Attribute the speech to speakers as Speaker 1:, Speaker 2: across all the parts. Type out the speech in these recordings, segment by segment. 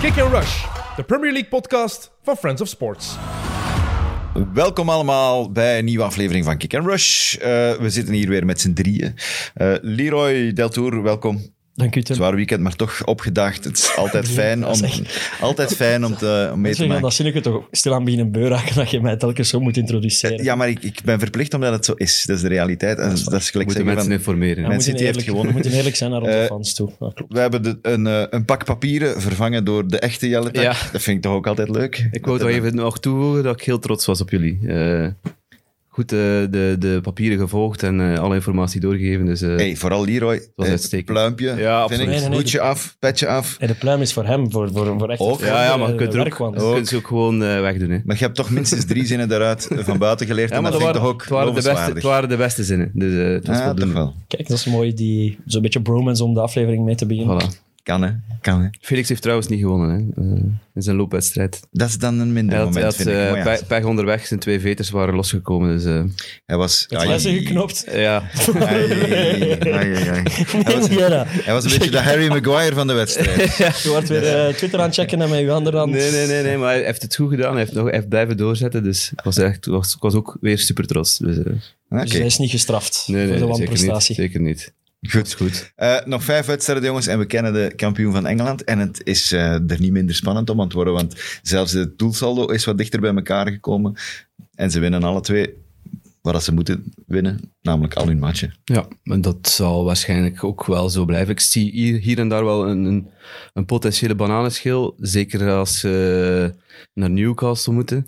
Speaker 1: Kick and Rush, de Premier League podcast van Friends of Sports.
Speaker 2: Welkom allemaal bij een nieuwe aflevering van Kick and Rush. Eh, we zitten hier weer met z'n drieën. Eh, Leroy Deltour, welkom.
Speaker 3: Dank u, Tim.
Speaker 2: Zwaar weekend, maar toch opgedaagd. Het is altijd fijn om, altijd fijn om, te, om mee te
Speaker 3: Mensen gaan
Speaker 2: maken.
Speaker 3: dat zinnetje toch ook stilaan beginnen beu raken dat je mij telkens zo moet introduceren.
Speaker 2: Ja, maar ik, ik ben verplicht omdat het zo is. Dat is de realiteit. En dat is gelijk
Speaker 4: Moeten
Speaker 2: zeggen
Speaker 4: mensen
Speaker 2: van...
Speaker 4: informeren.
Speaker 3: we,
Speaker 2: Man
Speaker 3: moeten
Speaker 2: City heeft
Speaker 3: eerlijk,
Speaker 2: gewonnen.
Speaker 3: we moeten eerlijk zijn naar onze
Speaker 2: Eh,
Speaker 3: fans toe. Ja, klopt.
Speaker 2: We hebben de- een, eh, een pak papieren vervangen door de echte Jelle.
Speaker 4: Ja.
Speaker 2: Dat vind ik toch ook altijd leuk.
Speaker 4: Ik wou toch even nog toevoegen dat ik heel trots was op jullie. Eh, goed eh, de, de papieren gevolgd en eh, alle informatie doorgegeven. Dus, eh,
Speaker 2: Hey, vooral Leroy.
Speaker 4: was
Speaker 2: eh,
Speaker 4: uitstekend.
Speaker 2: Pluimpje,
Speaker 4: Ja,
Speaker 2: vind
Speaker 4: absoluut.
Speaker 2: ik.
Speaker 3: Nee, nee, nee.
Speaker 2: Hoedje af, petje af.
Speaker 3: En de pluim is voor hem, voor, voor, voor echt
Speaker 2: Ook.
Speaker 3: het
Speaker 4: ja, ja, maar
Speaker 3: eh,
Speaker 4: je kunt, er ook,
Speaker 3: werkwand.
Speaker 4: je kunt ze ook gewoon eh, wegdoen. Hè.
Speaker 2: Maar je hebt toch minstens drie zinnen daaruit van buiten geleerd.
Speaker 4: Ja, maar
Speaker 2: en dat
Speaker 4: dat
Speaker 2: vind
Speaker 4: waren,
Speaker 2: ik toch ook
Speaker 4: het, waren de beste,
Speaker 2: lovenswaardig.
Speaker 4: het waren de beste zinnen. Dus eh, het was
Speaker 2: Ja, toch
Speaker 4: voldoende.
Speaker 2: wel.
Speaker 3: Kijk, dat is mooi, die, zo'n beetje bromance om de aflevering mee te beginnen.
Speaker 4: Voilà.
Speaker 2: Kan hè, kan hè.
Speaker 4: Felix heeft trouwens niet gewonnen hè, eh, in zijn loopwedstrijd.
Speaker 2: Dat is dan een minder
Speaker 4: Hij had, hij
Speaker 2: moment,
Speaker 4: had
Speaker 2: vind ik.
Speaker 4: eh,
Speaker 2: Maar ja,
Speaker 4: pe- pech onderweg, zijn twee veters waren losgekomen. Dus, eh,
Speaker 2: hij was...
Speaker 3: Met
Speaker 2: ai,
Speaker 3: lessen geknoopt.
Speaker 4: ja,
Speaker 2: ai, ai, ai, ai. Hij, was,
Speaker 3: Jera,
Speaker 2: hij was een beetje de Harry Maguire van de wedstrijd.
Speaker 3: je wordt weer eh, Twitter aan het checken en met je handen aan
Speaker 4: Nee, nee, nee, nee, maar hij heeft het goed gedaan. Hij heeft, nog, hij heeft blijven doorzetten. Dus ik was, echt, was, ik was ook weer super trots. Dus, eh,
Speaker 2: Oké,
Speaker 3: Dus hij is niet gestraft
Speaker 4: nee, nee,
Speaker 3: voor de
Speaker 4: zeker niet.
Speaker 3: wanprestatie.
Speaker 4: Zeker niet.
Speaker 2: goed. goed. Eh, nog vijf wedstrijden, jongens, en we kennen de kampioen van Engeland. En het is eh, er niet minder spannend om aan het worden, want zelfs de doelsaldo is wat dichter bij elkaar gekomen. En ze winnen alle twee wat ze moeten winnen, namelijk al hun matchen.
Speaker 4: Ja, en dat zal waarschijnlijk ook wel zo blijven. Ik zie hier, hier en daar wel een, een, een potentiële bananenschil. Zeker als ze naar Newcastle moeten.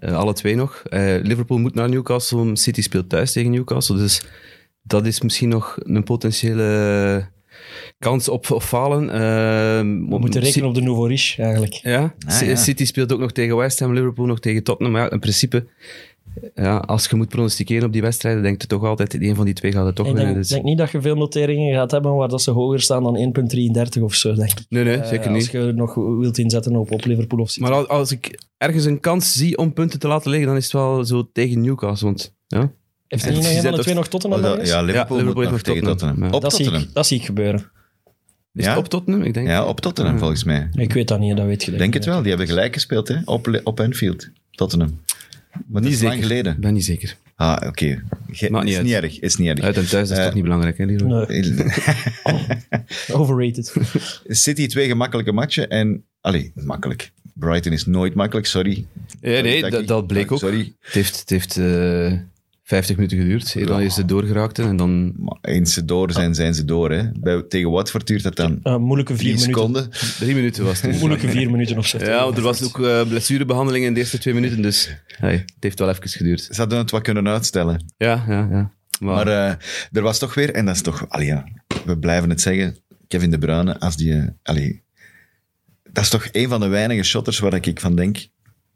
Speaker 4: Eh, alle twee nog. Eh, Liverpool moet naar Newcastle. City speelt thuis tegen Newcastle. Dus dat is misschien nog een potentiële kans op, op falen. Eh,
Speaker 3: We moeten rekenen op de nouveau riche, eigenlijk.
Speaker 4: Ja,
Speaker 2: Ah,
Speaker 4: C-
Speaker 2: ja.
Speaker 4: City speelt ook nog tegen West Ham, Liverpool nog tegen Tottenham. Maar ja, in principe, ja, als je moet pronosticeren op die wedstrijden, denk je toch altijd, een van die twee gaat het toch
Speaker 3: Ik
Speaker 4: winnen.
Speaker 3: denk,
Speaker 4: Dus-
Speaker 3: denk niet dat je veel noteringen gaat hebben waar dat ze hoger staan dan 1,33 of zo, denk ik.
Speaker 4: Nee, nee,
Speaker 3: Eh,
Speaker 4: zeker niet.
Speaker 3: Als je nog wilt inzetten op, op Liverpool of City.
Speaker 4: Maar als, als ik ergens een kans zie om punten te laten liggen, dan is het wel zo tegen Newcastle. Want, ja?
Speaker 3: Heeft er niet
Speaker 2: Ze
Speaker 3: nog een van
Speaker 2: zijn
Speaker 3: de
Speaker 2: toch-
Speaker 3: twee nog Tottenham
Speaker 2: Oh, dat-
Speaker 3: ergens?
Speaker 2: ja, Liverpool,
Speaker 4: Ja, Liverpool
Speaker 2: moet
Speaker 4: heeft
Speaker 2: nog
Speaker 4: nog
Speaker 2: tegen
Speaker 4: Tottenham.
Speaker 2: Tottenham.
Speaker 4: Ja.
Speaker 2: Op
Speaker 3: dat, zie
Speaker 2: Tottenham.
Speaker 3: ik, dat zie ik gebeuren.
Speaker 4: Is
Speaker 2: Ja?
Speaker 4: het op Tottenham, ik denk.
Speaker 2: Ja, op Tottenham
Speaker 4: Ja.
Speaker 2: volgens mij.
Speaker 3: Ik weet dat niet, dat weet je
Speaker 2: Ik denk het wel. Die hebben gelijk gespeeld hè? Op, op Anfield. Tottenham. Maar dat
Speaker 4: Niet
Speaker 2: is lang
Speaker 4: zeker.
Speaker 2: geleden.
Speaker 4: ben niet zeker.
Speaker 2: Ah, oké. Ge-
Speaker 4: Maakt niet
Speaker 2: Is
Speaker 4: uit.
Speaker 2: niet erg. Is niet erg.
Speaker 4: Uit en thuis, dat is
Speaker 2: Eh,
Speaker 4: toch niet belangrijk, hè, Leroy?
Speaker 3: Nee, overrated.
Speaker 2: City twee gemakkelijke matchen en... Allee, makkelijk. Brighton is nooit makkelijk, sorry.
Speaker 4: Ja, nee,
Speaker 2: Sorry,
Speaker 4: dat, dat bleek ook.
Speaker 2: Sorry.
Speaker 4: Het heeft, het heeft eh, 50 minuten geduurd. Eer Dan is ze doorgeraakt en dan
Speaker 2: Maar eens ze door zijn, zijn ze door. Hè. Bij, tegen Watford duurt dat dan
Speaker 3: Eh, moeilijke vier
Speaker 2: drie
Speaker 3: minuten.
Speaker 2: seconden.
Speaker 4: drie minuten was het.
Speaker 3: Moeilijke vier minuten of zo.
Speaker 4: Ja, want er was ook eh, blessurebehandeling in de eerste twee minuten, dus hey, het heeft wel even geduurd.
Speaker 2: Ze hadden het wat kunnen uitstellen.
Speaker 4: Ja, ja, ja. Maar,
Speaker 2: Maar eh, er was toch weer, en dat is toch, allee, ja, we blijven het zeggen, Kevin De Bruyne, als die, eh, allee, dat is toch een van de weinige shotters waar ik van denk,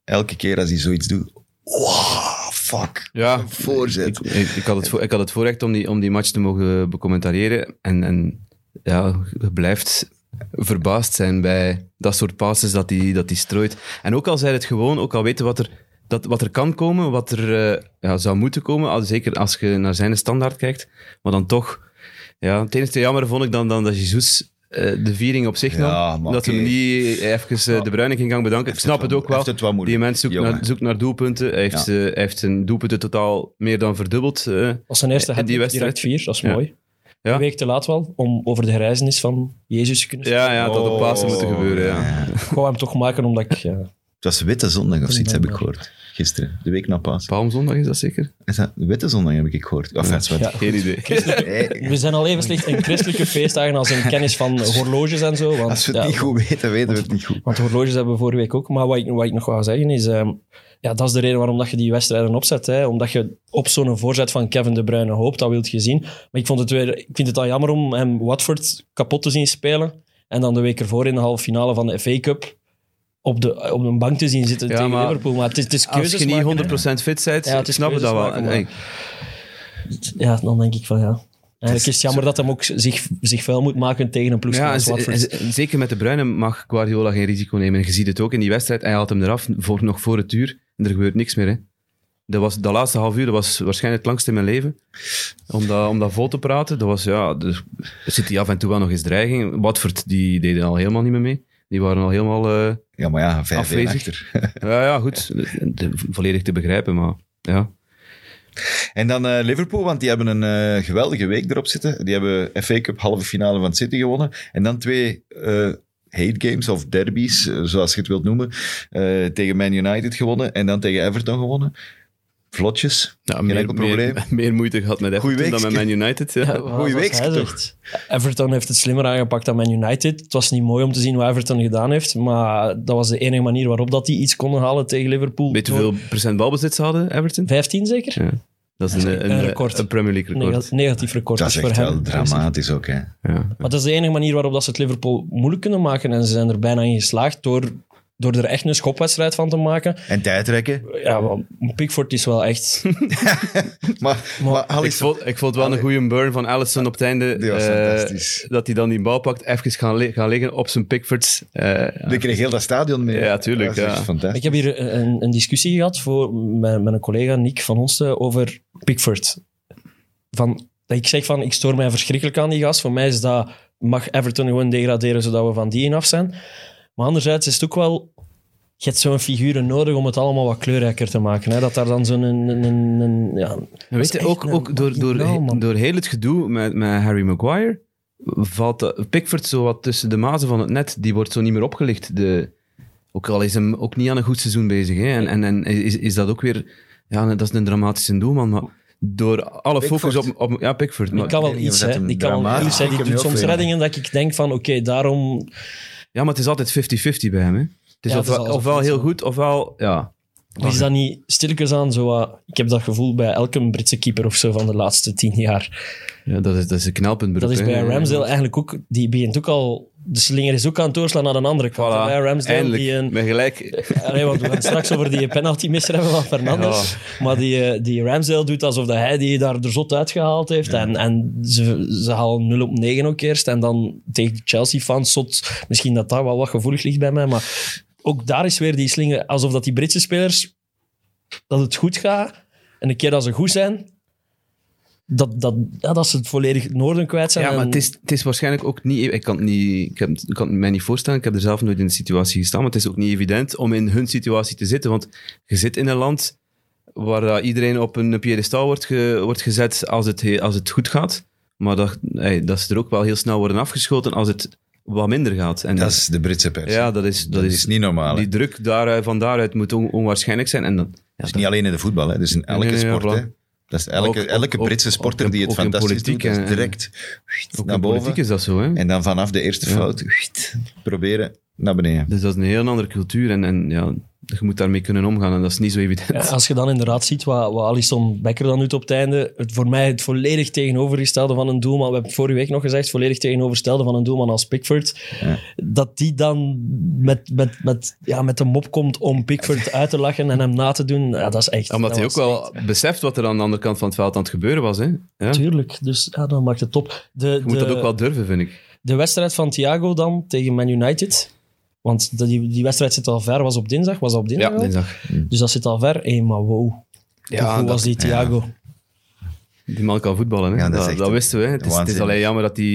Speaker 2: elke keer als hij zoiets doet, wow, fuck,
Speaker 4: ja,
Speaker 2: een voorzet.
Speaker 4: ik, ik, ik had het voor, ik had het voorrecht om die, om die match te mogen becommentariëren. En, en ja, je blijft verbaasd zijn bij dat soort passes dat hij dat die strooit. En ook al zei het gewoon, ook al weten wat er, dat, wat er kan komen, wat er eh, ja, zou moeten komen, al, zeker als je naar zijn standaard kijkt, maar dan toch... Ja, het enige jammer vond ik dan, dan dat Jesus eh, de viering op zich
Speaker 2: Ja,
Speaker 4: nam.
Speaker 2: maar
Speaker 4: Dat
Speaker 2: oké.
Speaker 4: hem niet even eh, de Bruyne ging gaan bedanken. Ik snap het ook wel.
Speaker 2: Heeft het wat
Speaker 4: Die
Speaker 2: moeilijk.
Speaker 4: mens zoekt
Speaker 2: jongen.
Speaker 4: naar, zoekt naar doelpunten. Hij heeft, eh, hij heeft zijn doelpunten totaal meer dan verdubbeld. eh.
Speaker 3: Als zijn eerste
Speaker 4: En die
Speaker 3: hat direct
Speaker 4: wedstrijd-
Speaker 3: vier, dat is
Speaker 4: Ja.
Speaker 3: mooi.
Speaker 4: Ja.
Speaker 3: Een week te laat wel, om over de gereizenis van Jezus te kunnen
Speaker 4: ja, ja, dat
Speaker 2: Oh,
Speaker 4: op Pasen moeten gebeuren. Ja.
Speaker 2: Het
Speaker 3: Ik wou hem toch maken, omdat ik... Ja,
Speaker 2: was Witte Zondag of zoiets, heb ik gehoord. Gisteren, de week na Paas.
Speaker 4: Palmzondag is dat zeker?
Speaker 2: Is dat Witte Zondag heb ik gehoord. Of dat is wat.
Speaker 3: ja.
Speaker 4: Geen idee.
Speaker 2: Hey,
Speaker 3: We zijn al even slecht in christelijke feestdagen als in kennis van horloges en zo. Want,
Speaker 2: als we het
Speaker 3: ja,
Speaker 2: niet goed weten, weten we het niet goed.
Speaker 3: Want horloges hebben we vorige week ook. Maar wat ik, wat ik nog wou zeggen is... ehm, ja, dat is de reden waarom dat je die wedstrijden opzet. Hè. Omdat je op zo'n voorzet van Kevin De Bruyne hoopt. Dat wilt je zien. Maar ik, vond het weer, ik vind het al jammer om hem Watford kapot te zien spelen. En dan de week ervoor in de halve finale van de FA Cup... Op, de, op een bank te zien zitten
Speaker 4: Ja,
Speaker 3: tegen
Speaker 4: maar
Speaker 3: Liverpool. Maar het is, het is
Speaker 4: Als
Speaker 3: keuzes
Speaker 4: je
Speaker 3: maken, hè.
Speaker 4: niet 100% fit bent,
Speaker 3: Ja, het
Speaker 4: ik
Speaker 3: is
Speaker 4: snap het dat wel.
Speaker 3: keuzes maken, maar-
Speaker 4: Hey,
Speaker 3: Ja, dan denk ik van ja... Eigenlijk is het jammer dat hem ook zich, zich vuil moet maken tegen een ploeg
Speaker 4: ja, en
Speaker 3: als
Speaker 4: z-
Speaker 3: Watford.
Speaker 4: en z- en zeker met de Bruyne mag Guardiola geen risico nemen. En je ziet het ook in die wedstrijd. Hij haalt hem eraf, voor, nog voor het uur. En er gebeurt niks meer. Hè. Dat, was, dat laatste half uur dat was waarschijnlijk het langst in mijn leven. Om dat, om dat vol te praten, dat was ja... Er zit hij af en toe wel nog eens dreiging. Watford, die deden al helemaal niet meer mee. Die waren al helemaal... eh,
Speaker 2: Ja, maar ja, vijf
Speaker 4: Afwezig.
Speaker 2: achter.
Speaker 4: ja, ja, goed. De- volledig te begrijpen, maar... Ja.
Speaker 2: En dan eh, Liverpool, want die hebben een eh, geweldige week erop zitten. Die hebben FA Cup halve finale van City gewonnen. En dan twee eh hate games of derbies, eh, zoals je het wilt noemen. eh, tegen Man United gewonnen en dan tegen Everton gewonnen. Vlotjes,
Speaker 4: ja
Speaker 2: geen enkel probleem.
Speaker 4: Meer, meer moeite gehad met
Speaker 2: Goeie
Speaker 4: Everton dan met
Speaker 2: weekske.
Speaker 4: Man United. Ja.
Speaker 3: Ja,
Speaker 2: goeie
Speaker 3: zoals hij
Speaker 2: weekske
Speaker 3: zegt. Everton heeft het slimmer aangepakt dan Man United. Het was niet mooi om te zien wat Everton gedaan heeft, maar dat was de enige manier waarop dat die iets konden halen tegen Liverpool.
Speaker 4: Weet je
Speaker 3: Door
Speaker 4: hoeveel procent balbezit ze hadden, Everton?
Speaker 3: 15 zeker?
Speaker 4: Ja. Dat is een, een,
Speaker 3: Een record.
Speaker 4: een Premier League record.
Speaker 3: Nega- negatief record
Speaker 2: Dat is
Speaker 3: dus voor
Speaker 2: echt
Speaker 3: hem.
Speaker 2: wel dramatisch ook, hè.
Speaker 4: Ja.
Speaker 3: Maar dat is de enige manier waarop dat ze het Liverpool moeilijk kunnen maken. En ze zijn er bijna in geslaagd door, door er echt een schopwedstrijd van te maken.
Speaker 2: En tijdrekken.
Speaker 3: Ja, maar Pickford is wel echt...
Speaker 2: Maar, maar
Speaker 4: Ik
Speaker 2: Alisson-
Speaker 4: vond, ik vond wel een goede burn van Allison op het einde.
Speaker 2: Die was
Speaker 4: eh,
Speaker 2: fantastisch.
Speaker 4: Dat hij dan die bal pakt, even gaan, li- gaan liggen op zijn Pickfords. eh,
Speaker 2: Die kreeg heel dat stadion mee.
Speaker 4: Ja, tuurlijk,
Speaker 2: Dat is echt
Speaker 4: ja.
Speaker 2: fantastisch.
Speaker 3: Ik heb hier een, een discussie gehad voor, met, met een collega, Nick van Onsten, over Pickford. Van, dat ik zeg van, ik stoor mij verschrikkelijk aan die gast. Voor mij is dat, mag Everton gewoon degraderen zodat we van die in af zijn. Maar anderzijds is het ook wel, je hebt zo'n figuren nodig om het allemaal wat kleurrijker te maken. Hè? Dat daar dan zo'n... Een, een, een, een- ja,
Speaker 4: En
Speaker 3: Dat is
Speaker 4: Weet je,
Speaker 3: echt
Speaker 4: ook,
Speaker 3: een
Speaker 4: ook door, door,
Speaker 3: marginaal, man.
Speaker 4: door heel het gedoe met, met Harry Maguire valt de- Pickford zo wat tussen de mazen van het net. Die wordt zo niet meer opgelicht. De, ook al is hem ook niet aan een goed seizoen bezig. Hè. En, en, en is, is dat ook weer... Ja, dat is een dramatische doelman, maar door alle focus op, op... Ja, Pickford.
Speaker 3: die
Speaker 4: maar-
Speaker 3: kan wel
Speaker 2: ik weet niet
Speaker 3: iets,
Speaker 2: of dat
Speaker 3: hè.
Speaker 2: een
Speaker 3: Die kan wel
Speaker 2: dramatisch-
Speaker 3: iets, hè.
Speaker 2: Ik
Speaker 3: Die
Speaker 2: heb
Speaker 3: doet
Speaker 2: heel
Speaker 3: soms
Speaker 2: veel.
Speaker 3: reddingen dat ik denk van, oké, daarom...
Speaker 4: Ja, maar het is altijd 50-50 bij hem. Hè. Het is
Speaker 3: Ja, het is
Speaker 4: ofwel,
Speaker 3: alles
Speaker 4: ofwel
Speaker 3: goed,
Speaker 4: heel
Speaker 3: ja.
Speaker 4: goed, ofwel... Ja.
Speaker 3: Is dat niet stilletjes aan zo wat- Ik heb dat gevoel bij elke Britse keeper of zo van de laatste tien jaar.
Speaker 4: ja, dat is, dat is een knelpuntberoep.
Speaker 3: Dat is bij
Speaker 4: hè.
Speaker 3: Ramsdale eigenlijk ook. Die begint ook al. De slinger is ook aan het doorslaan naar een andere
Speaker 4: Voilà,
Speaker 3: kant. En Bij Ramsdale.
Speaker 4: eindelijk.
Speaker 3: Die een,
Speaker 4: Met gelijk.
Speaker 3: Allee, want we gaan het straks over die penaltymisser hebben van Fernandes. Maar die, eh, die Ramsdale doet alsof dat hij die daar er zot uitgehaald heeft. En, en ze, ze halen 0 op 9 ook eerst. En dan tegen Chelsea-fans zot. Misschien dat daar wel wat gevoelig ligt bij mij. Maar ook daar is weer die slinger. Alsof dat die Britse spelers. dat het goed gaat. En een keer dat ze goed zijn. Dat, dat, ja, dat ze het volledig het noorden kwijt zijn.
Speaker 4: Ja, maar
Speaker 3: en-
Speaker 4: het is, het is waarschijnlijk ook niet... Ik kan het, niet, ik, heb, ik kan het mij niet voorstellen. Ik heb er zelf nooit in de situatie gestaan. Maar het is ook niet evident om in hun situatie te zitten. Want je zit in een land waar eh, iedereen op een piedestal wordt, ge- wordt gezet als het, he- als het goed gaat. Maar dat, hey, dat ze er ook wel heel snel worden afgeschoten als het wat minder gaat. En
Speaker 2: Dat is de Britse pers.
Speaker 4: ja, dat is, dat
Speaker 2: dat
Speaker 4: is,
Speaker 2: is niet normaal. hè.
Speaker 4: Die druk daar, eh, van daaruit moet on- onwaarschijnlijk zijn. En dan, ja,
Speaker 2: Het is niet alleen in de voetbal, hè. dus in elke
Speaker 4: nee, nee,
Speaker 2: sport.
Speaker 4: voilà.
Speaker 2: hè. Dat is elke,
Speaker 4: Ook-
Speaker 2: elke
Speaker 4: ook-
Speaker 2: Britse
Speaker 4: ook-
Speaker 2: sporter
Speaker 4: ook-
Speaker 2: die het
Speaker 4: ook in
Speaker 2: fantastisch doet,
Speaker 4: politiek
Speaker 2: dat is
Speaker 4: en-
Speaker 2: direct
Speaker 4: ook
Speaker 2: naar
Speaker 4: in
Speaker 2: boven.
Speaker 4: politiek is dat zo. Hè?
Speaker 2: En dan vanaf de eerste
Speaker 4: Ja.
Speaker 2: fout proberen naar beneden.
Speaker 4: Dus dat is een heel andere cultuur. En, en ja, je moet daarmee kunnen omgaan. En dat is niet zo evident.
Speaker 3: Ja, Eh, als je dan inderdaad ziet wat, wat Alisson Becker dan doet op het einde, het voor mij het volledig tegenovergestelde van een doelman, we hebben het vorige week nog gezegd, volledig tegenovergestelde van een doelman als Pickford,
Speaker 2: Ja.
Speaker 3: dat die dan met, met, met, ja, met de mop komt om Pickford uit te lachen en hem na te doen, ja, dat is echt...
Speaker 4: Omdat
Speaker 3: dat
Speaker 4: hij ook
Speaker 3: was echt-
Speaker 4: wel beseft wat er aan de andere kant van het veld aan het gebeuren was. Hè? Ja? Je
Speaker 3: Tuurlijk, dus ja, dat maakt het top. De,
Speaker 4: moet
Speaker 3: de,
Speaker 4: dat ook wel durven, vind ik.
Speaker 3: de wedstrijd van Thiago dan tegen Man United, want de- die, die wedstrijd zit al ver, was op dinsdag, was dat op dinsdag
Speaker 4: Ja,
Speaker 3: al?
Speaker 4: dinsdag.
Speaker 3: Dus dat zit al ver, hey, maar wow. Hoe goed was die Thiago?
Speaker 4: Die man kan voetballen. Hè?
Speaker 2: Ja, dat is
Speaker 4: dat,
Speaker 2: echt
Speaker 4: dat wisten we. Hè? Het, is, het is
Speaker 2: waanzinnig.
Speaker 4: alleen jammer dat hij...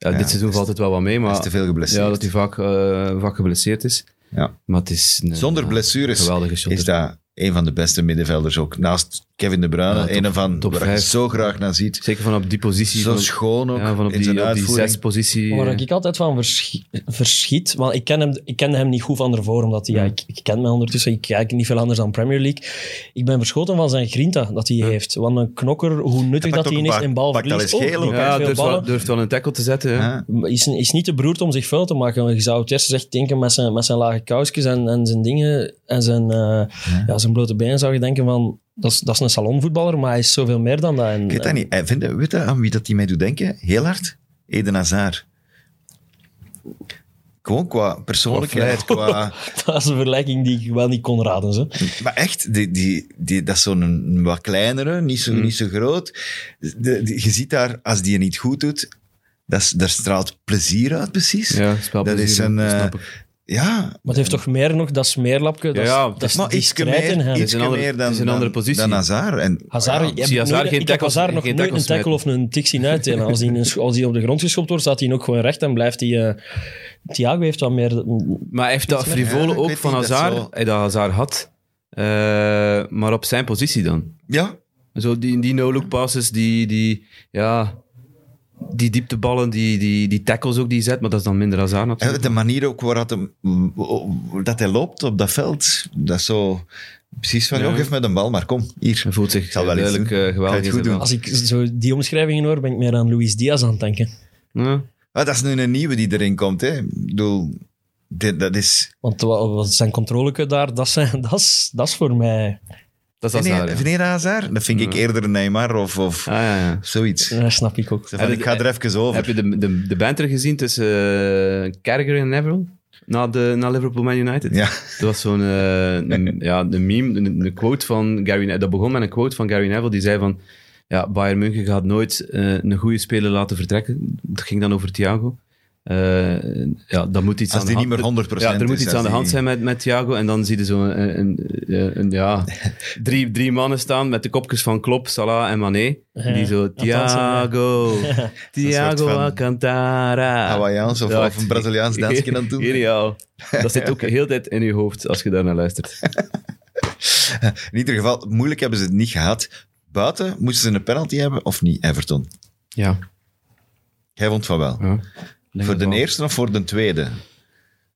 Speaker 4: Ja,
Speaker 2: Ja,
Speaker 4: dit seizoen
Speaker 2: het is-
Speaker 4: valt het wel wat mee,
Speaker 2: Hij
Speaker 4: maar...
Speaker 2: is te veel geblesseerd.
Speaker 4: ja, dat hij vaak, eh, vaak geblesseerd is.
Speaker 2: Ja.
Speaker 4: Maar het is... een-
Speaker 2: Zonder
Speaker 4: ja,
Speaker 2: blessures
Speaker 4: Geweldige shot.
Speaker 2: is dat een van de beste middenvelders ook. Naast Kevin De Bruyne,
Speaker 4: Ja, top-
Speaker 2: een van
Speaker 4: top
Speaker 2: waar je
Speaker 4: vijf.
Speaker 2: zo graag naar ziet.
Speaker 4: Zeker van op die positie.
Speaker 2: Zo
Speaker 4: van,
Speaker 2: schoon ook
Speaker 4: ja, van op
Speaker 2: in zijn
Speaker 4: die, op die
Speaker 2: uitvoering.
Speaker 4: zespositie.
Speaker 3: Waar
Speaker 4: eh,
Speaker 3: ik altijd van verschi- verschiet, want ik, ken hem, ik kende hem niet goed van ervoor, omdat hij, ja.
Speaker 2: Hmm.
Speaker 3: ik, ik ken mij ondertussen, ik kijk niet veel anders dan Premier League. Ik ben verschoten van zijn grinta dat hij heeft. Want een knokker, hoe nuttig
Speaker 2: Hmm. Hij pakt
Speaker 3: dat hij
Speaker 2: ook
Speaker 3: in is
Speaker 2: een
Speaker 3: in
Speaker 2: paar- pakt al
Speaker 3: balverlies,
Speaker 2: eens geel
Speaker 3: ook
Speaker 2: ook, dus
Speaker 3: blokkeert
Speaker 4: Ja,
Speaker 3: veel
Speaker 4: durft wel,
Speaker 3: ballen.
Speaker 4: durft wel een tackle te zetten. ja.
Speaker 2: Ja.
Speaker 3: Is, is niet te beroerd om zich vuil te maken. want Je zou het eerst eens echt denken met zijn, met zijn lage kousjes en, en zijn dingen en zijn, eh,
Speaker 2: Hmm.
Speaker 3: ja. zijn blote benen, zou je denken van, dat is, dat is een salonvoetballer, maar hij is zoveel meer dan dat. En,
Speaker 2: Ik weet dat niet. Eh, Vind, je- weet je aan wie dat die mij doet denken? Heel hard. Eden Hazard. Gewoon qua persoonlijkheid, qua...
Speaker 3: dat is een vergelijking die ik wel niet kon raden. Zo.
Speaker 2: Maar echt, die, die, die, dat is zo'n een wat kleinere, niet zo,
Speaker 4: Mm.
Speaker 2: niet zo groot. De- die- je ziet daar, als die je niet goed doet, dat is, daar straalt plezier uit, precies.
Speaker 4: Ja, spelplezier,
Speaker 2: Dat is een,
Speaker 4: dat
Speaker 2: eh,
Speaker 4: snap ik.
Speaker 2: Ja,
Speaker 3: Maar het heeft toch meer nog dat smeerlapje? Dat, is-
Speaker 4: Ja,
Speaker 3: dat
Speaker 4: het
Speaker 3: is
Speaker 2: maar
Speaker 3: die
Speaker 2: iets
Speaker 3: strijd in
Speaker 2: meer,
Speaker 3: hem.
Speaker 2: iets
Speaker 4: is een andere-
Speaker 2: meer dan,
Speaker 4: het is een andere
Speaker 2: dan-
Speaker 4: positie.
Speaker 2: dan Hazard. En,
Speaker 3: Hazard,
Speaker 2: ja,
Speaker 3: je hebt
Speaker 4: zie Hazard
Speaker 3: nooit-
Speaker 4: geen
Speaker 3: ik heb
Speaker 4: tackles-
Speaker 3: Hazard nog
Speaker 4: geen
Speaker 3: nooit een
Speaker 4: tackles
Speaker 3: tackle of
Speaker 4: smijten.
Speaker 3: een tik zien uitdelen. Als die, in een- als die op de grond geschopt wordt, staat hij ook gewoon recht en blijft hij... eh, Thiago heeft wat meer...
Speaker 4: Maar hij heeft dat
Speaker 2: Iets meer- ja,
Speaker 4: frivole
Speaker 2: ik
Speaker 4: ook
Speaker 2: weet
Speaker 4: van
Speaker 2: niet, dat
Speaker 4: Hazard,
Speaker 2: zo-
Speaker 4: hij dat Hazard had, eh, maar op zijn positie dan.
Speaker 2: ja,
Speaker 4: Zo die, die no-look passes, die, die, ja, die diepteballen, die, die, die tackles ook die hij zet, maar dat is dan minder Hazard natuurlijk.
Speaker 2: En de manier ook waarop hem, dat hij loopt op dat veld, dat is zo... Precies van,
Speaker 4: Ja.
Speaker 2: joh, geef me de bal, maar kom, hier.
Speaker 4: Hij voelt zich
Speaker 2: zal wel iets
Speaker 4: duidelijk
Speaker 2: doen.
Speaker 4: eh, geweldig
Speaker 2: Ga
Speaker 4: in
Speaker 2: je het
Speaker 4: zijn
Speaker 2: goed
Speaker 3: Als ik zo die omschrijvingen hoor, ben ik meer aan Luis Diaz aan het denken.
Speaker 4: baan. Ja.
Speaker 2: Ah, dat is nu een nieuwe die erin komt, hè. Ik bedoel, dit, dat is...
Speaker 3: Want wa- wat zijn controleke daar, dat, zijn, dat, is, dat is voor mij...
Speaker 4: Dat is
Speaker 2: Vind
Speaker 4: Hazard,
Speaker 2: je-
Speaker 4: ja.
Speaker 2: vind je dat Hazard? Dat vind ik
Speaker 4: Ja.
Speaker 2: eerder een Neymar of, of
Speaker 4: Ah, ja, ja.
Speaker 2: zoiets.
Speaker 3: Dat snap ik ook.
Speaker 2: Zo van, ik ga er even over.
Speaker 4: Heb je de, de, de banter gezien tussen eh, Carragher en Neville? Na, de, na Liverpool Man United.
Speaker 2: Ja.
Speaker 4: Dat was zo'n eh, een- ja, een meme, een, een quote van Gary Ne- Dat begon met een quote van Gary Neville die zei van ja, Bayern München gaat nooit eh, een goede speler laten vertrekken. Dat ging dan over Thiago. Eh, ja, dat moet iets
Speaker 2: Als
Speaker 4: aan
Speaker 2: die
Speaker 4: de
Speaker 2: niet
Speaker 4: hand-
Speaker 2: meer 100%
Speaker 4: ja, er moet
Speaker 2: is,
Speaker 4: iets
Speaker 2: als
Speaker 4: aan de
Speaker 2: die-
Speaker 4: hand zijn met, met Thiago. En dan zie je zo een, een, een- een- ja, drie, drie mannen staan met de kopjes van Klopp, Salah en Mané.
Speaker 3: Ja,
Speaker 4: die zo,
Speaker 3: dat is wel zo, ja.
Speaker 4: Thiago,
Speaker 2: soort
Speaker 4: Thiago
Speaker 2: van
Speaker 4: Alcantara.
Speaker 2: Hawaiiaans of,
Speaker 4: Ah. Ja,
Speaker 2: of een Braziliaans dansje aan het doen.
Speaker 4: Geniaal. Dat zit ook heel de tijd in je hoofd als je daarnaar luistert.
Speaker 2: In ieder geval, moeilijk hebben ze het niet gehad. Buiten, moesten ze een penalty hebben of niet, Everton?
Speaker 4: Ja.
Speaker 2: Jij vond van wel. Voor de eerste of voor de tweede?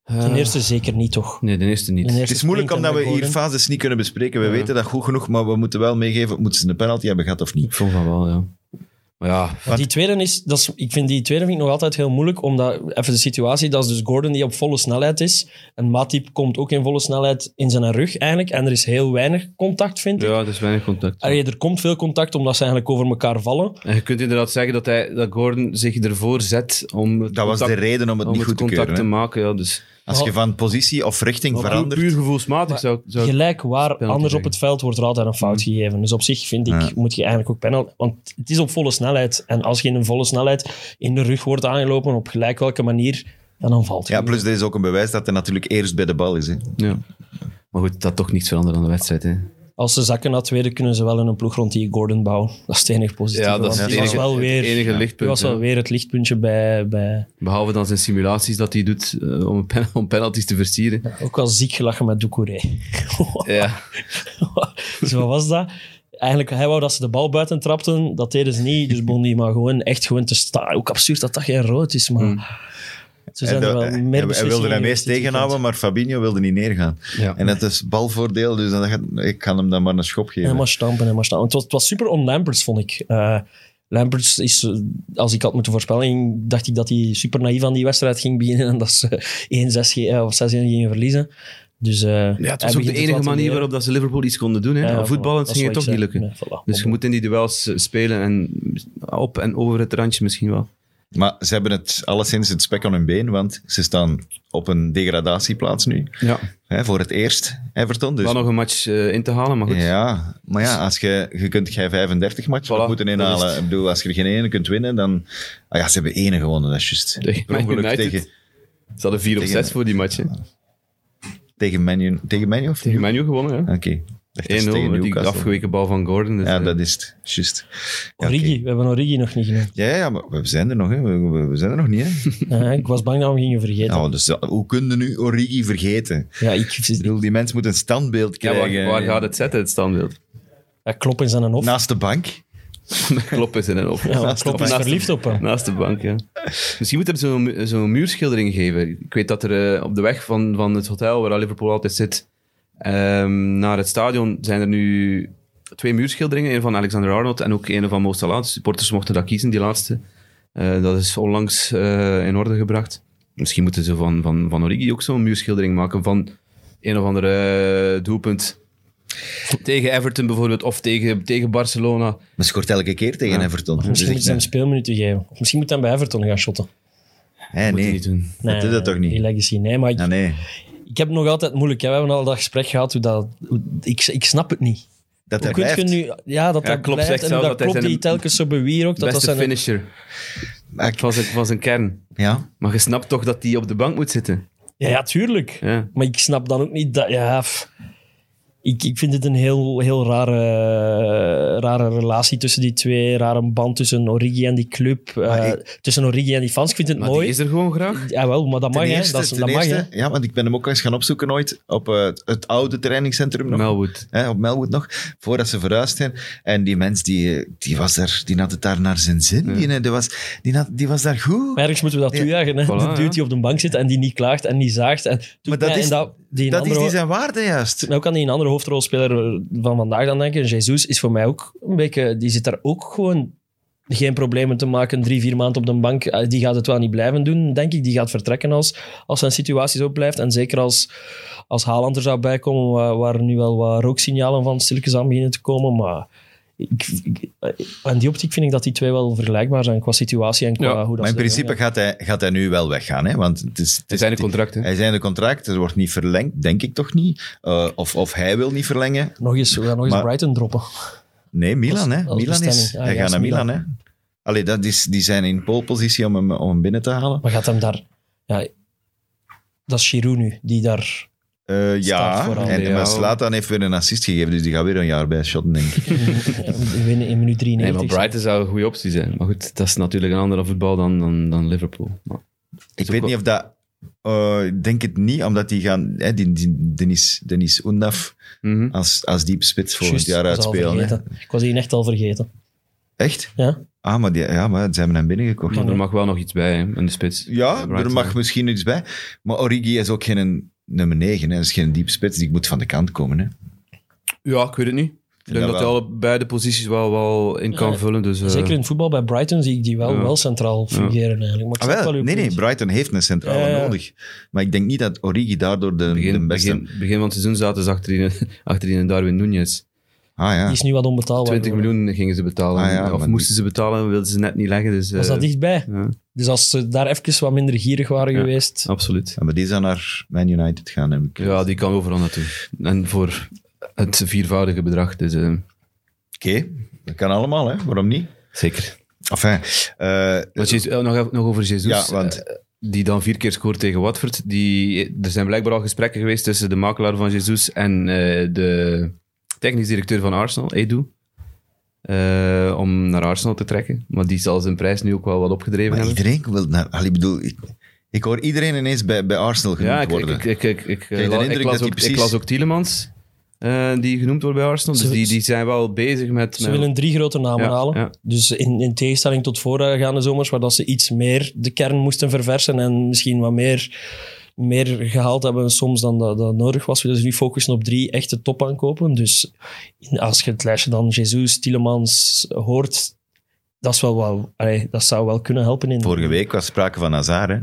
Speaker 3: Ten eerste zeker niet, toch?
Speaker 4: Nee, de eerste niet.
Speaker 3: Ten
Speaker 2: Het
Speaker 3: eerste
Speaker 2: is moeilijk
Speaker 3: springt
Speaker 2: omdat
Speaker 3: en
Speaker 2: we
Speaker 3: de
Speaker 2: hier
Speaker 3: goal in.
Speaker 2: fases niet kunnen bespreken. We
Speaker 4: Ja.
Speaker 2: weten dat goed genoeg, maar we moeten wel meegeven, moeten ze een penalty hebben gehad of niet?
Speaker 4: Ik vond van wel, ja. Maar ja,
Speaker 3: Want die tweede is, dat is, ik vind die tweede vind ik nog altijd heel moeilijk, omdat, even de situatie, dat is dus Gordon die op volle snelheid is, en Matip komt ook in volle snelheid in zijn rug eigenlijk, en er is heel weinig contact, vind ik.
Speaker 4: ja, er is weinig contact.
Speaker 3: Allee, er komt veel contact, omdat ze eigenlijk over elkaar vallen.
Speaker 4: En je kunt inderdaad zeggen dat, hij, dat Gordon zich ervoor zet om het
Speaker 2: Dat was de
Speaker 4: contact,
Speaker 2: reden om het
Speaker 4: om
Speaker 2: niet
Speaker 4: het
Speaker 2: goed te
Speaker 4: contact
Speaker 2: keuren.
Speaker 4: te
Speaker 2: hè.
Speaker 4: maken. Ja, dus
Speaker 2: Als je van positie of richting
Speaker 4: Maar puur,
Speaker 2: verandert...
Speaker 4: puur gevoelsmatig zou, zou ik...
Speaker 3: Gelijk waar,
Speaker 4: penalty
Speaker 3: anders op
Speaker 4: zeggen.
Speaker 3: het veld wordt er altijd een
Speaker 4: Mhm.
Speaker 3: fout gegeven. Dus op zich vind ik,
Speaker 2: Ja.
Speaker 3: moet je eigenlijk ook penalty... Want het is op volle snelheid, en als je in een volle snelheid in de rug wordt aangelopen, op gelijk welke manier, dan, dan valt je.
Speaker 2: Ja, plus dit is ook een bewijs dat hij natuurlijk eerst bij de bal is. Hè.
Speaker 4: Ja. Maar goed, dat had toch niets veranderen aan de wedstrijd.
Speaker 3: Dus
Speaker 4: Hè.
Speaker 3: Als ze zakken naar tweede, kunnen ze wel in een ploeg rond die Gordon bouwen. Dat is het enige positieve.
Speaker 4: Ja, dat is
Speaker 3: want
Speaker 4: het
Speaker 3: die
Speaker 4: enige,
Speaker 3: was wel weer,
Speaker 4: het enige
Speaker 3: die
Speaker 4: lichtpunt.
Speaker 3: was
Speaker 4: ja.
Speaker 3: wel weer het lichtpuntje bij, bij...
Speaker 4: Behalve dan zijn simulaties dat hij doet eh, om, pen- om penalties te versieren.
Speaker 3: Ook wel ziek gelachen met Doucouré.
Speaker 4: Ja.
Speaker 3: dus wat was dat? Eigenlijk, hij wou dat ze de bal buiten trapten. Dat deden ze niet. Dus Bondi maar gewoon echt gewoon te staan. Ook absurd dat dat geen rood is, maar...
Speaker 2: Hmm.
Speaker 3: Ze
Speaker 2: Hij,
Speaker 3: zijn er wel meer
Speaker 2: hij wilde
Speaker 3: beslissingen
Speaker 2: hem eerst
Speaker 3: geweest dit
Speaker 2: tegenhouden, maar Fabinho wilde niet neergaan.
Speaker 4: Ja.
Speaker 2: En dat is balvoordeel, dus dan dacht ik, ik kan hem dan maar een schop geven.
Speaker 3: En maar stampen, en maar stampen. Het was, het was super on Lamberts, vond ik. Eh, Lamberts is, eh, als ik had moeten voorspellen, dacht ik dat hij super naïef aan die wedstrijd ging beginnen en dat ze 1-6 ge- eh, of 6-1 gingen verliezen. Dus, eh,
Speaker 4: Ja,
Speaker 3: hij
Speaker 4: het was
Speaker 3: begint
Speaker 4: ook de
Speaker 3: het
Speaker 4: enige
Speaker 3: wat te
Speaker 4: manier
Speaker 3: leren.
Speaker 4: waarop dat ze Liverpool iets konden doen. Hè.
Speaker 3: Ja,
Speaker 4: Aan
Speaker 3: voilà,
Speaker 4: Voetballend
Speaker 3: dat
Speaker 4: ging het
Speaker 3: is
Speaker 4: toch
Speaker 3: wat
Speaker 4: niet
Speaker 3: ik
Speaker 4: lukken.
Speaker 3: zei. Nee, voilà,
Speaker 4: Dus je
Speaker 3: bon.
Speaker 4: moet in die duels eh, spelen en op en over het randje misschien wel.
Speaker 2: Maar ze hebben het alleszins het spek aan hun been, want ze staan op een degradatieplaats nu.
Speaker 4: Ja.
Speaker 2: Hè, voor het eerst, Everton. Dus,
Speaker 4: Wel nog een match eh, in te halen, maar goed.
Speaker 2: ja, maar ja, als je, je kunt jij 35 matchen
Speaker 4: Voilà,
Speaker 2: moeten
Speaker 4: dat is
Speaker 2: inhalen.
Speaker 4: het.
Speaker 2: Ik bedoel, als je er geen ene kunt winnen, dan... Ah ja, ze hebben ene gewonnen, dat is juist.
Speaker 4: Tegen
Speaker 2: Per
Speaker 4: Man
Speaker 2: ongeluk
Speaker 4: United.
Speaker 2: tegen,
Speaker 4: Ze hadden 4 op
Speaker 2: Tegen-
Speaker 4: 6 voor die match. hè.
Speaker 2: tegen Man U- Tegen Man U of
Speaker 4: Tegen Man U gewonnen. hè.
Speaker 2: Oké. Ik dacht dat ze
Speaker 4: 1-0,
Speaker 2: tegen
Speaker 4: met die
Speaker 2: Newcastle.
Speaker 4: afgeweken bal van Gordon. Dus,
Speaker 2: Ja,
Speaker 4: eh,
Speaker 2: dat is het. Juist. Ja, oké.
Speaker 3: Origi, we hebben Origi nog niet genoemd.
Speaker 2: Ja, ja, maar we zijn er nog, hè. We, we- we zijn er nog niet, hè.
Speaker 3: Eh, ik was bang dat we hem gingen vergeten.
Speaker 2: Nou, dus, ja, hoe kun je nu Origi vergeten? Ik
Speaker 3: Ja, ik,
Speaker 2: bedoel, die mens moet een standbeeld
Speaker 4: ja,
Speaker 2: krijgen. eh,
Speaker 4: waar, waar gaat het zetten, het standbeeld?
Speaker 3: ja, Klopp is aan een hof.
Speaker 2: Naast de bank.
Speaker 4: Kloppen Nou, is in en op.
Speaker 3: Ja, want
Speaker 2: naast-
Speaker 3: Klopp is
Speaker 4: naast-
Speaker 3: verliefd op hem.
Speaker 4: Naast de bank, ja. Misschien moet hem zo'n mu- zo'n muurschildering geven. Ik weet dat er eh, op de weg van, van het hotel waar Liverpool altijd zit, ehm, naar het stadion zijn er nu twee muurschilderingen. Een van Alexander Arnold en ook een van Mo Salah. De supporters mochten dat kiezen, die laatste. Eh, dat is onlangs eh, in orde gebracht. Misschien moeten ze van, van, van Origi ook zo'n muurschildering maken van een of ander eh, doelpunt. Tegen Everton bijvoorbeeld, of tegen, tegen Barcelona.
Speaker 2: Maar scoort elke keer tegen
Speaker 4: Ja.
Speaker 2: Everton. Dus
Speaker 3: Misschien
Speaker 2: ik-
Speaker 3: moeten ze hem speelminuten geven. Of misschien moet hij bij Everton gaan shotten.
Speaker 2: Hé,
Speaker 4: Moet
Speaker 2: Eh,
Speaker 4: je
Speaker 2: nee.
Speaker 4: niet doen.
Speaker 2: Dat doet dat toch niet?
Speaker 3: Die legacy, nee. Maar ik,
Speaker 2: Ja, nee.
Speaker 3: ik heb het nog altijd moeilijk. Hè. We hebben al dat gesprek gehad. Hoe dat, hoe- ik, ik snap het niet.
Speaker 2: Dat hij
Speaker 3: Hoe kun
Speaker 2: blijft.
Speaker 3: je nu... Ja, dat
Speaker 4: Ja,
Speaker 3: dat
Speaker 4: Klopp
Speaker 3: blijft.
Speaker 4: zegt
Speaker 3: en hoe
Speaker 4: zelf
Speaker 3: dat,
Speaker 4: dat hij
Speaker 3: klopt
Speaker 4: zijn
Speaker 3: die telkens zo bewierookt. Dat dat
Speaker 4: Beste
Speaker 3: zijn
Speaker 4: finisher.
Speaker 2: Maar ik-
Speaker 4: Het was, een, het was een kern.
Speaker 2: Ja.
Speaker 4: Maar je snapt toch dat die op de bank moet zitten.
Speaker 3: Ja, ja, tuurlijk.
Speaker 4: Ja.
Speaker 3: Maar ik snap dan ook niet dat... Ja, pff. ik, ik vind het een heel, heel rare, eh, rare relatie tussen die twee. Rare band tussen Origi en die club. eh, tussen Origi en die fans. Ik vind het
Speaker 4: Maar
Speaker 3: mooi.
Speaker 4: die is er gewoon graag.
Speaker 3: Ja, wel, maar dat mag,
Speaker 2: Ten
Speaker 3: hè.
Speaker 2: eerste-
Speaker 3: Dat, is-
Speaker 2: ten
Speaker 3: dat mag, hè.
Speaker 2: eerste- Ja, want ik ben hem ook eens gaan opzoeken ooit op eh, het, het oude trainingscentrum nog.
Speaker 4: Melwood.
Speaker 2: Hè, op Melwood nog, voordat ze verhuisd zijn. En die mens, die, eh, die, was daar, die had het daar naar zijn zin. Die, eh, die, was, die, had, die was daar goed.
Speaker 3: Maar ergens moeten we dat
Speaker 2: Ja.
Speaker 3: toejuichen. Hè?
Speaker 4: Voilà,
Speaker 3: de dude die op de bank zit en die niet klaagt en niet zaagt. En doet
Speaker 2: Maar dat
Speaker 3: mij-
Speaker 2: is-
Speaker 3: en dat, die een
Speaker 2: dat
Speaker 3: andere,
Speaker 2: is die zijn waarde juist.
Speaker 3: doet mij ook aan Nou die een andere hoofdrolspeler eh, van vandaag dan denken. Jesus is voor mij ook een beetje... Die zit daar ook gewoon geen problemen te maken. Drie, vier maanden op de bank. Eh, Die gaat het wel niet blijven doen, denk ik. Die gaat vertrekken als, als zijn situatie zo blijft. En zeker als, als Haaland er zou bijkomen, waar, waar nu wel wat rooksignalen van stilletjes aan beginnen te komen. Maar... Ik, ik, eh, in die optiek vind ik dat die twee wel vergelijkbaar zijn qua situatie en qua
Speaker 4: Ja,
Speaker 3: hoe dat
Speaker 2: Maar in
Speaker 3: ze dat doen,
Speaker 2: principe
Speaker 3: ja.
Speaker 2: gaat hij, gaat hij nu wel weggaan. Hè? Want het is,
Speaker 4: Het zijn de contracten.
Speaker 2: hij zijn de contract, er wordt niet verlengd, denk ik toch niet. Eh, of, of hij wil niet verlengen.
Speaker 3: Nog eens, we gaan nog eens
Speaker 2: Maar-
Speaker 3: Brighton droppen.
Speaker 2: Nee, Milan,
Speaker 3: Als-
Speaker 2: hè.
Speaker 3: als
Speaker 2: Milan is,
Speaker 3: bestemming. Ah,
Speaker 2: hij
Speaker 3: ja,
Speaker 2: gaat
Speaker 3: als
Speaker 2: naar Milan,
Speaker 3: Milan.
Speaker 2: hè. Allee, dat is, die zijn in polepositie om hem, om hem binnen te halen.
Speaker 3: Maar gaat hem daar... Ja, dat is Giroud nu, die daar...
Speaker 2: Eh, ja,
Speaker 3: Staat vooral.
Speaker 2: en,
Speaker 4: Ja.
Speaker 2: maar Slatan heeft weer een assist gegeven, dus die gaat weer een jaar bij shotten, denk ik.
Speaker 3: We winnen in minuut
Speaker 4: Nee,
Speaker 3: 93.
Speaker 4: maar Brighton zou een goede optie zijn. Maar goed, dat is natuurlijk een andere voetbal dan, dan, dan Liverpool. Maar
Speaker 2: ik
Speaker 4: ook
Speaker 2: weet
Speaker 4: wel-
Speaker 2: niet of dat... eh, ik denk het niet, omdat die gaan... Hè, die, die- Denis, Denis Oendaf
Speaker 4: Mhm.
Speaker 2: als, als diep spits volgend
Speaker 3: Juist,
Speaker 2: jaar
Speaker 3: ik was al
Speaker 2: uitspelen. hè.
Speaker 3: vergeten. Ik was die echt al vergeten.
Speaker 2: Echt?
Speaker 3: Ja?
Speaker 2: Ah, maar, die, ja, maar ze hebben hem binnengekocht.
Speaker 4: Maar er mag wel nog iets bij hè, in de spits.
Speaker 2: Ja,
Speaker 4: Brighton.
Speaker 2: er mag misschien iets bij. Maar Origi is ook geen nummer 9. Hè. Dat is geen diep spits, die moet van de kant komen. Hè.
Speaker 4: Ja, ik weet het niet. Ik denk
Speaker 2: dat
Speaker 4: dat hij
Speaker 2: wel.
Speaker 4: alle beide posities wel, wel in kan
Speaker 3: Ja,
Speaker 4: vullen. Dus, eh,
Speaker 3: Zeker in het voetbal bij Brighton zie ik die wel,
Speaker 4: Ja.
Speaker 3: wel centraal fungeren eigenlijk. Maar ik
Speaker 2: Ah,
Speaker 3: snap
Speaker 2: wel.
Speaker 3: wel uw
Speaker 2: Nee, nee,
Speaker 3: punt.
Speaker 2: Brighton heeft een centrale
Speaker 3: Ja, ja, ja.
Speaker 2: nodig. Maar ik denk niet dat Origi daardoor de, de
Speaker 4: begin,
Speaker 2: beste...
Speaker 4: begin, begin van het seizoen zaten ze achterin, achterin een Darwin Nunez.
Speaker 2: Ah ja.
Speaker 3: Die is nu wat onbetaalbaar.
Speaker 4: 20
Speaker 3: geworden.
Speaker 4: miljoen gingen ze betalen.
Speaker 2: Ah, ja,
Speaker 4: of
Speaker 2: maar
Speaker 4: moesten ze betalen, wilden ze net niet leggen. Dus, eh,
Speaker 3: Was dat dichtbij?
Speaker 4: ja,
Speaker 3: Dus als ze daar even wat minder gierig waren
Speaker 4: Ja.
Speaker 3: geweest...
Speaker 4: absoluut.
Speaker 2: Ja, maar die zou naar Man United gaan, heb ik.
Speaker 4: Ja, die kan overal naartoe. En voor het viervoudige bedrag. Dus eh,
Speaker 2: Oké, dat kan allemaal, hè? Waarom niet?
Speaker 4: zeker.
Speaker 2: Enfin, eh,
Speaker 4: Want Jezus- eh, nog, even- nog over Jesus.
Speaker 2: Ja, want-
Speaker 4: eh, die dan vier keer scoort tegen Watford. Die, er zijn blijkbaar al gesprekken geweest tussen de makelaar van Jesus en eh, de technisch directeur van Arsenal, Edu. eh, om naar Arsenal te trekken. Maar die zal zijn prijs nu ook wel wat opgedreven
Speaker 2: maar
Speaker 4: hebben.
Speaker 2: iedereen wil naar... Allee, ik bedoel, ik, ik hoor iedereen ineens bij, bij Arsenal genoemd
Speaker 4: Ja, ik, ik,
Speaker 2: worden.
Speaker 4: ik, ik, ik, ik,
Speaker 2: Krijg je de
Speaker 4: la- ik
Speaker 2: indruk dat
Speaker 4: las
Speaker 2: die
Speaker 4: ook, ik
Speaker 2: precies-
Speaker 4: las ook Tielemans, eh, die genoemd wordt bij Arsenal. Dus
Speaker 3: Ze-
Speaker 4: die, die zijn wel bezig met...
Speaker 3: Ze
Speaker 4: met-
Speaker 3: willen drie grote namen
Speaker 4: Ja,
Speaker 3: halen.
Speaker 4: ja.
Speaker 3: Dus in, in tegenstelling tot voorgaande zomers, waar dat ze iets meer de kern moesten verversen en misschien wat meer, meer gehaald hebben soms dan dat, dat nodig was, willen ze nu focussen op drie echte topaankopen. Dus in- als je het lijstje dan Jesus, Tielemans hoort, dat, is wel wat, allee, dat zou wel kunnen helpen. In,
Speaker 2: Vorige week was sprake van Hazard, hè?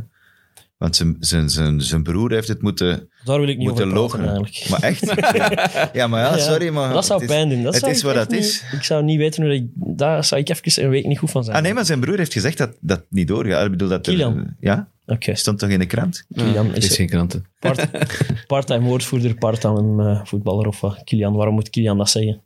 Speaker 2: Want zijn, zijn, zijn, zijn broer heeft het moeten...
Speaker 3: Daar wil ik niet
Speaker 2: moeten
Speaker 3: over praten
Speaker 2: logeren.
Speaker 3: eigenlijk.
Speaker 2: Maar echt? ja, maar ja,
Speaker 3: Ja,
Speaker 2: sorry, maar...
Speaker 3: Maar dat zou
Speaker 2: het is-
Speaker 3: pijn doen. Dat
Speaker 2: het
Speaker 3: zou
Speaker 2: is
Speaker 3: ik
Speaker 2: wat
Speaker 3: echt
Speaker 2: dat
Speaker 3: niet-
Speaker 2: is.
Speaker 3: Ik zou niet weten hoe dat ik... Daar zou ik even een week niet goed van zijn.
Speaker 2: Ah nee, maar zijn broer heeft gezegd dat dat niet doorgaat. Ik bedoel, dat er-
Speaker 3: Kilian.
Speaker 2: ja,
Speaker 3: Oké,
Speaker 2: stond toch in de krant?
Speaker 3: Kilian
Speaker 4: Ja,
Speaker 3: is
Speaker 4: is
Speaker 3: er.
Speaker 4: geen kranten.
Speaker 3: Part, part-time woordvoerder, part-time eh, voetballer of wat? Kilian, waarom moet Kilian dat zeggen?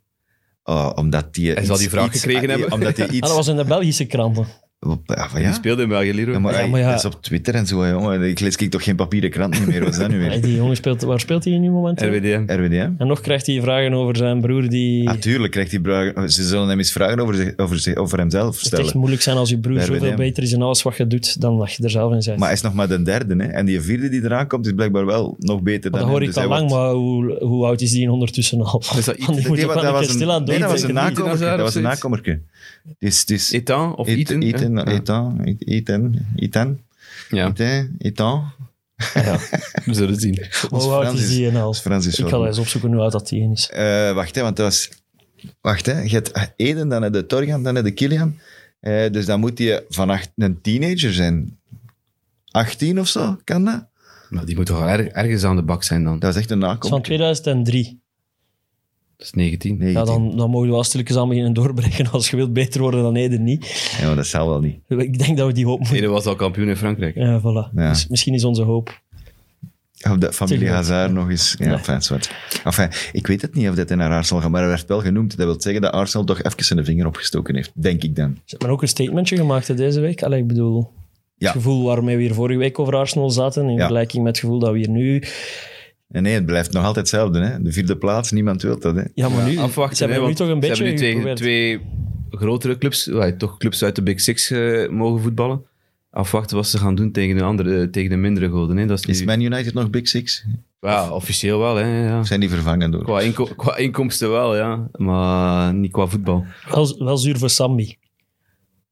Speaker 3: Ah,
Speaker 2: Oh, omdat die...
Speaker 4: Hij zal
Speaker 2: iets-
Speaker 4: die vraag
Speaker 2: iets-
Speaker 4: gekregen hebben.
Speaker 2: Omdat hij
Speaker 3: Ah,
Speaker 2: iets...
Speaker 3: dat was in de Belgische kranten.
Speaker 2: Ah, van
Speaker 4: Die
Speaker 2: ja?
Speaker 4: speelde in België, Leroy.
Speaker 2: Ja, maar,
Speaker 3: Ja,
Speaker 2: hij-
Speaker 3: maar ja.
Speaker 2: dat is op Twitter en zo, hè, jongen. Ik lees ik toch geen papieren krant niet meer. Wat is dat nu
Speaker 3: Hey,
Speaker 2: weer?
Speaker 3: die jongen speelt... Waar speelt hij nu momenteel?
Speaker 4: RWDM.
Speaker 2: RWDM?
Speaker 3: En nog krijgt hij vragen over zijn broer die... het
Speaker 2: Natuurlijk Ah, krijgt hij vragen. Ze zullen hem eens vragen over, zich, over, zich, over hemzelf
Speaker 3: moet echt
Speaker 2: stellen.
Speaker 3: moeilijk zijn als je broer
Speaker 2: Daar ben
Speaker 3: zoveel
Speaker 2: je.
Speaker 3: beter is in alles wat je doet dan dat je er zelf in bent.
Speaker 2: Maar hij is nog maar de derde. Hè? En die vierde die eraan komt, is blijkbaar wel nog beter
Speaker 3: Maar
Speaker 2: dan
Speaker 3: dat
Speaker 2: hem.
Speaker 3: hoor ik
Speaker 2: Dus
Speaker 3: al
Speaker 2: hij
Speaker 3: lang,
Speaker 2: wordt-
Speaker 3: maar hoe, hoe oud is die ondertussen al?
Speaker 4: Is dat
Speaker 3: Want die
Speaker 4: Ethan-
Speaker 3: moet
Speaker 2: Nee,
Speaker 3: ook
Speaker 2: maar
Speaker 3: wel een keer stil aan
Speaker 2: een, nee,
Speaker 3: doen.
Speaker 2: dat was een
Speaker 4: denken. Ethan
Speaker 2: nakomerke. Dat
Speaker 4: Hazard of
Speaker 2: was een
Speaker 4: zoiets?
Speaker 2: nakomerke. Dus, dus
Speaker 4: Etan of Eten.
Speaker 2: Eten,
Speaker 4: hè?
Speaker 2: Etan, Eten, Etan,
Speaker 4: Ja,
Speaker 2: Etan, Etan.
Speaker 4: we zullen het zien.
Speaker 2: Ons
Speaker 3: Hoe oud
Speaker 2: Frans
Speaker 3: is die en al?
Speaker 2: Ons Frans is
Speaker 3: Ik ga
Speaker 2: wel-
Speaker 3: dat eens opzoeken hoe oud dat die is.
Speaker 2: Eh, wacht, hè, want dat was... Wacht, hè. Je hebt Eden, dan heb je Torgan, dan heb je Kilian. Eh, dus dan moet hij vannacht een teenager zijn. 18 of zo, kan dat?
Speaker 4: Maar die moet toch wel erg- ergens aan de bak zijn dan.
Speaker 2: Dat is echt een
Speaker 3: Dat is van
Speaker 2: nakomer.
Speaker 3: 2003.
Speaker 4: Dat is 19.
Speaker 2: Nee,
Speaker 3: Ja, dan, dan mogen we wel stilletjes aan beginnen doorbrengen als je wilt beter worden dan Eden niet.
Speaker 2: ja, maar dat zal wel niet.
Speaker 3: Ik denk dat we die hoop moeten
Speaker 4: Eden was al kampioen in Frankrijk.
Speaker 3: Ja, voilà.
Speaker 2: Ja.
Speaker 3: Dus misschien is onze hoop.
Speaker 2: Of dat familie
Speaker 3: Tuurlijk.
Speaker 2: Hazard nog eens. Ja,
Speaker 3: Nee.
Speaker 2: fijn, zwart. Enfin, ik weet het niet of dat hij naar Arsenal gaat, maar hij werd wel genoemd. Dat wil zeggen dat Arsenal toch even zijn vinger opgestoken heeft, denk ik dan.
Speaker 3: Ze hebben ook een statementje gemaakt hè, deze week. Allee, ik bedoel,
Speaker 2: Ja.
Speaker 3: Het gevoel waarmee we hier vorige week over Arsenal zaten, in vergelijking met het gevoel dat we hier nu...
Speaker 2: En nee, het blijft nog altijd hetzelfde. Hè? De vierde plaats, niemand wil dat. Hè?
Speaker 3: Ja, maar nu...
Speaker 4: afwachten.
Speaker 3: ze hebben
Speaker 4: hè,
Speaker 3: nu
Speaker 4: want
Speaker 3: toch een beetje
Speaker 4: Ze hebben nu
Speaker 3: geprobeerd.
Speaker 4: twee, twee grotere clubs, eh, toch clubs uit de Big Six eh, mogen voetballen. Afwachten wat ze gaan doen tegen de, andere, eh, tegen de mindere goden. Hè. Dat is nu-
Speaker 2: Is Man United nog Big Six?
Speaker 4: ja, officieel wel, hè, ja.
Speaker 2: Of zijn die vervangen door?
Speaker 4: Qua, inko- qua inkomsten wel, ja. Maar niet qua voetbal.
Speaker 3: Wel, wel zuur voor Sambi.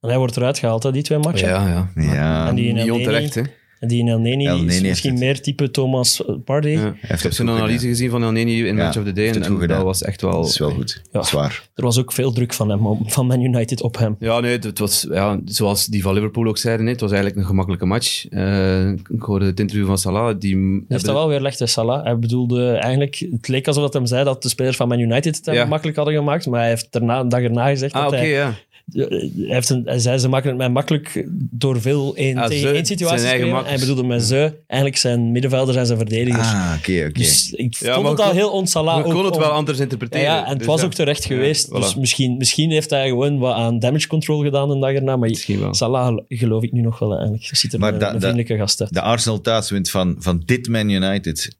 Speaker 3: En hij wordt eruit gehaald, hè, die twee matchen.
Speaker 4: Ja, ja.
Speaker 2: Ja,
Speaker 3: En
Speaker 2: hij
Speaker 3: die in
Speaker 4: Niet
Speaker 3: El Neni.
Speaker 4: onterecht, hè.
Speaker 3: En die in El Neni,
Speaker 2: El
Speaker 3: die is
Speaker 2: Neni
Speaker 3: misschien
Speaker 2: heeft
Speaker 3: meer type Thomas Party.
Speaker 4: Ja. Ik
Speaker 2: heeft
Speaker 4: heb
Speaker 2: het
Speaker 4: zo'n
Speaker 2: goed
Speaker 4: analyse
Speaker 2: gedaan.
Speaker 4: gezien van El Neni in
Speaker 2: Ja,
Speaker 4: Match of the Day.
Speaker 2: heeft
Speaker 4: En,
Speaker 2: het goed
Speaker 4: en dat
Speaker 2: gedaan.
Speaker 4: was echt wel...
Speaker 2: Dat is wel goed.
Speaker 3: Ja.
Speaker 2: Zwaar.
Speaker 3: Er was ook veel druk van hem, op- van Man United op hem.
Speaker 4: Ja, nee, het, het was, ja, zoals die van Liverpool ook zeiden, nee, het was eigenlijk een gemakkelijke match. Eh, ik hoorde het interview van Salah. Die m-
Speaker 3: Hij heeft Dus dat
Speaker 4: hebben-
Speaker 3: wel weer legd, hè, Salah. Hij bedoelde eigenlijk... Het leek alsof dat hem zei dat de spelers van Man United het hem
Speaker 4: Ja.
Speaker 3: makkelijk hadden gemaakt. Maar hij heeft daarna, een dag erna gezegd
Speaker 4: Ah,
Speaker 3: dat
Speaker 4: oké,
Speaker 3: hij...
Speaker 4: ja.
Speaker 3: hij, heeft een, hij zei ze maken het mij makkelijk door veel één
Speaker 4: Ah,
Speaker 3: tegen
Speaker 4: ze,
Speaker 3: één situaties
Speaker 4: zijn
Speaker 3: te
Speaker 4: eigen
Speaker 3: creëren. Hij
Speaker 4: makkers. Hm.
Speaker 3: bedoelde met ze eigenlijk zijn middenvelders en zijn verdedigers.
Speaker 2: Ah, oké, oké.
Speaker 3: Dus ik
Speaker 4: Ja,
Speaker 3: vond
Speaker 4: maar
Speaker 3: het
Speaker 4: je
Speaker 3: al
Speaker 4: kon-
Speaker 3: heel
Speaker 4: Je
Speaker 3: onsala.
Speaker 4: kon het wel
Speaker 3: aan.
Speaker 4: anders
Speaker 3: Ja,
Speaker 4: interpreteren.
Speaker 3: ja, en het
Speaker 4: Dus
Speaker 3: was
Speaker 4: ja.
Speaker 3: ook terecht
Speaker 4: Ja,
Speaker 3: geweest.
Speaker 4: voilà.
Speaker 3: Dus misschien, misschien heeft hij gewoon wat aan damage control gedaan een dag erna. Maar
Speaker 4: Misschien wel.
Speaker 3: Salah gel- geloof ik nu nog wel eigenlijk. Hij ziet er
Speaker 2: Maar
Speaker 3: een,
Speaker 2: dat-
Speaker 3: een
Speaker 2: dat-
Speaker 3: vriendelijke gast uit.
Speaker 2: De Arsenal thuis wint van, van dit Man United,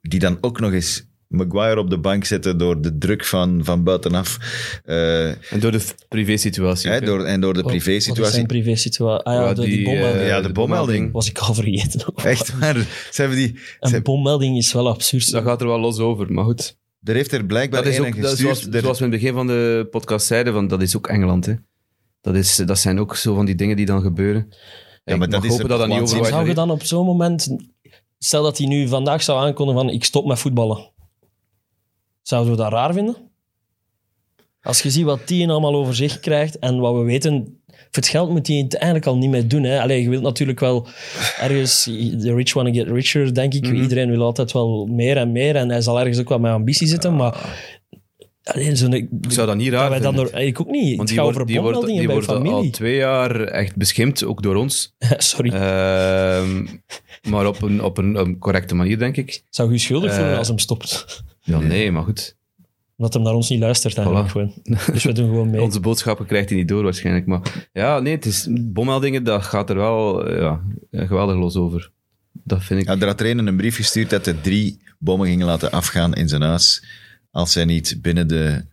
Speaker 2: die dan ook nog eens Maguire op de bank zetten door de druk van, van buitenaf. eh,
Speaker 4: En door de f- privé-situatie.
Speaker 2: hè,
Speaker 4: ook, hè.
Speaker 2: door, en door de
Speaker 3: Wat- Wat is
Speaker 2: privé-situatie.
Speaker 3: zijn privé situatie? Ah ja,
Speaker 4: Ja,
Speaker 3: de- die, bommelding.
Speaker 4: eh,
Speaker 2: Ja, de bommelding.
Speaker 3: was ik al vergeten.
Speaker 2: Echt waar. Dus Ze hebben die, ze
Speaker 3: Een
Speaker 2: hebben-
Speaker 3: bommelding is wel absurd.
Speaker 4: Dat gaat er wel los over, maar goed.
Speaker 2: er heeft er blijkbaar
Speaker 4: Dat is
Speaker 2: één
Speaker 4: ook,
Speaker 2: aan
Speaker 4: dat is
Speaker 2: gestuurd.
Speaker 4: zoals,
Speaker 2: Er-
Speaker 4: zoals we in het begin van de podcast zeiden, van, dat is ook Engeland. Hè. Dat, is, dat zijn ook zo van die dingen die dan gebeuren. ik
Speaker 2: maar dat
Speaker 4: mag
Speaker 2: is
Speaker 4: hopen
Speaker 2: er
Speaker 4: dat dat niet
Speaker 2: gewoon
Speaker 4: overwaait.
Speaker 2: zin.
Speaker 3: Zou je
Speaker 4: naar-
Speaker 3: dan op zo'n moment... Stel dat hij nu vandaag zou aankondigen van ik stop met voetballen. Zouden we dat raar vinden? Als je ziet wat die allemaal over zich krijgt en wat we weten... Voor het geld moet hij het eigenlijk al niet meer doen. Hè? Allee, je wilt natuurlijk wel ergens... The rich wanna get richer, denk ik.
Speaker 4: Mhm.
Speaker 3: Iedereen wil altijd wel meer en meer. En hij zal ergens ook wel met ambitie zitten, maar... Alleen zo'n...
Speaker 4: Ik zou dat niet raar
Speaker 3: dat wij dan
Speaker 4: vinden.
Speaker 3: door, ik ook niet.
Speaker 4: Want
Speaker 3: Het
Speaker 4: die
Speaker 3: gaat
Speaker 4: wordt,
Speaker 3: over
Speaker 4: die wordt-
Speaker 3: bommeldingen
Speaker 4: die
Speaker 3: bij
Speaker 4: wordt al- al
Speaker 3: familie.
Speaker 4: twee jaar echt beschimpt, ook door ons.
Speaker 3: Sorry.
Speaker 4: Eh, Ehm, maar op een, op een, een correcte manier, denk ik.
Speaker 3: Zou je je schuldig voelen
Speaker 4: eh,
Speaker 3: als hem stopt?
Speaker 4: Ja, nee, maar goed.
Speaker 3: Omdat hem naar ons niet luistert eigenlijk
Speaker 4: Voilà.
Speaker 3: gewoon. Dus we doen gewoon mee.
Speaker 4: Onze boodschappen krijgt hij niet door waarschijnlijk. Maar ja, nee, het is bommeldingen, dat gaat er wel eh, ja, geweldig los over. Dat vind ik.
Speaker 2: Ja, er had er een, een brief gestuurd dat er drie bommen gingen laten afgaan in zijn huis. Als hij niet binnen de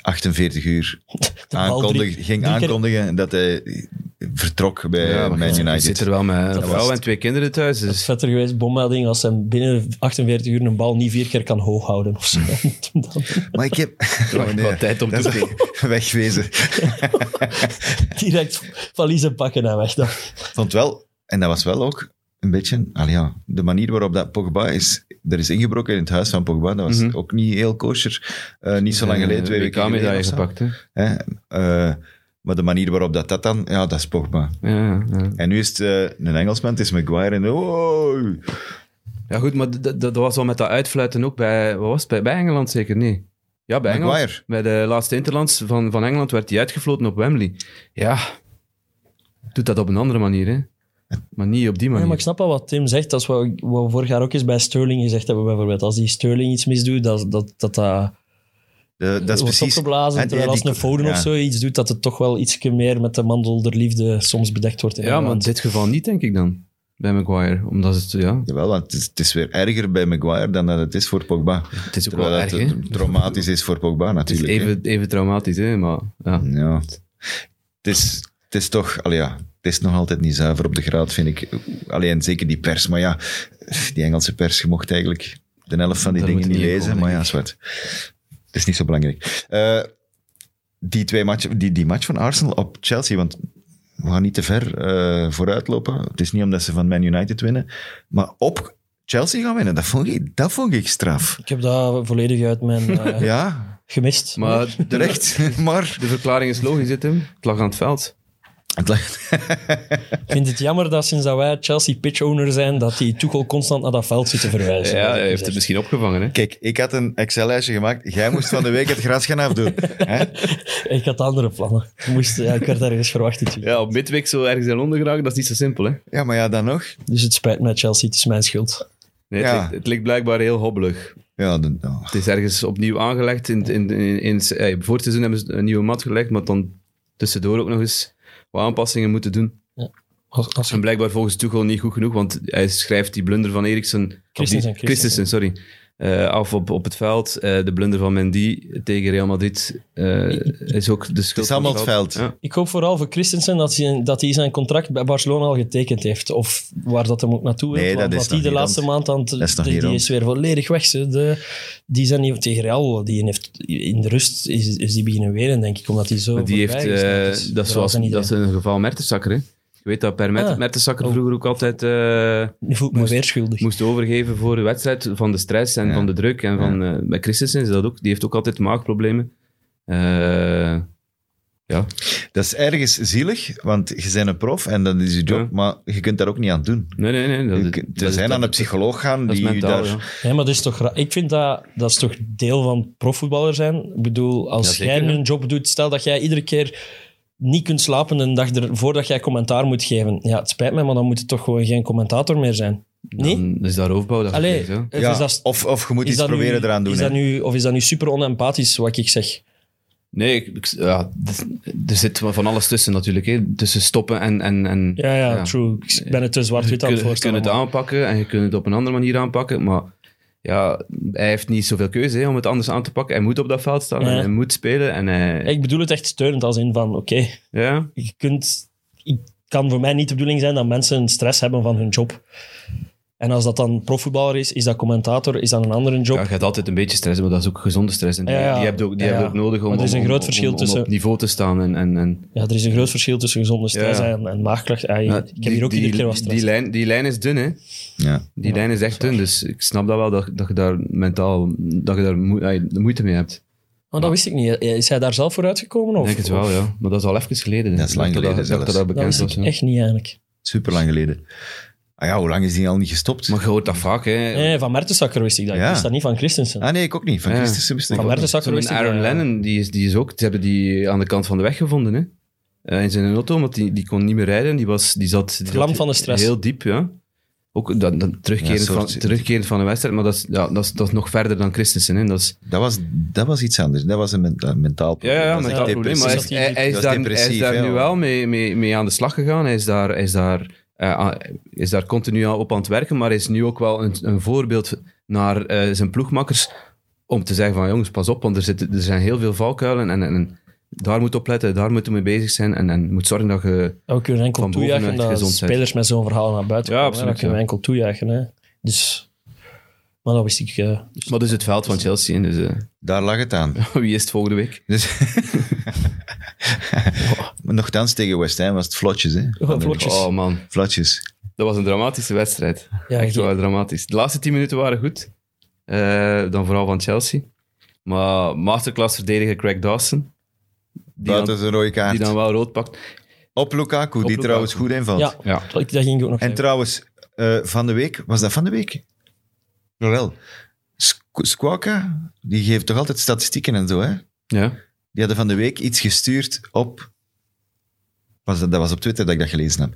Speaker 2: 48 uur
Speaker 3: bal drie-
Speaker 2: aankondig, ging
Speaker 3: drie keer-
Speaker 2: aankondigen dat hij vertrok bij
Speaker 4: ja, maar
Speaker 2: Eh, Man
Speaker 4: je
Speaker 2: United.
Speaker 4: zit er wel met een
Speaker 2: was
Speaker 4: vrouw
Speaker 2: het.
Speaker 4: en twee kinderen thuis.
Speaker 3: Het is
Speaker 4: Dus
Speaker 3: vetter geweest, bommelding, als hij binnen 48 uur een bal niet vier keer kan hooghouden of zo. Dan-
Speaker 2: Maar ik heb...
Speaker 4: wat tijd om
Speaker 2: dat
Speaker 4: toe
Speaker 2: is wegwezen.
Speaker 3: direct valiezen pakken en weg. Dan.
Speaker 2: vond wel, en dat was wel ook een beetje, al ja, de manier waarop dat Pogba is, er is ingebroken in het huis van Pogba, dat was
Speaker 4: Mhm.
Speaker 2: ook niet heel kosher. Eh, niet zo lang geleden, twee weken
Speaker 4: WK
Speaker 2: geleden.
Speaker 4: medaille
Speaker 2: of zo,
Speaker 4: gepakt, hè.
Speaker 2: hè. Eh, maar de manier waarop dat, dat dan, ja, dat is Pogba.
Speaker 4: Ja, ja.
Speaker 2: En nu is het eh, een Engelsman, het is Maguire en oh,
Speaker 4: ja, goed, maar d- d- dat was wel met dat uitfluiten ook bij... Wat was het? Bij, bij Engeland zeker? Nee. Ja, bij Engeland.
Speaker 2: Maguire.
Speaker 4: Bij de laatste Interlands van, van Engeland werd hij uitgefloten op Wembley. Ja, doet dat op een andere manier, hè? Maar niet op die
Speaker 3: Ja,
Speaker 4: manier.
Speaker 3: maar ik snap al wat Tim zegt. Dat is wat, wat we vorig jaar ook eens bij Sterling gezegd hebben bijvoorbeeld. Als die Sterling iets misdoet, dat dat, dat, dat
Speaker 2: De- dat is
Speaker 3: wordt
Speaker 2: precies...
Speaker 3: opgeblazen.
Speaker 2: Ja, die-
Speaker 3: Terwijl als
Speaker 2: die-
Speaker 3: een Foden of
Speaker 2: ja.
Speaker 3: zo iets doet, dat het toch wel iets meer met de mandel der liefde soms bedekt wordt. in
Speaker 4: ja, maar in
Speaker 3: Engeland.
Speaker 4: dit geval niet, denk ik dan. Bij Maguire. Omdat het, ja,
Speaker 2: Jawel, want het is, het is weer erger bij Maguire dan dat het is voor Pogba.
Speaker 4: het is ook wel
Speaker 2: Terwijl
Speaker 4: erg,
Speaker 2: dat
Speaker 4: hè?
Speaker 2: het traumatisch is voor Pogba
Speaker 4: Het is
Speaker 2: natuurlijk. hè.
Speaker 4: even, even traumatisch, hè? Maar ja.
Speaker 2: Ja, het is, het is toch, allee, ja, het is nog altijd niet zuiver op de graad, vind ik. Alleen zeker die pers, maar ja, die Engelse pers, je mocht eigenlijk de helft van die
Speaker 4: Daar
Speaker 2: dingen
Speaker 4: moet
Speaker 2: niet
Speaker 4: je niet in
Speaker 2: lezen,
Speaker 4: komen,
Speaker 2: maar ja,
Speaker 4: denk
Speaker 2: zwart. Het is niet zo belangrijk. Eh, die, twee matchen, die, die match van Arsenal op Chelsea, want we gaan niet te ver eh vooruitlopen. Het is niet omdat ze van Man United winnen, maar op Chelsea gaan winnen, dat vond ik, dat vond ik straf.
Speaker 3: Ik heb dat volledig uit mijn eh,
Speaker 2: Ja,
Speaker 3: gemist.
Speaker 4: Maar de,
Speaker 2: terecht, maar...
Speaker 4: de verklaring is logisch, hè, Tim. Het lag aan het veld.
Speaker 2: Het lag-
Speaker 3: Ik vind het jammer dat sinds dat wij Chelsea pitch owner zijn, dat die Tuchel constant naar dat veld zit te verwijzen. Dus
Speaker 4: Ja,
Speaker 3: Dat
Speaker 4: hij
Speaker 3: ik
Speaker 4: heeft het
Speaker 3: zeg.
Speaker 4: misschien opgevangen, hè?
Speaker 2: Kijk, ik had een Excel-lijstje gemaakt. Jij moest van de week het gras gaan afdoen. Hè?
Speaker 4: dus-
Speaker 3: Ik had andere plannen. Ik, moest, ja, ik werd ergens verwacht dit weekend.
Speaker 4: Ja, op midweek zo ergens in Londen geraken, dat is niet zo simpel, hè?
Speaker 2: Ja, maar ja, dan nog.
Speaker 3: Dus het spijt me, Chelsea, het is mijn schuld.
Speaker 4: Nee, het,
Speaker 2: Ja.
Speaker 4: ligt, het ligt blijkbaar heel hobbelig.
Speaker 2: Ja, dan, oh.
Speaker 4: Het is ergens opnieuw aangelegd. In, in, in, in, eh, voor het seizoen hebben ze een nieuwe mat gelegd, maar dan tussendoor ook nog eens wat aanpassingen moeten doen.
Speaker 3: Als, als
Speaker 4: En blijkbaar volgens Tuchel niet goed genoeg, want hij schrijft die blunder van Eriksen...
Speaker 3: Christensen,
Speaker 4: die- Christensen, sorry. eh, af op, op het veld. Eh, de blunder van Mendy tegen Real Madrid eh, is ook de schuld
Speaker 2: Het is
Speaker 4: van
Speaker 2: allemaal het veld.
Speaker 4: Ja.
Speaker 3: Ik hoop vooral voor Christensen dat hij, dat hij zijn contract bij Barcelona al getekend heeft. Of waar dat hem ook naartoe wil.
Speaker 2: Nee, dat
Speaker 3: want
Speaker 2: is
Speaker 3: wat
Speaker 2: nog
Speaker 3: die de
Speaker 2: niet
Speaker 3: laatste
Speaker 2: rond.
Speaker 3: maand aan het...
Speaker 2: is nog
Speaker 3: die,
Speaker 2: niet
Speaker 3: die
Speaker 2: rond.
Speaker 3: is weer volledig weg. Ze. De, die zijn niet tegen Real. Die heeft, in de rust is, is die beginnen wenen, denk ik. Omdat hij zo
Speaker 4: Maar die heeft,
Speaker 3: voorbij gesneld is.
Speaker 4: eh, dat, is
Speaker 3: Vooral
Speaker 4: zoals,
Speaker 3: zijn
Speaker 4: dat
Speaker 3: iedereen.
Speaker 4: is een geval Mertensakker. Hè? Je weet dat Per Mert-
Speaker 3: Ah.
Speaker 4: Mertensakker
Speaker 3: Oh.
Speaker 4: vroeger ook altijd eh,
Speaker 3: Nu voel ik me
Speaker 4: moest-
Speaker 3: weer schuldig.
Speaker 4: moest overgeven voor de wedstrijd van de stress en
Speaker 2: Ja.
Speaker 4: van de druk. En van, eh, bij Christensen is dat ook. Die heeft ook altijd maagproblemen. Eh, ja,
Speaker 2: Dat is ergens zielig, want je bent een prof en dat is je job,
Speaker 4: Ja.
Speaker 2: maar je kunt daar ook niet aan doen.
Speaker 4: nee, nee, nee. Dat,
Speaker 2: Je
Speaker 4: dat-
Speaker 2: kunt-
Speaker 4: dat
Speaker 2: Er
Speaker 4: is-
Speaker 2: zijn aan
Speaker 4: dat-
Speaker 2: een psycholoog gaan
Speaker 4: dat is
Speaker 2: die je
Speaker 4: mentaal,
Speaker 2: daar...
Speaker 4: ja.
Speaker 3: Nee, maar dat is toch ra- Ik vind dat, dat is toch deel van profvoetballer zijn. Ik bedoel, als
Speaker 4: Ja, zeker,
Speaker 3: jij nu
Speaker 4: ja.
Speaker 3: een job doet, stel dat jij iedere keer niet kunt slapen een dag er, voordat jij commentaar moet geven. Ja, het spijt me, maar dan moet het toch gewoon geen commentator meer zijn. Nee?
Speaker 4: Dan is daar roofbouw. Dat
Speaker 3: Allee,
Speaker 4: gebeurt, ja.
Speaker 3: eh,
Speaker 2: Ja,
Speaker 3: dus dat is-
Speaker 2: of, of je moet
Speaker 3: is
Speaker 2: iets
Speaker 3: dat nu-
Speaker 2: proberen eraan doen.
Speaker 3: Is
Speaker 2: hè.
Speaker 3: dat nu, of is dat nu super onempathisch wat ik zeg?
Speaker 4: Nee, ik- ik- ja, d- er zit van alles tussen natuurlijk. Hè. Tussen stoppen en... en, en
Speaker 3: Ja, ja, true. Ik ben het te zwart-wit aan
Speaker 4: Je
Speaker 3: het
Speaker 4: kunt- je kunt
Speaker 3: voorstellen.
Speaker 4: het
Speaker 3: maar-
Speaker 4: aanpakken en je kunt het op een andere manier aanpakken, maar ja, hij heeft niet zoveel keuze hè, om het anders aan te pakken. Hij moet op dat veld staan
Speaker 3: Ja.
Speaker 4: en hij moet spelen. En hij,
Speaker 3: Ik bedoel het echt steunend als in van, oké,
Speaker 4: ja,
Speaker 3: je kunt... Het kan voor mij niet de bedoeling zijn dat mensen stress hebben van hun job. En als dat dan profvoetballer is, is dat commentator, is dat een andere job.
Speaker 4: ja, je gaat altijd een beetje stressen, maar dat is ook gezonde stress. En die,
Speaker 3: Ja, ja.
Speaker 4: die heb je ook,
Speaker 3: Ja,
Speaker 4: die heb je
Speaker 3: ja.
Speaker 4: ook nodig om,
Speaker 3: Maar er is een
Speaker 4: om-
Speaker 3: groot
Speaker 4: om-
Speaker 3: verschil
Speaker 4: om
Speaker 3: tussen-
Speaker 4: op niveau te staan. En, en, en,
Speaker 3: Ja, er is een groot verschil tussen gezonde stress
Speaker 4: Ja, ja.
Speaker 3: en, en maagklacht. Ah,
Speaker 4: Ja,
Speaker 3: ik heb hier ook iedere keer wat
Speaker 4: die,
Speaker 3: stress.
Speaker 4: lijn, die lijn is dun, hè.
Speaker 2: Ja.
Speaker 4: Die lijn is echt dun, dus ik snap dat wel, dat, dat je daar mentaal dat je daar moe- ay, moeite mee hebt.
Speaker 3: Maar dat wist ik niet. Is hij daar zelf voor uitgekomen? Of,
Speaker 4: Ik denk het wel,
Speaker 3: of-
Speaker 4: ja. Maar dat is al even geleden.
Speaker 2: Dat is lang
Speaker 4: Ik dacht
Speaker 2: geleden
Speaker 4: dat, dat, dat
Speaker 2: zelfs.
Speaker 3: Dat
Speaker 4: bekend
Speaker 3: wist
Speaker 4: was.
Speaker 3: ik
Speaker 4: ja.
Speaker 3: echt niet eigenlijk.
Speaker 2: Super lang geleden. Ah ja, hoe lang is die al niet gestopt?
Speaker 4: Maar je hoort dat vaak, hè.
Speaker 3: Nee, van Mertensakker wist ik dat.
Speaker 2: Ja.
Speaker 3: Ik wist dat niet van Christensen.
Speaker 2: Ah nee, ik ook niet. Van
Speaker 4: Ja.
Speaker 2: Christensen wist ik
Speaker 3: Van
Speaker 2: ook
Speaker 3: Mertens
Speaker 4: Zo'n
Speaker 3: Sakker wist ik
Speaker 4: Aaron
Speaker 3: dat, ja.
Speaker 4: Lennon, die is, die is ook... Ze hebben die aan de kant van de weg gevonden, hè. Eh, in zijn auto, want die, die kon niet meer rijden. Die, was, die zat... Die
Speaker 3: Verlamd
Speaker 4: zat
Speaker 3: van de stress.
Speaker 4: Heel diep, ja. Ook dat, dat terugkeren,
Speaker 2: Ja, soort-
Speaker 4: van, terugkeren van de wedstrijd, maar dat is, ja, dat is, dat is nog verder dan Christensen. Hè. Dat is,
Speaker 2: niet. Dat was, dat was iets anders. Dat was een menta- mentaal
Speaker 4: ja,
Speaker 2: probleem.
Speaker 4: ja,
Speaker 2: Dat was
Speaker 4: mentaal
Speaker 2: echt
Speaker 4: probleem. Maar hij, is-
Speaker 2: depressief.
Speaker 3: depressief.
Speaker 4: hij, hij
Speaker 2: Dat is
Speaker 4: is daar, hij is
Speaker 2: depressief,
Speaker 4: daar
Speaker 2: hè,
Speaker 4: nu
Speaker 2: al.
Speaker 4: wel mee, mee, mee aan de slag gegaan. Hij is daar, hij is daar, eh, aan- is daar continu aan- op aan het werken, maar is nu ook wel een, een voorbeeld naar eh, zijn ploegmakkers om te zeggen van jongens, pas op, want er, zitten, er zijn heel veel valkuilen en, en, en daar moet op letten, daar moeten we mee bezig zijn en, en moet zorgen dat je...
Speaker 3: Ja, we kunnen enkel
Speaker 4: Van bovenuit
Speaker 3: toejuichen dat
Speaker 4: gezondheid.
Speaker 3: spelers met zo'n verhaal naar buiten
Speaker 4: Ja,
Speaker 3: komen.
Speaker 4: absoluut,
Speaker 3: hè. Dat kunnen
Speaker 4: ja.
Speaker 3: we enkel toejuichen. Hè. Dus, maar dat wist ik. eh, dus-
Speaker 4: Maar dus het veld van Chelsea, en dus eh,
Speaker 2: Daar lag het aan.
Speaker 4: wie is het volgende week?
Speaker 2: Dus... maar nogthans tegen West Ham was het vlotjes, hè?
Speaker 3: Oh, vlotjes.
Speaker 4: Oh man,
Speaker 2: Vlotjes.
Speaker 4: dat was een dramatische wedstrijd.
Speaker 3: ja,
Speaker 4: Echt
Speaker 3: die-
Speaker 4: wel dramatisch. De laatste tien minuten waren goed. Eh, dan vooral van Chelsea. Maar masterclass verdediger Craig Dawson. Die
Speaker 2: Buiten
Speaker 4: dan,
Speaker 2: zijn rode kaart.
Speaker 4: die dan wel rood pakt.
Speaker 2: Op Lukaku,
Speaker 4: Op
Speaker 2: die
Speaker 4: Lukaku.
Speaker 2: trouwens goed invalt.
Speaker 3: ja,
Speaker 4: Ja.
Speaker 3: dat dat ging ik ook nog
Speaker 2: En
Speaker 3: zeggen.
Speaker 2: trouwens, eh, van de week, was dat van de week? Jawel. Sk- Squawka, die geeft toch altijd statistieken en zo, hè?
Speaker 4: Ja.
Speaker 2: Die hadden van de week iets gestuurd op. Was dat, dat was op Twitter dat ik dat gelezen heb.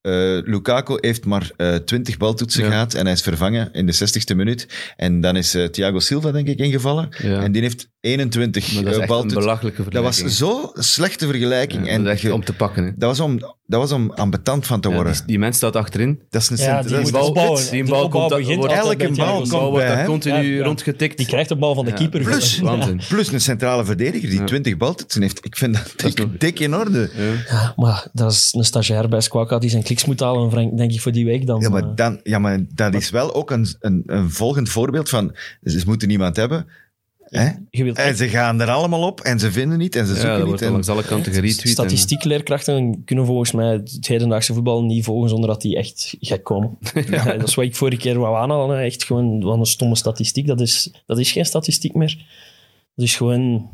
Speaker 2: Eh, Lukaku heeft maar eh 20 baltoetsen
Speaker 4: Ja.
Speaker 2: gehad en hij is vervangen in de 60ste minuut. En dan is eh, Thiago Silva, denk ik, ingevallen.
Speaker 4: ja.
Speaker 2: En die heeft 21
Speaker 4: maar dat is
Speaker 2: eh,
Speaker 4: echt een
Speaker 2: baltoetsen.
Speaker 4: belachelijke
Speaker 2: Dat was
Speaker 4: vergelijking.
Speaker 2: zo'n slechte vergelijking.
Speaker 4: Ja,
Speaker 2: en
Speaker 4: dat is echt
Speaker 2: je-
Speaker 4: om te pakken. Hè.
Speaker 2: dat was om, dat was om ambetant van te
Speaker 4: Ja,
Speaker 2: worden.
Speaker 4: die, die mens staat achterin.
Speaker 2: dat is een
Speaker 3: Ja,
Speaker 2: cent-
Speaker 3: die
Speaker 2: dat is-
Speaker 3: moet
Speaker 4: bal-
Speaker 3: opbouwen.
Speaker 4: die
Speaker 3: Die
Speaker 4: bal
Speaker 3: opbouw
Speaker 4: komt dat-
Speaker 3: begint
Speaker 4: wordt-
Speaker 3: altijd bij
Speaker 2: elke
Speaker 3: Thiago
Speaker 2: bal
Speaker 4: Bal
Speaker 3: Silva.
Speaker 2: komt-
Speaker 4: wordt
Speaker 2: bij
Speaker 4: daar
Speaker 2: hem.
Speaker 4: continu
Speaker 3: Ja, ja.
Speaker 4: rondgetikt.
Speaker 3: Die krijgt de bal van de
Speaker 4: Ja.
Speaker 3: keeper.
Speaker 2: Plus.
Speaker 3: Ja.
Speaker 4: Waanzin.
Speaker 2: Plus een centrale verdediger die
Speaker 4: Ja.
Speaker 2: 20 baltoetsen heeft. Ik vind dat,
Speaker 4: is
Speaker 2: dik,
Speaker 4: nog-
Speaker 2: dik in orde.
Speaker 4: Ja.
Speaker 3: Ja, maar dat is een stagiair bij Squawka die zijn kliks moet halen, Frank, denk ik, voor die week dan.
Speaker 2: Ja,
Speaker 3: Eh,
Speaker 2: maar, dan, ja, maar dat is wel ook een, een, een volgend voorbeeld van ze moeten niemand hebben. Hè?
Speaker 3: je wilt
Speaker 2: En ze gaan er allemaal op en ze vinden niet en ze
Speaker 4: Ja,
Speaker 2: zoeken
Speaker 4: dat
Speaker 2: niet.
Speaker 4: wordt
Speaker 2: En,
Speaker 4: langs alle kanten geretweet. en-
Speaker 3: Statistiekleerkrachten kunnen volgens mij het hedendaagse voetbal niet volgen zonder dat die echt gek komen. Ja, dat is wat ik vorige keer wou aanhalen. hè. Echt gewoon van een stomme statistiek. Dat is, dat is geen statistiek meer. Dat is gewoon...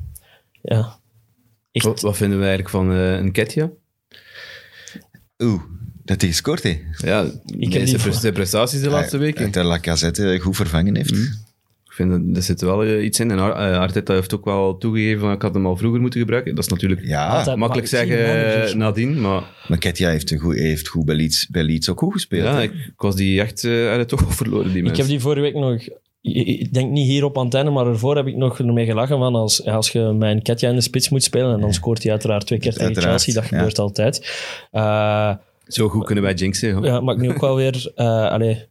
Speaker 3: Ja. Echt.
Speaker 4: Wat, Oh, wat vinden we eigenlijk van eh een Ketja?
Speaker 2: Oeh, dat hij gescoord heeft.
Speaker 4: Ja,
Speaker 3: die
Speaker 4: zijn
Speaker 3: voor-
Speaker 4: pre- zijn prestaties de laatste Mm. weken.
Speaker 2: Dat de Lacazette goed vervangen heeft.
Speaker 4: Ik vind dat er zit wel eh, iets in. En Ar- eh, Arteta heeft ook wel toegegeven van ik had hem al vroeger moeten gebruiken. Dat is natuurlijk
Speaker 2: Ja,
Speaker 3: Altijd.
Speaker 4: makkelijk
Speaker 3: maar ik zie
Speaker 4: zeggen
Speaker 3: de managers.
Speaker 4: eh, nadien, maar
Speaker 2: maar Ketja heeft, een goed, heeft goed bij, Leeds, bij Leeds ook goed gespeeld.
Speaker 4: ja,
Speaker 2: hè?
Speaker 4: ik, ik was die echt eh, uit het oog verloren, die
Speaker 3: Ik
Speaker 4: mensen.
Speaker 3: heb die vorige week nog... ik- Ik denk niet hier op antenne, maar ervoor heb ik nog ermee gelachen van als, ja, als je mijn Ketja in de spits moet spelen en dan scoort hij uiteraard twee keer tegen
Speaker 2: Uiteraard,
Speaker 3: Chelsea. Dat
Speaker 2: ja.
Speaker 3: gebeurt altijd. Eh,
Speaker 4: Zo goed kunnen wij jinxen. joh.
Speaker 3: Ja, maar ik nu ook wel weer... eh, allee,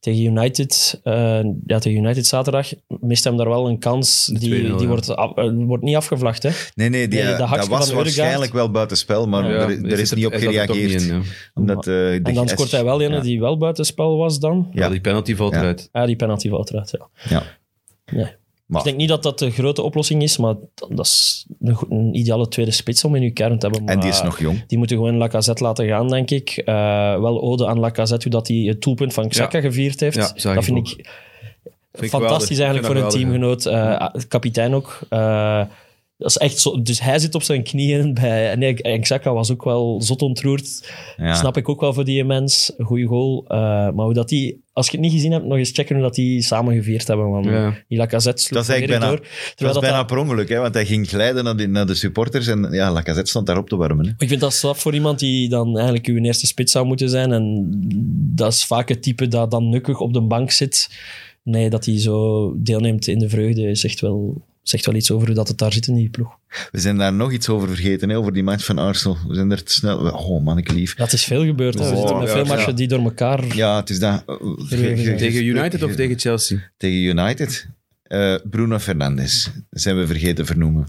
Speaker 3: tegen United, eh, ja, tegen United zaterdag, mist hem daar wel een kans. Die,
Speaker 4: 2-0,
Speaker 3: die
Speaker 4: ja.
Speaker 3: wordt, af- eh, wordt niet afgevlacht, hè.
Speaker 2: Nee, nee, die, eh,
Speaker 3: Nee, de
Speaker 2: dat
Speaker 3: hakske
Speaker 2: was
Speaker 3: van Ødegaard.
Speaker 2: waarschijnlijk wel buitenspel, maar
Speaker 4: Ja,
Speaker 2: er,
Speaker 4: hij
Speaker 2: er
Speaker 4: zit
Speaker 2: is niet op
Speaker 4: hij zat er toch
Speaker 2: gereageerd.
Speaker 4: niet in, ja.
Speaker 2: omdat, eh, de
Speaker 3: En dan
Speaker 2: gest-
Speaker 3: scoort hij wel ene
Speaker 2: ja.
Speaker 3: die wel buitenspel was dan.
Speaker 2: Ja.
Speaker 4: Ja, die penalty valt
Speaker 2: Ja.
Speaker 4: eruit.
Speaker 3: Ja, Ah, die penalty valt eruit, ja.
Speaker 2: Ja.
Speaker 3: Nee.
Speaker 2: Maar-
Speaker 3: Ik denk niet dat dat de grote oplossing is, maar dat, dat is een, go- een ideale tweede spits om in uw kern te hebben.
Speaker 2: En die is
Speaker 3: maar
Speaker 2: nog jong.
Speaker 3: Die moeten gewoon Lacazette laten gaan, denk ik. Eh, wel ode aan Lacazette, hoe dat hij het doelpunt van Xhaka gevierd heeft.
Speaker 4: Ja, zag ik
Speaker 3: dat vind
Speaker 4: ook.
Speaker 3: ik,
Speaker 4: Vind ik
Speaker 3: fantastisch
Speaker 4: geweldig.
Speaker 3: eigenlijk voor een
Speaker 4: Vind ik
Speaker 3: teamgenoot. eh, kapitein ook. Eh, dat is echt zo, dus hij zit op zijn knieën. Bij, nee, en Xhaka was ook wel zot ontroerd.
Speaker 2: Ja.
Speaker 3: Snap ik ook wel voor die mens. Goeie goal. Eh, maar hoe dat die, als je het niet gezien hebt, nog eens checken hoe dat die samen gevierd hebben. Want
Speaker 4: Ja.
Speaker 3: die Lacazette sloeg
Speaker 2: Dat is eigenlijk
Speaker 3: volledig
Speaker 2: bijna-
Speaker 3: door.
Speaker 2: Dat was
Speaker 3: Terwijl dat
Speaker 2: bijna
Speaker 3: dat-
Speaker 2: per ongeluk, hè, want hij ging glijden naar, die- naar de supporters en ja, Lacazette stond daar op te warmen. Hè.
Speaker 3: ik vind dat slap voor iemand die dan eigenlijk uw eerste spits zou moeten zijn. En dat is vaak het type dat dan nukkig op de bank zit. Nee, dat hij zo deelneemt in de vreugde zegt wel, zegt wel iets over hoe dat het daar zit in die ploeg.
Speaker 2: We zijn daar nog iets over vergeten, hè, over die match van Arsenal. We zijn er te snel... Oh, man, ik lief.
Speaker 3: Dat is veel gebeurd. hè. We
Speaker 2: Oh,
Speaker 3: zitten met
Speaker 2: ja,
Speaker 3: veel
Speaker 2: ja.
Speaker 3: matchen die door elkaar...
Speaker 2: Ja, het is dat... eh,
Speaker 4: wel- Tegen United of tegen Chelsea?
Speaker 2: Tegen United. Eh, Bruno Fernandes. Zijn we vergeten vernoemen.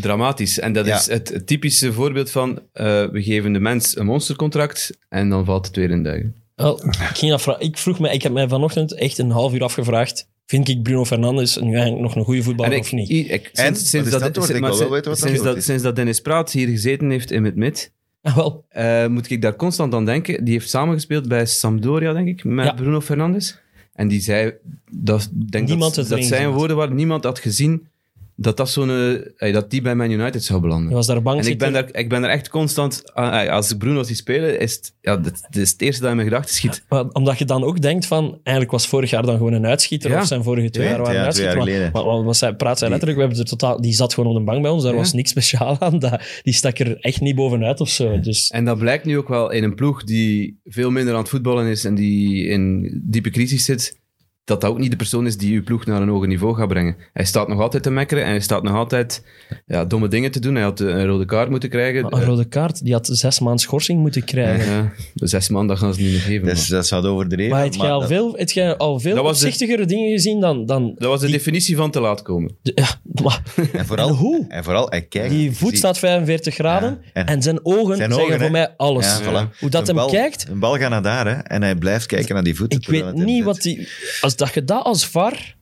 Speaker 4: Dramatisch. En dat
Speaker 2: Ja.
Speaker 4: is het het typische voorbeeld van eh, we geven de mens een monstercontract en dan valt het weer in duigen.
Speaker 3: Wel, ik, ging dat vra- ik vroeg me, ik heb mij vanochtend echt een half uur afgevraagd. Vind ik Bruno Fernandes nu eigenlijk nog een goede voetballer
Speaker 4: En ik,
Speaker 3: of niet?
Speaker 4: i- ik-
Speaker 2: En?
Speaker 4: sinds,
Speaker 2: Wat
Speaker 4: sinds
Speaker 2: is dat
Speaker 4: dat,
Speaker 2: antwoord? Ik
Speaker 4: maar
Speaker 2: wil wel weten wat dat
Speaker 4: sinds,
Speaker 2: antwoord
Speaker 4: dat,
Speaker 2: is.
Speaker 4: sinds dat Dennis Praat hier gezeten heeft in het mid,
Speaker 3: Ah, wel,
Speaker 4: eh, moet ik daar constant aan denken. Die heeft samengespeeld bij Sampdoria, denk ik, met
Speaker 3: Ja.
Speaker 4: Bruno Fernandes. En die zei, dat, denk
Speaker 3: Niemand
Speaker 4: dat,
Speaker 3: het
Speaker 4: dat
Speaker 3: erin
Speaker 4: zijn
Speaker 3: gezien.
Speaker 4: woorden waar niemand had gezien dat, dat, zo'n, eh, hey, dat die bij Man United zou belanden.
Speaker 3: je was daar bang
Speaker 4: En ik ben,
Speaker 3: zitten.
Speaker 4: daar, ik ben daar echt constant aan- eh, Als ik Bruno zie spelen, is het, ja, dat, dat is het eerste dat in mijn gedachten schiet.
Speaker 3: Maar omdat je dan ook denkt van, eigenlijk was vorig jaar dan gewoon een uitschieter,
Speaker 4: Ja.
Speaker 3: of zijn vorige twee
Speaker 2: Ja,
Speaker 3: jaar waren
Speaker 2: twee
Speaker 3: een
Speaker 2: jaar- twee
Speaker 3: uitschieter.
Speaker 2: jaar
Speaker 3: Maar, maar, maar wat zij, praat zij letterlijk, we hebben er totaal, die zat gewoon op de bank bij ons, daar
Speaker 4: Ja.
Speaker 3: was niks speciaal aan. Dat, die stak er echt niet bovenuit of zo. Dus
Speaker 4: En dat blijkt nu ook wel in een ploeg die veel minder aan het voetballen is en die in diepe crisis zit, dat dat ook niet de persoon is die uw ploeg naar een hoger niveau gaat brengen. Hij staat nog altijd te mekkeren en hij staat nog altijd ja, domme dingen te doen. Hij had eh, een rode kaart moeten krijgen.
Speaker 3: maar Oh, een rode kaart, die had zes maanden schorsing moeten krijgen.
Speaker 4: Eh, ja, zes man, dat gaan ze niet meer geven.
Speaker 2: Dus dat zou overdreven.
Speaker 3: Maar heb jij al
Speaker 2: dat-
Speaker 3: veel, heb jij al veel
Speaker 4: Dat was de-
Speaker 3: opzichtigere dingen gezien dan... dan
Speaker 4: man. Dat was de
Speaker 3: die-
Speaker 4: definitie van te laat komen.
Speaker 3: de- ja, maar
Speaker 2: En vooral,
Speaker 3: hoe?
Speaker 2: En vooral, hij kijkt.
Speaker 3: Die voet
Speaker 2: Zie-
Speaker 3: staat 45 graden
Speaker 2: Ja, en-
Speaker 3: en, zijn ogen
Speaker 2: Zijn
Speaker 3: zeggen
Speaker 2: ogen,
Speaker 3: voor
Speaker 2: hè?
Speaker 3: mij alles.
Speaker 2: Ja, voilà.
Speaker 3: Hoe dat
Speaker 2: Een
Speaker 3: hem
Speaker 2: bal-
Speaker 3: kijkt,
Speaker 2: Een bal gaat naar daar, hè. En hij blijft kijken naar die voeten.
Speaker 3: ik weet niet wat die... Als dat je dat als VAR...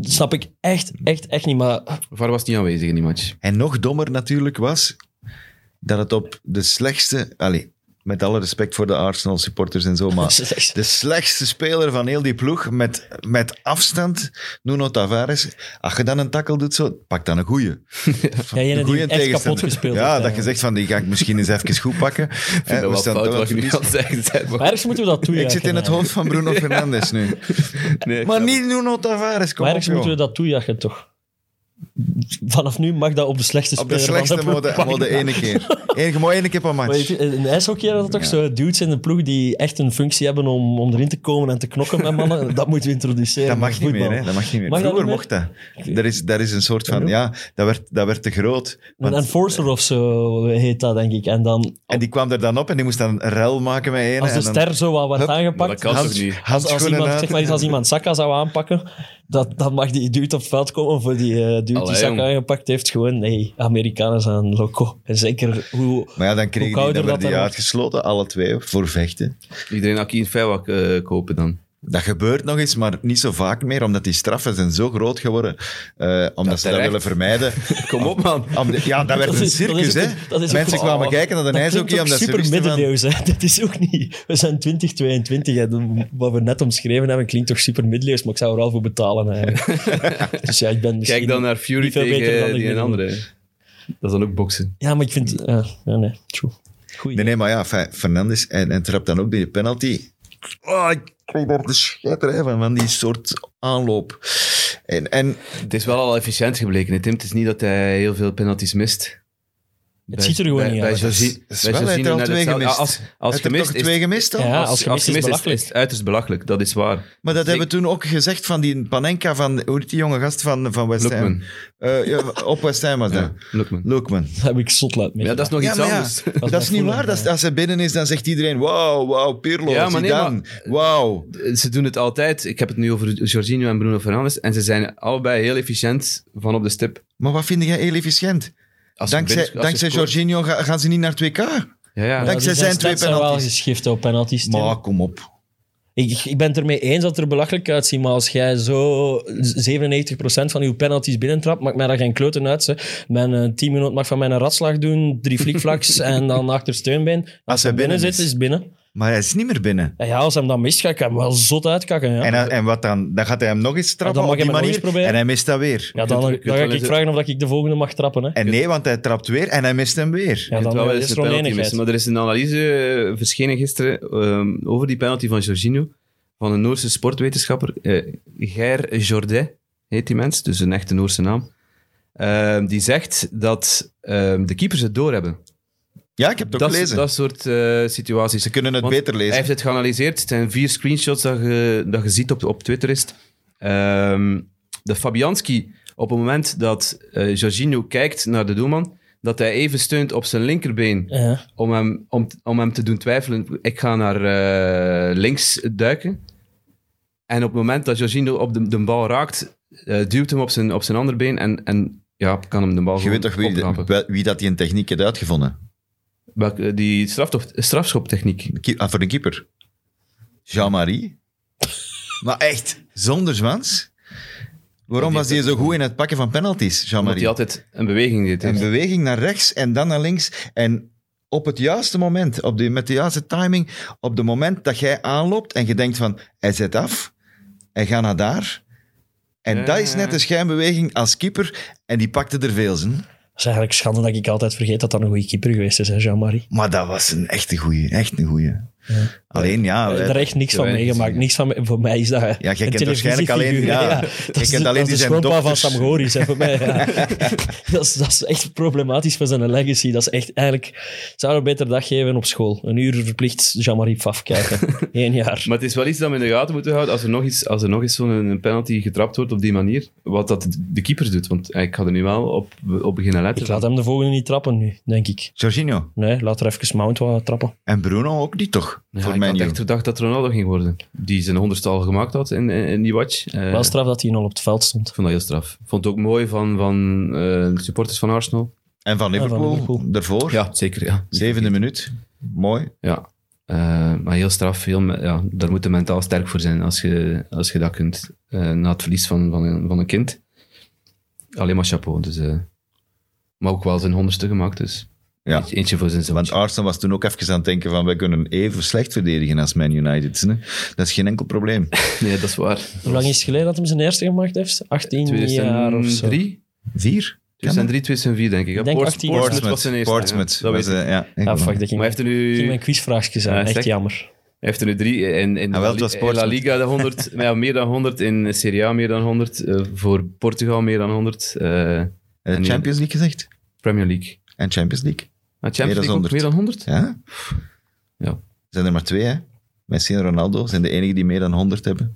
Speaker 3: Snap ik echt, echt, echt niet. Maar
Speaker 4: Var was niet aanwezig in die match.
Speaker 2: En nog dommer natuurlijk was dat het op de slechtste... Allee, met alle respect voor de Arsenal-supporters en zo, maar... De slechtste speler van heel die ploeg, met, met afstand, Nuno Tavares. Als je dan een tackle doet, zo, pak dan een goeie.
Speaker 3: ja, jene die echt kapot gespeeld heeft,
Speaker 2: Ja, dat je
Speaker 3: eigenlijk.
Speaker 2: zegt van, die ga ik misschien eens even goed pakken.
Speaker 4: Ik vind dat wel fout wat je nu aan het zeggen bent, maar-
Speaker 3: Maar ergens moeten we dat toejuichen.
Speaker 2: Ik zit in het
Speaker 3: eigenlijk.
Speaker 2: hoofd van Bruno Fernandes nu.
Speaker 4: Nee, ik
Speaker 2: Maar
Speaker 4: snap
Speaker 2: niet Nuno Tavares, kom
Speaker 3: Maar
Speaker 2: op,
Speaker 3: ergens moeten we
Speaker 2: joh.
Speaker 3: dat toejuichen, toch? Vanaf nu mag dat op de slechtste
Speaker 2: Op de
Speaker 3: speler
Speaker 2: slechtste
Speaker 3: van de ploeg
Speaker 2: mode,
Speaker 3: pakken.
Speaker 2: mode ene keer. Eén, maar één keer per
Speaker 3: Maar je
Speaker 2: match.
Speaker 3: vindt- in ijshockey hebben we toch zo dudes in de ploeg die echt een functie hebben om, om erin te komen en te knokken met mannen. Dat moeten we introduceren.
Speaker 2: Dat
Speaker 3: in
Speaker 2: mag niet
Speaker 3: voetbal.
Speaker 2: meer, hè. Dat mag niet meer.
Speaker 3: Mag dat
Speaker 2: Vroeger
Speaker 3: niet
Speaker 2: mocht dat. Er is, daar is een soort van, ja, dat werd, dat werd te groot.
Speaker 3: Een
Speaker 2: Want-
Speaker 3: enforcer of zo heet dat, denk ik. En dan,
Speaker 2: en die kwam er dan op en die moest dan een rel maken met één.
Speaker 3: als de
Speaker 2: en dan-
Speaker 3: ster zo wat werd
Speaker 2: Hup,
Speaker 4: Maar
Speaker 3: aangepakt,
Speaker 4: dat kan
Speaker 3: als-
Speaker 4: toch niet?
Speaker 3: als, als,
Speaker 2: Handschoenen
Speaker 3: iemand,
Speaker 2: uit.
Speaker 3: zeg maar, iets, als iemand Saka zou aanpakken, dat, dan mag die dude op het veld komen voor die eh dude
Speaker 4: Allee,
Speaker 3: die Saka
Speaker 4: jong.
Speaker 3: aangepakt heeft. Gewoon, nee, Amerikanen zijn loco. En zeker hoe...
Speaker 2: Maar ja, dan
Speaker 3: Hoe
Speaker 2: kregen die, dan
Speaker 3: kouder
Speaker 2: werden
Speaker 3: dat
Speaker 2: die
Speaker 3: dan
Speaker 2: uitgesloten, alle twee, voor vechten.
Speaker 4: Iedereen Aki in Feywa eh, kopen dan.
Speaker 2: Dat gebeurt nog eens, maar niet zo vaak meer, omdat die straffen zijn zo groot geworden. eh, omdat ze dat
Speaker 4: terecht.
Speaker 2: willen vermijden.
Speaker 4: Kom op, man.
Speaker 2: Om de- ja, dat werd
Speaker 3: Dat
Speaker 2: een
Speaker 3: is- dat
Speaker 2: circus,
Speaker 3: is ook-
Speaker 2: hè.
Speaker 3: dat is ook-
Speaker 2: Mensen kwamen
Speaker 3: oh,
Speaker 2: kijken naar de
Speaker 3: dat
Speaker 2: ijshockey,
Speaker 3: klinkt ook
Speaker 2: omdat ze
Speaker 3: super
Speaker 2: wisten van...
Speaker 3: middeleeuws, hè. Dat is ook niet... We zijn 2022 en wat we net omschreven hebben klinkt toch super middeleeuws, maar ik zou er al voor betalen. eigenlijk. dus ja, ik ben misschien
Speaker 4: Kijk dan naar
Speaker 3: niet
Speaker 4: Fury
Speaker 3: veel beter dan
Speaker 4: tegen
Speaker 3: ik
Speaker 4: die en
Speaker 3: bedoel.
Speaker 4: andere. Dat is dan ook boksen.
Speaker 3: Ja, maar ik vind... ja, ja, nee, true. Goeie.
Speaker 2: Nee, nee, maar ja, fijn, Fernandes en, en trapt dan ook die penalty. Oh, ik kreeg daar de scheiterij van, van die soort aanloop. En, en
Speaker 4: Het is wel al efficiënt gebleken, hè, Tim. Het is niet dat hij heel veel penalties mist.
Speaker 3: Het ziet er gewoon
Speaker 4: bij,
Speaker 3: niet
Speaker 4: bij
Speaker 3: uit.
Speaker 4: Jorginho-
Speaker 2: Dat is
Speaker 4: bij
Speaker 2: wel, hij
Speaker 4: Jorginho
Speaker 2: heeft er al
Speaker 4: net
Speaker 2: twee
Speaker 4: hetzelfde.
Speaker 2: gemist.
Speaker 4: Ja, als, als
Speaker 2: Heb je
Speaker 4: gemist
Speaker 2: toch
Speaker 4: is,
Speaker 2: twee gemist dan?
Speaker 3: Ja,
Speaker 4: als,
Speaker 3: als
Speaker 4: als
Speaker 3: gemist is
Speaker 4: gemist is,
Speaker 3: belachelijk.
Speaker 4: is het uiterst belachelijk, dat is waar.
Speaker 2: Maar dat
Speaker 4: Ik-
Speaker 2: hebben we toen ook gezegd van die Panenka, van, hoe heet die jonge gast van, van West Ham?
Speaker 4: Lookman.
Speaker 2: Eh, ja, op West Ham was dat.
Speaker 4: Ja, Lookman.
Speaker 2: Lookman.
Speaker 3: Daar heb ik zot laat mee.
Speaker 4: Ja, dat is nog
Speaker 2: Ja,
Speaker 4: iets
Speaker 2: maar ja.
Speaker 4: anders.
Speaker 3: was
Speaker 2: Dat is
Speaker 3: bij
Speaker 2: niet
Speaker 3: Fulham,
Speaker 2: waar. Dat is-
Speaker 3: ja.
Speaker 2: als hij binnen is, dan zegt iedereen, wauw, wauw, Pirlo,
Speaker 4: Ja, maar nee,
Speaker 2: Zidane, wauw.
Speaker 4: Ze doen het altijd. Ik heb het nu over Jorginho en Bruno Fernandes. En ze zijn allebei heel efficiënt van op de stip.
Speaker 2: Maar wat vind jij heel efficiënt?
Speaker 4: Als ze binnen-
Speaker 2: Dankzij,
Speaker 4: als ze
Speaker 2: dankzij
Speaker 4: scoren.
Speaker 2: Jorginho ga- gaan ze niet naar 2K.
Speaker 4: Ja, ja.
Speaker 2: Dank-
Speaker 3: die
Speaker 2: dankzij zijn twee
Speaker 3: stats zijn wel
Speaker 2: penalties.
Speaker 3: geschift op penalties. Tim.
Speaker 2: Maar kom op.
Speaker 3: Ik, ik ben het ermee eens dat het er belachelijk uitziet, maar als jij zo 97% van uw penalties binnentrapt, maakt mij daar geen kloten uit. Ze. Mijn eh, teamgenoot mag van mij een ratslag doen, drie flikvlaks en dan achter steunbeen. Als,
Speaker 2: hij
Speaker 3: hij binnen,
Speaker 2: binnen
Speaker 3: zit,
Speaker 2: is.
Speaker 3: is het binnen.
Speaker 2: Maar hij is niet meer binnen.
Speaker 3: En ja, als hij hem dan mist, ga ik hem wel zot uitkakken. Ja, Ah,
Speaker 2: En, dan- en wat dan? Dan gaat hij hem nog eens trappen
Speaker 3: mag
Speaker 2: op
Speaker 3: hij
Speaker 2: die
Speaker 3: hem nog eens
Speaker 2: manier.
Speaker 3: proberen.
Speaker 2: En hij mist dat weer.
Speaker 3: ja dan, dan
Speaker 4: kunt- kunt
Speaker 3: ga
Speaker 4: wel
Speaker 3: ik
Speaker 4: eens-
Speaker 3: vragen of dat ik de volgende mag trappen. Hè.
Speaker 2: En nee, want hij trapt weer en hij mist hem weer.
Speaker 3: Ja,
Speaker 4: Ik
Speaker 3: dan
Speaker 4: vind wel
Speaker 3: eh,
Speaker 4: eens
Speaker 3: is
Speaker 4: een
Speaker 3: er
Speaker 4: penalty
Speaker 3: oneenigheid.
Speaker 4: missen. Maar er is een analyse eh, verschenen gisteren ehm, over die penalty van Jorginho. Van een Noorse sportwetenschapper. eh Ger Jordet heet die mens. Dus een echte Noorse naam. Ehm, die zegt dat ehm, de keepers het doorhebben.
Speaker 2: Ja, ik heb het ook
Speaker 4: Dat,
Speaker 2: gelezen.
Speaker 4: dat soort eh, situaties.
Speaker 2: Ze kunnen het
Speaker 4: Want
Speaker 2: beter lezen.
Speaker 4: Hij heeft het geanalyseerd. Het zijn vier screenshots dat je, dat je ziet op, op Twitter. Is. het. Ehm, de Fabianski, op het moment dat eh Jorginho kijkt naar de doelman, dat hij even steunt op zijn linkerbeen
Speaker 3: Ja.
Speaker 4: om hem, om, om hem te doen twijfelen. Ik ga naar eh, links duiken. En op het moment dat Jorginho op de, de bal raakt, eh, duwt hem op zijn, op zijn andere been en, en ja, kan hem de bal
Speaker 2: Je
Speaker 4: gewoon
Speaker 2: weet toch wie,
Speaker 4: opknappen.
Speaker 2: wel- wie dat die een techniek heeft uitgevonden?
Speaker 4: Welke- eh, Die straftof- strafschoptechniek.
Speaker 2: Een keep- ah, voor een keeper. Jean-Marie. maar echt, zonder zwans. Waarom was hij zo goed in het pakken van penalties,
Speaker 4: Omdat
Speaker 2: Jean-Marie?
Speaker 4: hij altijd een beweging deed.
Speaker 2: Een beweging naar rechts en dan naar links. En op het juiste moment, op die, met de juiste timing, op het moment dat jij aanloopt en je denkt van, hij zet af, hij gaat naar daar. En
Speaker 4: Ja,
Speaker 2: dat is
Speaker 4: ja,
Speaker 2: net
Speaker 4: ja.
Speaker 2: de schijnbeweging als keeper. En die pakte er veel zijn.
Speaker 3: Het is eigenlijk schande dat ik altijd vergeet dat dat een goede keeper geweest is, hè, Jean-Marie.
Speaker 2: Maar dat was een echte goeie. Echt een goeie. Alleen ja... eh,
Speaker 3: Ik
Speaker 2: wij-
Speaker 3: heb er echt niks van
Speaker 4: Ja,
Speaker 3: meegemaakt. Niks van, me- voor mij is dat
Speaker 2: jij
Speaker 3: een
Speaker 2: kent waarschijnlijk alleen-
Speaker 3: televisiefiguur,
Speaker 2: ja.
Speaker 3: hè,
Speaker 2: Jij
Speaker 3: Dat
Speaker 2: kent
Speaker 3: is de-
Speaker 2: alleen
Speaker 3: dat is
Speaker 2: die
Speaker 3: de
Speaker 2: zijn
Speaker 3: schoonpa van
Speaker 2: dochters.
Speaker 3: Sam Goris, hè, voor mij. Ja. dat, is, dat is echt problematisch voor zijn legacy. Dat is echt eigenlijk... Zouden we beter dag geven op school. Een uur verplicht Jean-Marie Pfaff kijken. Eén jaar.
Speaker 4: Maar het is wel iets dat we in de gaten moeten houden als er nog eens, als er nog eens zo'n een penalty getrapt wordt op die manier. Wat dat de keeper doet. Want eh, ik ga er nu wel op, op beginnen letten.
Speaker 3: Ik laat hem de volgende niet trappen nu, denk ik.
Speaker 2: Jorginho.
Speaker 3: Nee, laat er even Mount wat trappen.
Speaker 2: En Bruno ook niet, toch?
Speaker 4: Ja,
Speaker 2: voor
Speaker 4: ik
Speaker 2: mij
Speaker 4: had echt gedacht dat Ronaldo ging worden. Die zijn honderdste al gemaakt had in, in, in die watch. Eh,
Speaker 3: Wel straf dat hij al op het veld stond.
Speaker 4: ik vond dat heel straf. Ik vond het ook mooi van, van eh, de supporters van Arsenal.
Speaker 2: En van Liverpool,
Speaker 3: Liverpool.
Speaker 2: daarvoor.
Speaker 4: Ja, zeker. Ja.
Speaker 2: Zevende minuut. Mooi.
Speaker 4: ja. Eh, maar heel straf. Heel, me- ja, daar moet je mentaal sterk voor zijn als je, als je dat kunt. eh, na het verlies van, van, een, van een kind. Alleen maar chapeau. Dus, eh, maar ook wel zijn honderdste gemaakt. Dus.
Speaker 2: Ja.
Speaker 4: Eentje- Eentje voor zijn
Speaker 2: Want
Speaker 4: zoontje.
Speaker 2: Arsenal was toen ook even aan het denken van wij kunnen even slecht verdedigen als Man United. hè. Dat is geen enkel probleem.
Speaker 4: Nee, dat is waar.
Speaker 3: Hoe lang is het geleden dat hij zijn eerste gemaakt heeft? 18 jaar of zo.
Speaker 4: 2003?
Speaker 2: Vier? Kan dat?
Speaker 4: 2003, 2004 denk ik. Ja,
Speaker 3: Ik denk
Speaker 4: Ports-
Speaker 3: 18 jaar.
Speaker 4: Portsmouth was zijn eerste.
Speaker 2: Portsmouth.
Speaker 4: ja. Dat
Speaker 2: was,
Speaker 4: weet ik.
Speaker 2: eh, ja,
Speaker 3: Ja,
Speaker 2: ik-
Speaker 3: Ah, fuck, dat
Speaker 4: Maar
Speaker 3: ging,
Speaker 4: hij heeft er nu,
Speaker 3: ging
Speaker 4: hij
Speaker 3: mijn quizvraagjes zijn.
Speaker 4: Ja,
Speaker 3: echt
Speaker 4: zeg.
Speaker 3: jammer.
Speaker 4: heeft er nu drie eh, in, in,
Speaker 2: Ah, wel, het was
Speaker 4: in La
Speaker 2: Portsmouth.
Speaker 4: Liga de 100, maar ja, meer dan 100, in Serie A meer dan 100, eh, voor Portugal meer dan 100, eh,
Speaker 2: Eh,
Speaker 4: En nu-
Speaker 2: Champions League gezegd.
Speaker 4: Premier League.
Speaker 2: En Champions League.
Speaker 4: Ah, Champions League ook
Speaker 2: 100.
Speaker 4: meer dan 100?
Speaker 2: Ja?
Speaker 4: Ja.
Speaker 2: Zijn er maar twee, hè? Messi en Ronaldo zijn de enigen die meer dan 100 hebben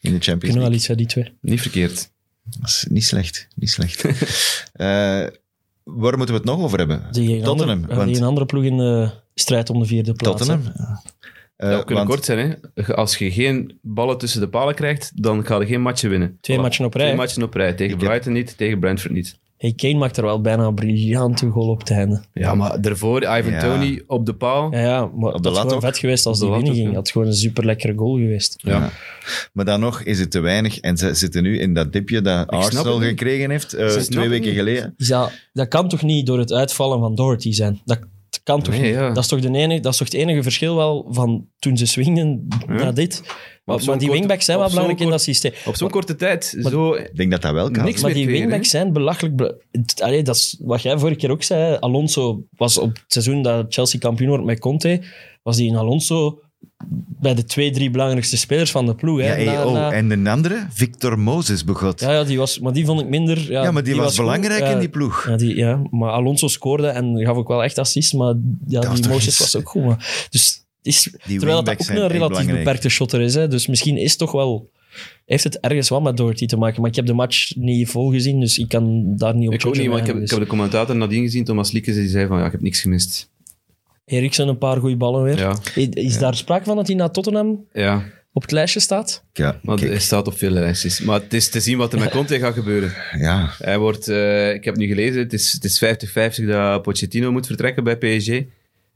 Speaker 2: in de Champions
Speaker 3: Kunnen wel
Speaker 2: League.
Speaker 3: iets, hè, die twee.
Speaker 4: Niet verkeerd.
Speaker 2: Dat is niet slecht. Niet slecht. Eh, waar moeten we het nog over hebben?
Speaker 3: Die een
Speaker 2: Tottenham.
Speaker 3: Andere,
Speaker 2: want
Speaker 3: die een andere ploeg in de strijd om de vierde plaats.
Speaker 2: Tottenham.
Speaker 3: hè.
Speaker 2: Eh,
Speaker 4: dat kan
Speaker 2: want-
Speaker 4: kort zijn, hè. Als je geen ballen tussen de palen krijgt, dan ga je geen matchen winnen.
Speaker 3: Twee
Speaker 4: Voilà.
Speaker 3: matchen op rij,
Speaker 4: Twee
Speaker 3: hè.
Speaker 4: matchen op rij. Tegen
Speaker 2: Ik heb-
Speaker 4: Brighton niet, tegen Brentford niet.
Speaker 3: Hey, Kane maakt er wel bijna een briljante goal op het einde.
Speaker 4: Ja, maar daarvoor Ivan
Speaker 2: Ja.
Speaker 4: Tony op de paal.
Speaker 3: Ja, ja maar
Speaker 2: de
Speaker 3: dat is
Speaker 2: lat
Speaker 3: gewoon
Speaker 2: ook.
Speaker 3: vet geweest als
Speaker 4: Op de
Speaker 3: die
Speaker 4: lat
Speaker 3: binnen
Speaker 4: ook,
Speaker 3: ging.
Speaker 4: ja.
Speaker 3: Dat is gewoon een super lekkere goal geweest.
Speaker 2: Ja. Maar dan nog is het te weinig. En ze zitten nu in dat dipje dat
Speaker 4: snap
Speaker 2: Arsenal
Speaker 4: het niet.
Speaker 2: gekregen heeft. eh,
Speaker 4: snappen
Speaker 2: twee
Speaker 4: het
Speaker 2: weken
Speaker 4: niet.
Speaker 2: geleden.
Speaker 3: Is dat, Dus dat kan toch niet door het uitvallen van Doherty zijn? Dat kan toch
Speaker 4: Nee,
Speaker 3: niet?
Speaker 4: ja.
Speaker 3: Dat, is toch de enige, dat is toch het enige verschil wel van toen ze swingden naar dit? Maar,
Speaker 4: zo'n
Speaker 3: maar die
Speaker 4: korte-
Speaker 3: wingbacks zijn wel
Speaker 4: op zo'n
Speaker 3: belangrijk in dat
Speaker 4: korte-
Speaker 3: systeem.
Speaker 4: Op zo'n korte tijd. Zo,
Speaker 2: Ik denk dat dat wel kan.
Speaker 4: Niks
Speaker 3: maar
Speaker 4: meer
Speaker 3: die
Speaker 4: creëren,
Speaker 3: wingbacks zijn belachelijk. bela- Het- Allee, dat is wat jij vorige keer ook zei. hè. Alonso was op het seizoen dat Chelsea kampioen wordt met Conte. Was die in Alonso bij de twee, drie belangrijkste spelers van de ploeg. Hè.
Speaker 2: Ja, hey,
Speaker 3: Na-
Speaker 2: oh,
Speaker 3: na-
Speaker 2: en de andere, Victor Moses begot.
Speaker 3: ja,
Speaker 2: Ja,
Speaker 3: ja, die was, maar die vond ik minder. Ja,
Speaker 2: maar die, was,
Speaker 3: goed.
Speaker 2: belangrijk
Speaker 3: Ja,
Speaker 2: in die ploeg.
Speaker 3: Ja, die, ja, maar Alonso scoorde en gaf ook wel echt assist, maar ja,
Speaker 2: was
Speaker 3: die
Speaker 2: toch
Speaker 3: Moses
Speaker 2: iets-
Speaker 3: was ook goed. Maar, dus, het is,
Speaker 2: Die
Speaker 3: terwijl dat
Speaker 2: wingbacks
Speaker 3: ook
Speaker 2: zijn
Speaker 3: een
Speaker 2: echt
Speaker 3: relatief
Speaker 2: belangrijk.
Speaker 3: beperkte shotter is, hè, dus misschien is het toch wel... Heeft het ergens wel met Doherty te maken, maar ik heb de match niet volgezien, dus ik kan daar niet op
Speaker 4: Ik ook
Speaker 3: judgen
Speaker 4: niet,
Speaker 3: Dus
Speaker 4: want ik heb, ik
Speaker 3: eigenlijk.
Speaker 4: heb de commentator nadien gezien, Thomas Liekes, die zei van, ja, ik heb niks gemist.
Speaker 3: Eriksen een paar goede ballen weer.
Speaker 4: Ja,
Speaker 3: Is, is daar sprake van dat hij na Tottenham
Speaker 4: ja.
Speaker 3: op het lijstje staat?
Speaker 2: Ja,
Speaker 4: want
Speaker 2: kijk,
Speaker 4: hij staat op veel lijstjes. Maar het is te zien wat er met Conte gaat gebeuren.
Speaker 2: ja.
Speaker 4: Hij wordt, eh, ik heb nu gelezen, het is, het is 50-50 dat Pochettino moet vertrekken bij PSG.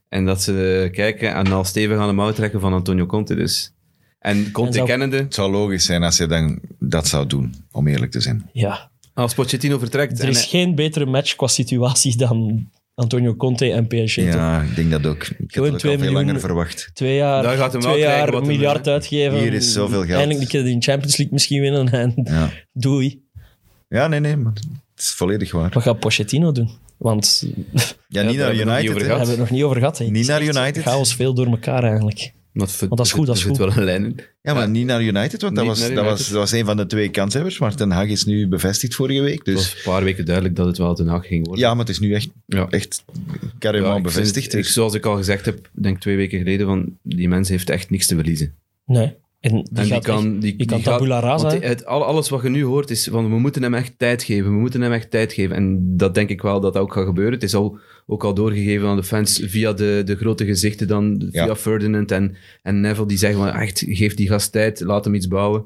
Speaker 4: En dat ze eh, kijken en al stevig aan de mouw trekken van Antonio Conte dus. En Conte
Speaker 3: En zou-
Speaker 4: kennende,
Speaker 2: Het zou logisch zijn als hij dan dat zou doen, om eerlijk te zijn.
Speaker 3: Ja.
Speaker 4: als Pochettino vertrekt...
Speaker 3: Er is
Speaker 4: en-
Speaker 3: geen betere match qua situatie dan Antonio Conte en PSG. toch?
Speaker 2: Ja, ik denk dat ook. Ik had
Speaker 3: Gewoon
Speaker 2: het ook
Speaker 3: twee
Speaker 2: al veel
Speaker 3: miljoen.
Speaker 2: langer verwacht.
Speaker 3: Twee jaar,
Speaker 4: Daar gaat hem wel
Speaker 3: twee
Speaker 4: krijgen
Speaker 3: jaar
Speaker 4: wat
Speaker 3: een
Speaker 4: hem eh,
Speaker 3: miljard
Speaker 4: wil, hè.
Speaker 3: uitgeven.
Speaker 2: Hier is zoveel geld.
Speaker 3: Eindelijk een keer de Champions League misschien winnen en
Speaker 2: Ja,
Speaker 3: doei.
Speaker 2: ja nee, nee, maar het is volledig waar.
Speaker 3: Wat gaat Pochettino doen? Want
Speaker 2: Ja,
Speaker 4: Ja,
Speaker 2: niet
Speaker 4: daar
Speaker 2: naar
Speaker 4: hebben we het
Speaker 2: United.
Speaker 4: niet over
Speaker 2: hè.
Speaker 3: daar
Speaker 4: gehad.
Speaker 3: hebben we het nog niet over gehad. hè. Het
Speaker 2: Niet
Speaker 3: is
Speaker 2: naar
Speaker 3: echt
Speaker 2: United.
Speaker 3: chaos veel door elkaar eigenlijk.
Speaker 4: Want er-
Speaker 3: dat is goed, dat is
Speaker 4: er zit
Speaker 3: goed.
Speaker 4: wel een lijn in.
Speaker 2: Ja, maar niet naar United, want dat
Speaker 4: Niet
Speaker 2: was,
Speaker 4: naar
Speaker 2: dat,
Speaker 4: United.
Speaker 2: was, dat was een van de twee kanshebbers. Maar Ten Hag is nu bevestigd vorige week.
Speaker 4: Het
Speaker 2: Dus,
Speaker 4: was een paar weken duidelijk dat het wel Den Haag ging worden.
Speaker 2: ja, maar het is nu echt,
Speaker 4: Ja.
Speaker 2: echt
Speaker 4: Ja,
Speaker 2: carrément
Speaker 4: ik vind-
Speaker 2: bevestigd.
Speaker 4: ik-
Speaker 2: dus-
Speaker 4: zoals ik al gezegd heb, denk twee weken geleden, van die mens heeft echt niks te verliezen.
Speaker 3: Nee. En die,
Speaker 4: en die
Speaker 3: gaat echt-
Speaker 4: kan, die,
Speaker 3: die kan
Speaker 4: die gaat-
Speaker 3: tabula rasa,
Speaker 4: want
Speaker 3: hè?
Speaker 4: het, al- alles wat je nu hoort is van we moeten hem echt tijd geven, we moeten hem echt tijd geven. En dat denk ik wel dat dat ook gaat gebeuren. Het is al, ook al doorgegeven aan de fans via de, de grote gezichten dan,
Speaker 2: Ja.
Speaker 4: via Ferdinand en, en Neville, die zeggen van echt, geef die gast tijd, laat hem iets bouwen.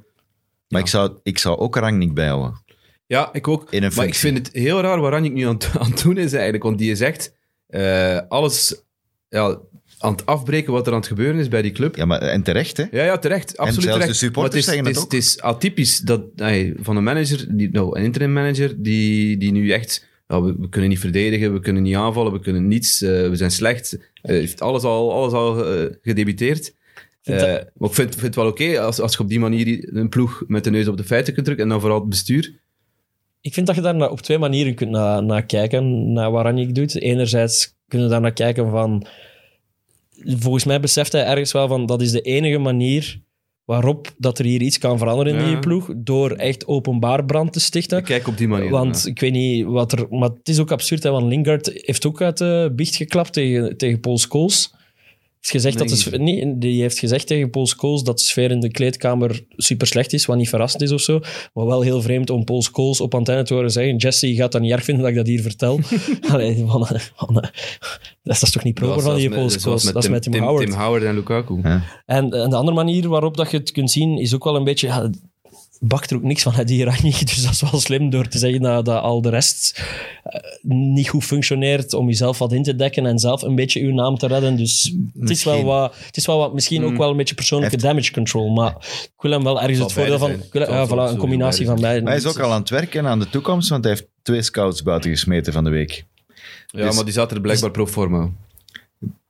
Speaker 2: Maar ik zou, ik zou ook Rangnick bijhouden.
Speaker 4: Ja, ik ook.
Speaker 2: In een
Speaker 4: maar ik
Speaker 2: functie.
Speaker 4: vind het heel raar waar ik nu aan, aan het doen is eigenlijk, want die is echt eh, alles ja, aan het afbreken wat er aan het gebeuren is bij die club.
Speaker 2: Ja, maar, en terecht, hè?
Speaker 4: Ja, ja, terecht. Absoluut
Speaker 2: zelfs
Speaker 4: terecht.
Speaker 2: de supporters
Speaker 4: Maar het is,
Speaker 2: zeggen het
Speaker 4: het is, het is atypisch dat, ay, van een manager, die, nou, een interim manager, die, die nu echt... ja, we, we kunnen niet verdedigen, we kunnen niet aanvallen, we kunnen niets, eh, we zijn slecht. Eh, heeft alles al, alles al eh, gedebiteerd.
Speaker 3: Vindt
Speaker 4: Eh, maar ik vind, vind het wel oké als, als je op die manier een ploeg met de neus op de feiten kunt drukken en dan vooral het bestuur.
Speaker 3: Ik vind dat je daar na- op twee manieren kunt na- naar kijken, naar wat Ranjik doet. Enerzijds kunnen we daar naar kijken van... Volgens mij beseft hij ergens wel van, dat is de enige manier waarop dat er hier iets kan veranderen in
Speaker 4: Ja.
Speaker 3: die ploeg, door echt openbaar brand te stichten.
Speaker 4: Kijk op die manier.
Speaker 3: Want
Speaker 4: ja.
Speaker 3: ik weet niet wat er... Maar het is ook absurd, hè, want Lingard heeft ook uit de biecht geklapt tegen, tegen Paul Scholes. Heeft gezegd
Speaker 4: Nee,
Speaker 3: dat de, sfe- nee, die heeft gezegd tegen Paul Scholes dat de sfeer in de kleedkamer super slecht is, wat niet verrassend is of zo. Maar wel heel vreemd om Paul Scholes op antenne te horen zeggen Jesse, je gaat dat niet erg vinden dat ik dat hier vertel. Allee, van, van, dat is dat is toch niet proper
Speaker 4: Zoals-
Speaker 3: van die
Speaker 4: zoals
Speaker 3: Paul
Speaker 4: met-
Speaker 3: Scholes?
Speaker 4: zoals
Speaker 3: Dat is met Tim, Howard.
Speaker 4: Tim Howard en Lukaku.
Speaker 3: En, en de andere manier waarop dat je het kunt zien is ook wel een beetje. Ja, bakt er ook niks van uit die Iranje. Dus dat is wel slim door te zeggen dat, dat al de rest eh, niet goed functioneert. Om jezelf wat in te dekken en zelf een beetje uw naam te redden. Dus het is wel
Speaker 2: Misschien. Mm.
Speaker 3: wat. Het is wel wat misschien ook wel een beetje persoonlijke damage control. Maar ik wil hem wel ergens
Speaker 4: zal
Speaker 3: het voordeel van.
Speaker 4: beide
Speaker 3: Ik
Speaker 4: zijn.
Speaker 3: wil,
Speaker 4: Het zal
Speaker 3: ja, voilà,
Speaker 4: sowieso
Speaker 3: een combinatie van beide.
Speaker 4: beide
Speaker 2: Maar hij is ook al aan het werken aan de toekomst, want hij heeft twee scouts buiten gesmeten van de week.
Speaker 4: Ja,
Speaker 2: Dus-
Speaker 4: maar die zat er blijkbaar pro forma.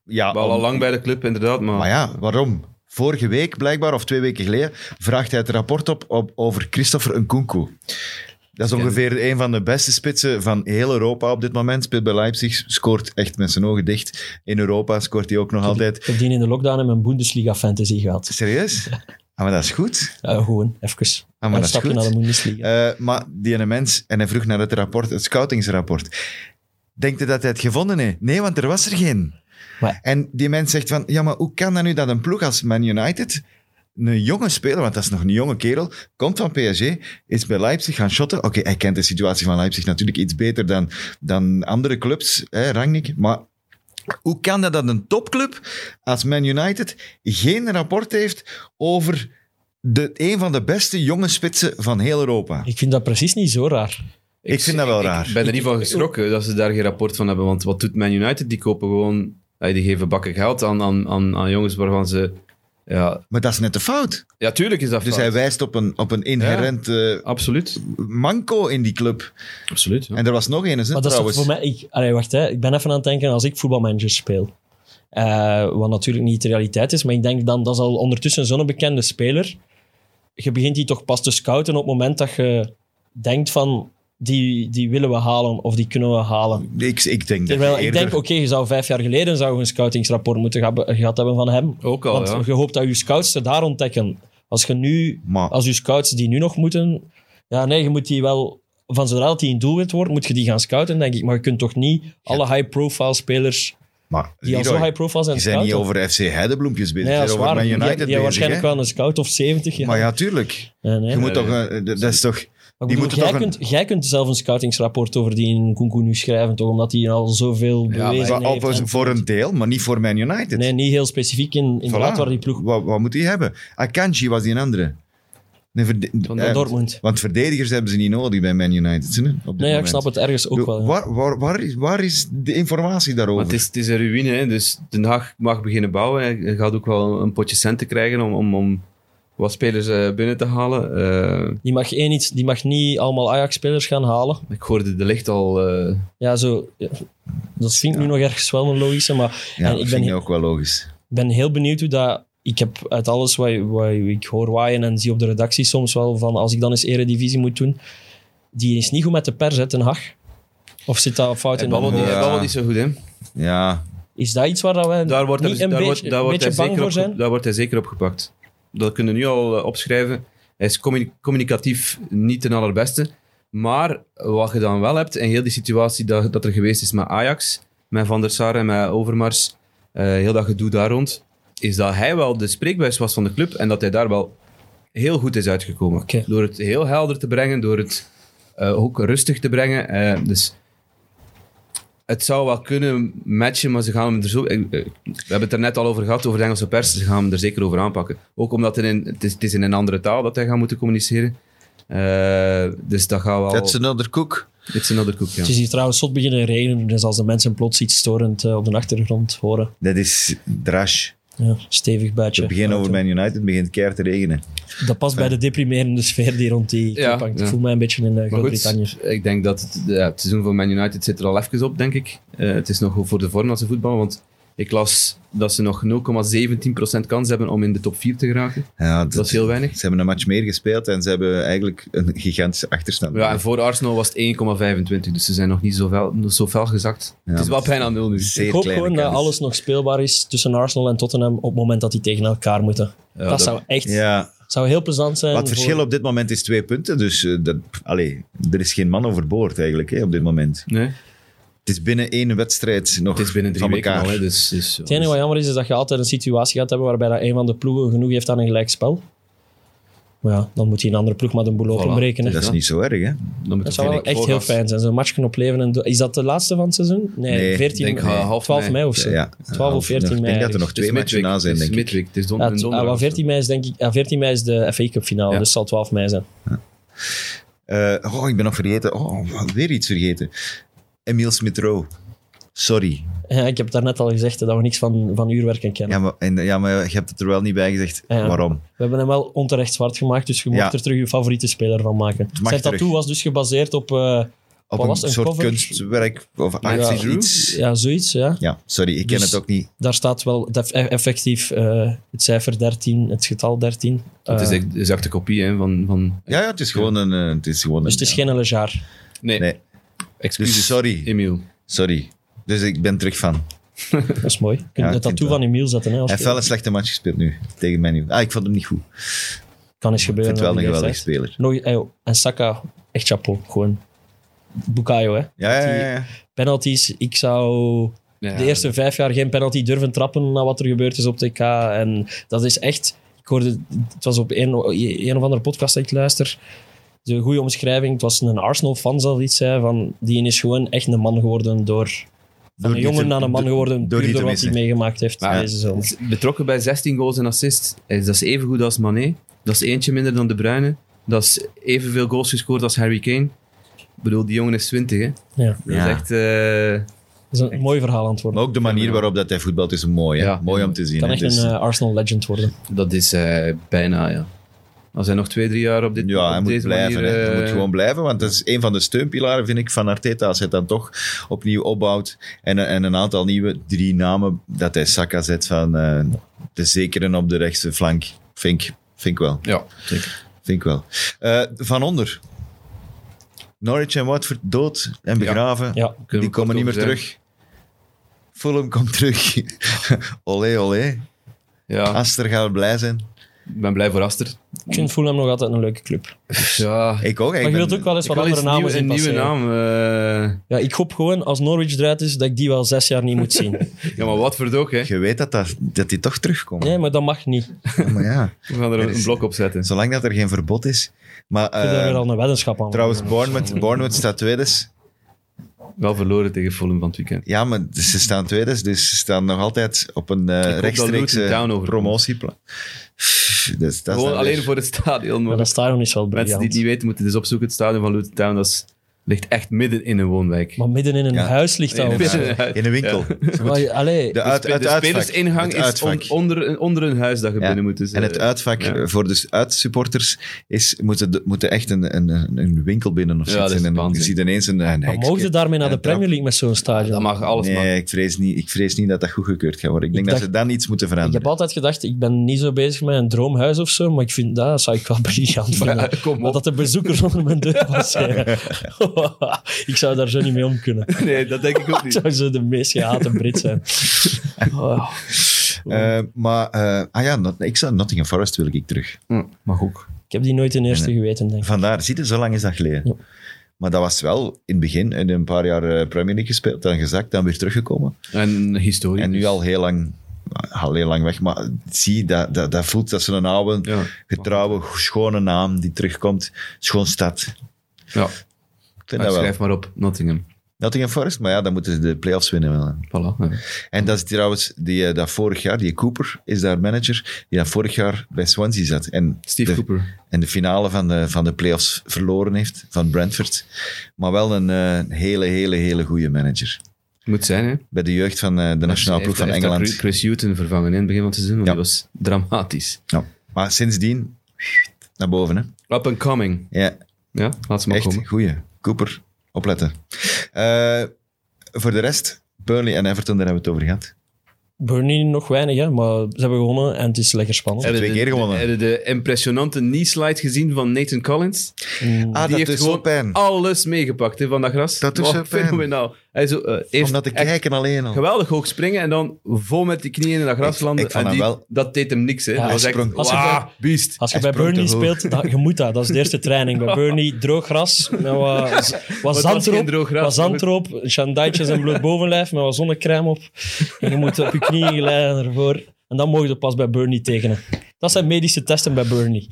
Speaker 2: Ja,
Speaker 3: Ah,
Speaker 4: Wel
Speaker 2: om-
Speaker 4: al lang bij de club, inderdaad. Maar,
Speaker 2: Maar ja, waarom? Vorige week, blijkbaar, of twee weken geleden, vraagt hij het rapport op, op over Christopher Nkunku. Dat is ongeveer een van de beste spitsen van heel Europa op dit moment. Speelt bij Leipzig, scoort echt met zijn ogen dicht. In Europa scoort hij ook nog
Speaker 3: Ik
Speaker 2: altijd.
Speaker 3: heb die in de lockdown in mijn Bundesliga fantasy gehad.
Speaker 2: Serieus? Ah, maar dat is goed.
Speaker 3: Eh, gewoon, even.
Speaker 2: Ah, maar
Speaker 3: een
Speaker 2: dat is
Speaker 3: stapje
Speaker 2: goed.
Speaker 3: naar de Bundesliga.
Speaker 2: Eh, maar die ene mens, en hij vroeg naar het rapport, het scoutingsrapport. Denkt hij dat hij het gevonden heeft? Nee, want er was er geen.
Speaker 3: Maar-
Speaker 2: En die mens zegt van, ja, maar hoe kan dat nu dat een ploeg als Man United, een jonge speler, want dat is nog een jonge kerel, komt van PSG, is bij Leipzig gaan shotten. Oké, hij kent de situatie van Leipzig natuurlijk iets beter dan, dan andere clubs, hè, Rangnick, maar... Hoe kan dat dat een topclub als Man United geen rapport heeft over de, een van de beste jonge spitsen van heel Europa?
Speaker 3: Ik vind dat precies niet zo raar.
Speaker 2: Ik vind dat wel raar.
Speaker 4: Ik ben er niet van geschrokken dat ze daar geen rapport van hebben. Want wat doet Man United? Die kopen gewoon... eh, Die geven bakken geld aan, aan, aan, aan jongens waarvan ze... Ja,
Speaker 2: Maar dat is net de fout.
Speaker 4: ja tuurlijk is dat
Speaker 2: Dus
Speaker 4: fout.
Speaker 2: hij wijst op een, op een inherent eh,
Speaker 4: Absoluut.
Speaker 2: manco in die club.
Speaker 4: Absoluut.
Speaker 2: En er was nog een, hè,
Speaker 3: Maar dat is toch
Speaker 2: trouwens.
Speaker 3: voor mij... Ik, allee, wacht, hè. ik ben even aan het denken als ik voetbalmanager speel. Eh, wat natuurlijk niet de realiteit is, maar ik denk dan, dat is al ondertussen zo'n bekende speler. Je begint die toch pas te scouten op het moment dat je denkt van... die, die willen we halen of die kunnen we halen.
Speaker 2: Ik, ik denk dat
Speaker 3: Terwijl
Speaker 2: je
Speaker 3: ik
Speaker 2: eerder-
Speaker 3: denk, oké, je zou vijf jaar geleden zou je een scoutingsrapport moeten gehad- gehad hebben van hem.
Speaker 4: Ook al,
Speaker 3: Want
Speaker 4: ja.
Speaker 3: je hoopt dat je scouts ze daar ontdekken. Als je nu,
Speaker 2: Maar-
Speaker 3: als je scouts die nu nog moeten, ja, nee, je moet die wel, van zodra dat die in doelwit wordt, moet je die gaan scouten, denk ik. Maar je kunt toch niet alle high-profile spelers
Speaker 2: maar,
Speaker 3: die al
Speaker 2: Leroy,
Speaker 3: zo high-profile zijn,
Speaker 2: je zijn niet
Speaker 3: scouten.
Speaker 2: over FC Heidebloempjes bezig,
Speaker 3: Nee,
Speaker 2: je
Speaker 3: dat is
Speaker 2: bent over
Speaker 3: waar.
Speaker 2: Man
Speaker 3: Die, die
Speaker 2: United
Speaker 3: hebben
Speaker 2: bezig.
Speaker 3: waarschijnlijk
Speaker 2: hè.
Speaker 3: wel een scout of 70. Ja.
Speaker 2: Maar ja, tuurlijk.
Speaker 3: Nee, nee.
Speaker 2: Je moet
Speaker 4: nee,
Speaker 2: toch,
Speaker 4: nee.
Speaker 2: eh, d- dat is toch...
Speaker 3: Maar
Speaker 2: Die
Speaker 3: ik bedoel,
Speaker 2: moeten
Speaker 3: jij,
Speaker 2: toch een-
Speaker 3: kunt, jij kunt zelf een scoutingsrapport over die in Kunku nu schrijven, toch? Omdat hij al zoveel
Speaker 4: maar
Speaker 3: bewezen
Speaker 2: Al-
Speaker 3: heeft.
Speaker 2: voor,
Speaker 3: en-
Speaker 2: voor een deel, maar niet voor Man United.
Speaker 3: Nee, niet heel specifiek in,
Speaker 2: Voilà.
Speaker 3: inderdaad waar die ploeg...
Speaker 2: Wat, wat moet hij hebben? Akanji was die een andere. Nee, verde-
Speaker 4: Van
Speaker 2: eh,
Speaker 3: Van Dortmund.
Speaker 2: Want verdedigers hebben ze niet nodig bij Man United. hè, op dit
Speaker 3: Nee, ja, ik
Speaker 2: moment.
Speaker 3: snap het ergens ook wel. ja.
Speaker 2: Waar, waar, waar, is, waar is de informatie
Speaker 4: Maar
Speaker 2: daarover?
Speaker 4: het is, het is een ruïne, hè. dus Den Haag mag beginnen bouwen. Hij hij gaat ook wel een potje centen krijgen om, om, om wat spelers eh, binnen te halen. Eh,
Speaker 3: Die mag één iets, die mag niet allemaal Ajax-spelers gaan halen.
Speaker 4: ik hoorde de licht al... eh,
Speaker 3: Ja, zo, ja. dat vind ik nu nog ergens wel een logische, maar
Speaker 2: ja,
Speaker 3: en
Speaker 2: dat
Speaker 3: ik
Speaker 2: vind
Speaker 3: ben,
Speaker 2: ik ook wel logisch.
Speaker 3: ben heel benieuwd hoe dat... Ik heb uit alles wat, wat ik hoor waaien en zie op de redactie soms wel van als ik dan eens eredivisie moet doen, die is niet goed met de pers, hè, Ten Hag. Of zit dat fout
Speaker 4: hij
Speaker 3: in?
Speaker 4: babbelt niet, hij
Speaker 2: Ja.
Speaker 4: babbelt niet zo goed, hè.
Speaker 2: Ja,
Speaker 3: Is dat iets waar dat we
Speaker 4: Daar wordt,
Speaker 3: niet
Speaker 4: hij-
Speaker 3: een
Speaker 4: daar
Speaker 3: beetje,
Speaker 4: wordt, daar wordt
Speaker 3: beetje
Speaker 4: hij
Speaker 3: bang
Speaker 4: zeker
Speaker 3: voor
Speaker 4: op,
Speaker 3: zijn?
Speaker 4: ge- daar wordt hij zeker op gepakt. Dat kunnen we nu al eh, opschrijven. Hij is communi- communicatief niet ten allerbeste. Maar wat je dan wel hebt, in heel die situatie dat, dat er geweest is met Ajax, met Van der Sar en met Overmars, eh, heel dat gedoe daar rond, is dat hij wel de spreekbuis was van de club en dat hij daar wel heel goed is uitgekomen.
Speaker 3: Oké.
Speaker 4: Door het heel helder te brengen, door het eh, ook rustig te brengen. eh, dus het zou wel kunnen matchen, maar ze gaan hem er zo... ik- ik- we hebben het er net al over gehad, over de Engelse pers. Ze gaan hem er zeker over aanpakken. Ook omdat het, in, het, is, het is in een andere taal dat hij gaat moeten communiceren. Eh, dus dat gaat wel...
Speaker 2: that's another cook.
Speaker 4: Dit is another cook, ja.
Speaker 3: Het is hier trouwens zot beginnen regenen, dus als de mensen plots iets storend eh, op de achtergrond horen.
Speaker 2: Dat is drash.
Speaker 3: Ja, stevig buitje. Eh,
Speaker 2: Het begin over
Speaker 3: Auto.
Speaker 2: Man United begint keihard te regenen.
Speaker 3: Dat past bij de deprimerende sfeer die rond die
Speaker 4: Ja,
Speaker 3: club hangt. Ik
Speaker 4: ja.
Speaker 3: voel mij een beetje in eh,
Speaker 4: Maar
Speaker 3: Groot-Brittannië.
Speaker 4: goed, ik denk dat het, ja, het seizoen van Man United zit er al even op, denk ik. Eh, het is nog goed voor de vorm als ze voetballen, want ik las dat ze nog 0,17% kans hebben om in de top 4 te geraken.
Speaker 2: Ja, dat,
Speaker 4: Dat is heel weinig.
Speaker 2: Ze hebben een match meer gespeeld en ze hebben eigenlijk een gigantische achterstand.
Speaker 4: Ja, en voor Arsenal was het 1,25, dus ze zijn nog niet zo fel, zo fel gezakt. het is wel
Speaker 2: maar-
Speaker 4: bijna nul nu.
Speaker 2: Zeer
Speaker 3: Ik hoop
Speaker 2: kleine
Speaker 3: gewoon dat
Speaker 2: kans.
Speaker 3: alles nog speelbaar is tussen Arsenal en Tottenham op het moment dat die tegen elkaar moeten. dat,
Speaker 4: dat-
Speaker 3: zou echt
Speaker 2: Ja,
Speaker 3: zou heel plezant zijn.
Speaker 2: Maar het verschil op dit moment is twee punten. Dus eh, dat, pff, allee, er is geen man overboord eigenlijk hè, op dit moment.
Speaker 4: Nee,
Speaker 2: Het is binnen één wedstrijd nog
Speaker 4: het is binnen drie
Speaker 2: van
Speaker 4: weken
Speaker 2: elkaar.
Speaker 4: al, hè, dus... dus
Speaker 3: Het enige wat jammer is, is dat je altijd een situatie gaat hebben waarbij dat een van de ploegen genoeg heeft aan een gelijkspel. Maar ja, dan moet hij een andere ploeg met een boel openbreken. hè.
Speaker 2: dat is niet zo erg, hè?
Speaker 4: dan moet
Speaker 3: Dat
Speaker 4: het
Speaker 3: zou wel
Speaker 4: eigenlijk
Speaker 3: echt heel
Speaker 4: vooraf-
Speaker 3: fijn zijn. Zo'n match kunnen opleven. En do- is dat de laatste van het seizoen? Nee,
Speaker 2: Nee,
Speaker 3: 14,
Speaker 4: denk, eh, half
Speaker 3: 12 mei.
Speaker 4: mei.
Speaker 3: of zo.
Speaker 2: Ja, eh,
Speaker 3: 12 of 14
Speaker 2: Ik
Speaker 3: mei.
Speaker 2: denk dat er nog
Speaker 3: ergens.
Speaker 4: eh, Het is
Speaker 2: twee matchen
Speaker 4: midweek,
Speaker 2: na zijn,
Speaker 4: het is
Speaker 2: denk ik.
Speaker 4: midweek, het is don-
Speaker 3: Ja,
Speaker 4: een
Speaker 3: het- ah,
Speaker 4: donderdag. dus.
Speaker 3: wel, 14 mei is denk ik... ja, 14 mei is de FA Cup finale,
Speaker 4: Ja.
Speaker 3: dus het zal 12 mei zijn.
Speaker 2: Eh, oh, ik ben nog vergeten. Oh, weer iets vergeten. Emile Smith-Rowe. Sorry.
Speaker 3: Ja, ik heb het daarnet al gezegd hè, dat we niks van, van uurwerken kennen.
Speaker 2: Ja maar, en, ja, maar je hebt het er wel niet bij gezegd.
Speaker 3: Ja.
Speaker 2: Waarom?
Speaker 3: We hebben hem wel onterecht zwart gemaakt, dus je mocht
Speaker 2: Ja.
Speaker 3: er terug je favoriete speler van maken.
Speaker 2: mag
Speaker 3: Zijn tattoo
Speaker 2: terug.
Speaker 3: was dus gebaseerd op... eh,
Speaker 2: Op
Speaker 3: Wat was
Speaker 2: een
Speaker 3: een
Speaker 2: soort
Speaker 3: cover?
Speaker 2: kunstwerk of
Speaker 4: Nancy
Speaker 2: actie,
Speaker 4: Drew?
Speaker 2: iets.
Speaker 3: ja, zoiets, ja.
Speaker 2: Ja, sorry, ik ken
Speaker 3: Dus-
Speaker 2: het ook niet.
Speaker 3: Daar staat wel def- effectief eh, het cijfer 13, het getal 13.
Speaker 4: Het is
Speaker 3: Eh,
Speaker 4: echt een exacte kopie hè, van... van
Speaker 2: Ja, ja, het is gewoon een... eh, Het is gewoon een
Speaker 3: dus het is geen Lejar.
Speaker 4: nee,
Speaker 2: Nee.
Speaker 4: excuses,
Speaker 2: Dus sorry,
Speaker 4: Emiel.
Speaker 2: sorry. Dus ik ben terug van.
Speaker 3: Dat is mooi. Je kunt
Speaker 2: Ja,
Speaker 3: het
Speaker 2: ik
Speaker 3: tattoo
Speaker 2: vind wel.
Speaker 3: van Emiel zetten. Hè, als
Speaker 2: Hij heeft
Speaker 3: je-
Speaker 2: wel een slechte match gespeeld nu tegen Menu. Ah, ik vond hem niet goed. Ik
Speaker 3: kan eens gebeuren.
Speaker 2: vind het wel
Speaker 3: op
Speaker 2: een
Speaker 3: die
Speaker 2: geweldige
Speaker 3: leeftijd.
Speaker 2: speler.
Speaker 3: Nog, eh, joh, en Saka, echt chapeau. Gewoon. Bukayo, hè.
Speaker 2: Ja, ja, ja, ja.
Speaker 3: Penalties. Ik zou
Speaker 4: Ja,
Speaker 3: de
Speaker 2: Ehm.
Speaker 3: eerste vijf jaar geen penalty durven trappen na wat er gebeurd is op TK. En dat is echt... Ik hoorde... Het was op een, een of andere podcast dat ik luister. De goede omschrijving. Het was een Arsenal-fan, zal iets zijn. Van, die is gewoon echt een man geworden door... van
Speaker 2: Door
Speaker 3: een
Speaker 2: die
Speaker 3: jongen
Speaker 2: te-
Speaker 3: naar een man
Speaker 2: do- door
Speaker 3: geworden puur
Speaker 2: die
Speaker 3: door,
Speaker 2: te
Speaker 3: wat hij
Speaker 2: missen.
Speaker 3: meegemaakt heeft
Speaker 4: Maar ja,
Speaker 3: deze zomer.
Speaker 4: is betrokken bij 16 goals en assists. Eh, Dat is even goed als Mané. Dat is eentje minder dan De Bruyne. Dat is evenveel goals gescoord als Harry Kane. Ik bedoel, die jongen is 20, hè.
Speaker 3: Ja,
Speaker 4: Dat
Speaker 2: Ja.
Speaker 4: is echt... eh,
Speaker 3: dat is een mooi verhaal aan het worden.
Speaker 2: Maar ook de manier waarop dat hij voetbalt is mooi. Hè?
Speaker 4: Ja.
Speaker 2: mooi om te zien.
Speaker 3: kan
Speaker 2: hè.
Speaker 3: echt
Speaker 2: Dus-
Speaker 3: een eh, Arsenal-legend worden.
Speaker 4: dat is eh, bijna, ja. Als hij nog twee, drie jaar op dit
Speaker 2: ja,
Speaker 4: op
Speaker 2: hij moet
Speaker 4: deze
Speaker 2: blijven.
Speaker 4: manier,
Speaker 2: hè. Hij
Speaker 4: eh,
Speaker 2: moet gewoon blijven, want dat is een van de steunpilaren, vind ik, van Arteta. Als hij het dan toch opnieuw opbouwt en, en een aantal nieuwe drie namen, dat hij Saka zet van eh, de zekeren op de rechtse flank. Vind ik, vind ik wel.
Speaker 4: Ja, zeker.
Speaker 2: Vind ik wel. Eh, van onder. Norwich en Watford dood en begraven.
Speaker 3: Ja.
Speaker 2: Die komen niet meer terug. Fulham komt terug. olé, olé.
Speaker 4: Ja,
Speaker 2: Aster gaat blij zijn.
Speaker 4: ik ben blij voor Aster.
Speaker 3: Ik vind Fulham nog altijd een leuke club.
Speaker 4: Ja,
Speaker 2: Ik ook.
Speaker 3: Maar
Speaker 2: Ik
Speaker 3: je
Speaker 2: ben,
Speaker 3: wilt ook wel eens
Speaker 4: ik
Speaker 3: wat
Speaker 4: wil
Speaker 3: andere
Speaker 4: iets
Speaker 3: namen
Speaker 4: nieuw, een
Speaker 3: zien
Speaker 4: nieuwe
Speaker 3: passeren.
Speaker 4: naam. eh.
Speaker 3: Ja, ik hoop gewoon, als Norwich eruit is, dat ik die wel zes jaar niet moet zien.
Speaker 4: ja, maar wat voor ook, hè.
Speaker 2: Je weet dat, dat, dat die toch terugkomen.
Speaker 3: Nee, maar dat mag niet.
Speaker 2: Maar ja,
Speaker 4: We gaan er
Speaker 2: Er
Speaker 4: een,
Speaker 2: is-
Speaker 4: blok op zetten.
Speaker 2: zolang dat er geen verbod is. Maar
Speaker 3: Ik vind daar
Speaker 2: eh,
Speaker 3: weer al een weddenschap aan.
Speaker 2: trouwens, Bournemouth, Bournemouth staat tweede.
Speaker 4: Wel verloren tegen Fulham van het weekend.
Speaker 2: Ja, maar ze staan tweede, dus ze staan nog altijd op een eh,
Speaker 4: dat
Speaker 2: rechtstreekse
Speaker 4: Luton Town overkomt.
Speaker 2: promotieplan. Dus, dat is
Speaker 4: Gewoon
Speaker 2: dan
Speaker 4: alleen
Speaker 2: weer-
Speaker 4: voor het stadion.
Speaker 3: Maar
Speaker 4: Maar
Speaker 3: dat stadion is wel
Speaker 4: mensen die
Speaker 3: briljant.
Speaker 4: het niet weten, moeten dus opzoeken. Het stadion van Luton Town dat is- ligt echt midden in een woonwijk.
Speaker 3: Maar midden in een
Speaker 2: Ja.
Speaker 3: huis ligt dat
Speaker 4: Nee,
Speaker 3: ook.
Speaker 4: nee, nee.
Speaker 3: Maar
Speaker 4: Ja. Dus
Speaker 2: in een winkel.
Speaker 3: je- Allee,
Speaker 2: De, uit,
Speaker 4: de
Speaker 2: het uitvak.
Speaker 4: spelersingang
Speaker 2: Het
Speaker 4: is on- onder, een- onder een huis dat je
Speaker 2: Ja.
Speaker 4: binnen moet. Dus,
Speaker 2: En het
Speaker 4: eh,
Speaker 2: uitvak
Speaker 4: ja.
Speaker 2: eh, voor de uitsupporters is, moeten, de- moeten echt een, een, een- een winkel binnen of
Speaker 4: Ja,
Speaker 2: zoiets.
Speaker 4: dat is
Speaker 2: En dan- je
Speaker 4: waanzin.
Speaker 2: ziet ineens een, een
Speaker 3: maar
Speaker 2: hekske.
Speaker 3: mogen ze daarmee naar
Speaker 2: en
Speaker 3: de
Speaker 2: een trap.
Speaker 3: Premier League met zo'n
Speaker 4: dat
Speaker 3: stadion?
Speaker 4: mag alles, man.
Speaker 2: Nee, ik vrees, niet, ik vrees niet dat dat goedgekeurd gaat worden. Ik,
Speaker 3: Ik
Speaker 2: denk dat
Speaker 3: dacht-
Speaker 2: ze dan iets moeten
Speaker 3: Ik heb
Speaker 2: veranderen.
Speaker 3: altijd gedacht, ik ben niet zo bezig met een droomhuis of zo, maar ik vind dat zou ik wel briljant vinden.
Speaker 4: Maar, kom
Speaker 3: Maar
Speaker 4: op.
Speaker 3: dat de bezoekers onder mijn deur passeren. ik zou daar zo niet mee om kunnen.
Speaker 4: Nee, dat denk ik ook
Speaker 3: Ik
Speaker 4: niet.
Speaker 3: zou zo de meest gehate Brit zijn. Oh.
Speaker 2: Eh, maar, eh, ah ja, Not- ik zou Nottingham Forest wil ik terug.
Speaker 4: Mag ook.
Speaker 3: Ik heb die nooit in eerste geweten, denk ik.
Speaker 2: Vandaar, ziet je, zo lang is dat geleden.
Speaker 3: Ja.
Speaker 2: Maar dat was wel in het begin, in een paar jaar eh, Premier League gespeeld, dan gezakt, dan weer teruggekomen.
Speaker 4: En historie.
Speaker 2: En nu
Speaker 4: dus.
Speaker 2: al heel lang, eh, al heel lang weg. Maar zie, dat, dat, dat voelt dat ze een oude,
Speaker 4: Ja.
Speaker 2: getrouwe, schone naam die terugkomt. Schoon stad. Ik
Speaker 4: ja.
Speaker 2: vind
Speaker 4: Ah,
Speaker 2: dat wel.
Speaker 4: schrijf maar op, Nottingham.
Speaker 2: Nottingham Forest, maar ja, dan moeten ze de play-offs winnen wel.
Speaker 4: Voilà. Ja.
Speaker 2: En dat is trouwens, die, eh, dat vorig jaar, die Cooper is daar manager, die dat vorig jaar bij Swansea zat. En
Speaker 4: Steve
Speaker 2: de,
Speaker 4: Cooper.
Speaker 2: En de finale van de, van de play-offs verloren heeft van Brentford. Maar wel een eh, hele, hele, hele goede manager.
Speaker 4: Moet zijn, hè?
Speaker 2: Bij de jeugd van eh, de nationale
Speaker 4: Hij
Speaker 2: ploeg van
Speaker 4: heeft- hij heeft
Speaker 2: Engeland.
Speaker 4: daar Chris Hutton vervangen in het begin van het seizoen, want
Speaker 2: Ja.
Speaker 4: die was dramatisch.
Speaker 2: Ja. Maar sindsdien, naar boven. Hè?
Speaker 4: Up and coming.
Speaker 2: Ja,
Speaker 4: Ja, laat ze maar
Speaker 2: echt
Speaker 4: komen.
Speaker 2: goeie. Cooper, opletten. Eh, voor de rest, Burnley en Everton, daar hebben we het over gehad.
Speaker 3: Burnley nog weinig, hè, maar ze hebben gewonnen en het is lekker spannend.
Speaker 2: Hebben twee
Speaker 4: de-
Speaker 2: keer gewonnen.
Speaker 4: Hebben de impressionante knee-slide gezien van Nathan Collins?
Speaker 3: Mm.
Speaker 2: Ah,
Speaker 4: die
Speaker 2: dat
Speaker 4: heeft
Speaker 2: is zo
Speaker 4: gewoon
Speaker 2: pijn.
Speaker 4: alles meegepakt hè, van dat gras.
Speaker 2: Dat doet
Speaker 4: Oh,
Speaker 2: zo pijn.
Speaker 4: Fenomenaal. Hij zo, eh, heeft
Speaker 2: Om dat te
Speaker 4: echt
Speaker 2: kijken alleen al.
Speaker 4: Geweldig hoog springen en dan vol met die knieën in dat gras
Speaker 2: Ik-
Speaker 4: landen.
Speaker 2: ik vond
Speaker 4: en die,
Speaker 2: hem wel-
Speaker 4: dat deed hem niks. Hè. dat
Speaker 3: hij
Speaker 4: was echt,
Speaker 2: sprong-
Speaker 3: Als Ah. je
Speaker 4: wauw, beest.
Speaker 3: Als je
Speaker 2: Hij
Speaker 3: bij
Speaker 2: sprong
Speaker 3: Burnley
Speaker 2: te hoog.
Speaker 3: speelt, dat, je moet dat. Dat is de eerste training. Bij Burnley, droog gras, met wat, wat
Speaker 4: was
Speaker 3: zand
Speaker 4: geen
Speaker 3: erop,
Speaker 4: droog gras,
Speaker 3: wat
Speaker 4: maar
Speaker 3: zand
Speaker 4: goed.
Speaker 3: erop, chandaitjes en bloot bovenlijf, met wat zonnecrème op. En je moet op je knieën glijden ervoor. En dan mogen ze pas bij Burnley tekenen. Dat zijn medische testen bij Burnley.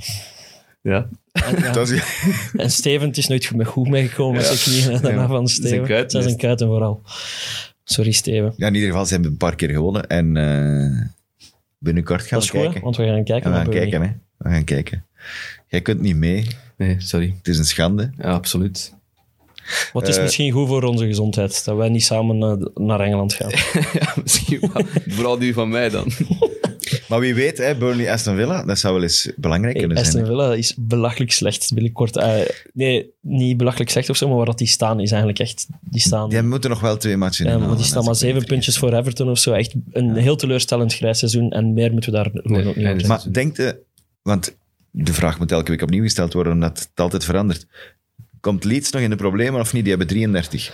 Speaker 4: Ja,
Speaker 2: Dat is-
Speaker 3: En Steven, het is nooit goed- goed meegekomen met zijn knieën. En daarna van Steven.
Speaker 4: Zijn kuiten
Speaker 3: zijn
Speaker 4: is-
Speaker 3: kuiten vooral. Sorry, Steven.
Speaker 2: ja, in ieder geval, ze hebben een paar keer gewonnen. En eh, binnenkort gaan
Speaker 3: Dat
Speaker 2: we
Speaker 3: is goed, hè,
Speaker 2: kijken.
Speaker 3: want we gaan kijken
Speaker 2: we
Speaker 3: naar
Speaker 2: gaan
Speaker 3: Burnley.
Speaker 2: kijken, hè. We gaan kijken. Jij kunt niet mee.
Speaker 4: nee, sorry.
Speaker 2: Het is een schande.
Speaker 4: Ja, absoluut.
Speaker 3: Wat is
Speaker 2: Eh,
Speaker 3: misschien goed voor onze gezondheid, dat wij niet samen eh, naar Engeland gaan.
Speaker 4: Ja, misschien wel. Vooral die van mij dan.
Speaker 2: Maar wie weet, hè, Burnley Aston Villa, dat zou wel eens belangrijk
Speaker 3: Hey,
Speaker 2: kunnen
Speaker 3: Aston
Speaker 2: zijn.
Speaker 3: Villa is belachelijk slecht binnenkort. eh nee, niet belachelijk slecht of zo, maar waar dat die staan is eigenlijk echt... Die staan,
Speaker 2: Die moeten nog wel twee matchen
Speaker 3: eh,
Speaker 2: in.
Speaker 3: maar die staan maar zeven puntjes voor Everton of zo. Echt een heel teleurstellend grijs seizoen en meer moeten we daar
Speaker 4: Nee,
Speaker 3: gewoon ook niet
Speaker 4: nee,
Speaker 3: over
Speaker 4: dus-
Speaker 3: zeggen.
Speaker 2: Maar denk de, want de vraag moet elke week opnieuw gesteld worden, omdat het altijd verandert. Komt Leeds nog in de problemen of niet? Die hebben 33.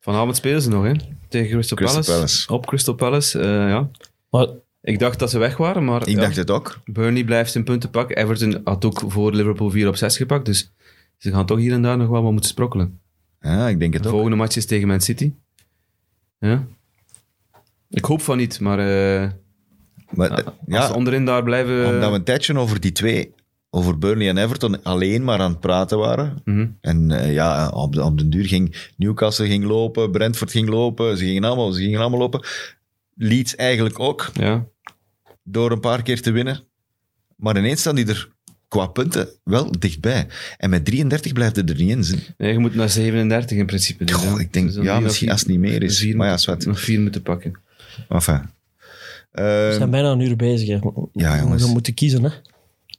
Speaker 4: Vanavond spelen ze nog, hè? Tegen
Speaker 2: Crystal
Speaker 4: Crystal, Palace.
Speaker 2: Palace.
Speaker 4: Op Crystal Palace, eh, ja.
Speaker 3: Maar
Speaker 4: Ik dacht dat ze weg waren, maar
Speaker 2: Ik
Speaker 4: ja,
Speaker 2: dacht het ook.
Speaker 4: Burnley blijft zijn punten pakken. Everton had ook voor Liverpool 4 op 6 gepakt, dus ze gaan toch hier en daar nog wel wat moeten sprokkelen.
Speaker 2: Ja, ik denk het
Speaker 4: De
Speaker 2: ook.
Speaker 4: volgende match is tegen Man City. Ja. Ik hoop van niet, maar eh,
Speaker 2: Maar, eh,
Speaker 4: als
Speaker 2: ja,
Speaker 4: ze onderin daar blijven...
Speaker 2: omdat we een tijdje over die twee, over Burnley en Everton, alleen maar aan het praten waren.
Speaker 4: Mhm.
Speaker 2: En eh, ja, op de, op den duur ging Newcastle ging lopen, Brentford ging lopen, ze gingen allemaal, ze gingen allemaal lopen. Leeds eigenlijk ook.
Speaker 4: Ja,
Speaker 2: door een paar keer te winnen. Maar ineens staan die er qua punten wel dichtbij. En met 33 blijft het er niet in. zin.
Speaker 4: nee, je moet naar 37 in principe. dus,
Speaker 2: Goh,
Speaker 4: ja.
Speaker 2: ik denk,
Speaker 4: Dus dan
Speaker 2: ja,
Speaker 4: die
Speaker 2: misschien
Speaker 4: nog
Speaker 2: als het niet meer is.
Speaker 4: vier
Speaker 2: Maar ja,
Speaker 4: moeten-
Speaker 2: zwart.
Speaker 4: Nog vier moeten pakken.
Speaker 2: Enfin.
Speaker 3: we
Speaker 2: Ehm,
Speaker 3: zijn bijna een uur bezig. Hè.
Speaker 2: Ja, jongens.
Speaker 3: We moeten kiezen, hè.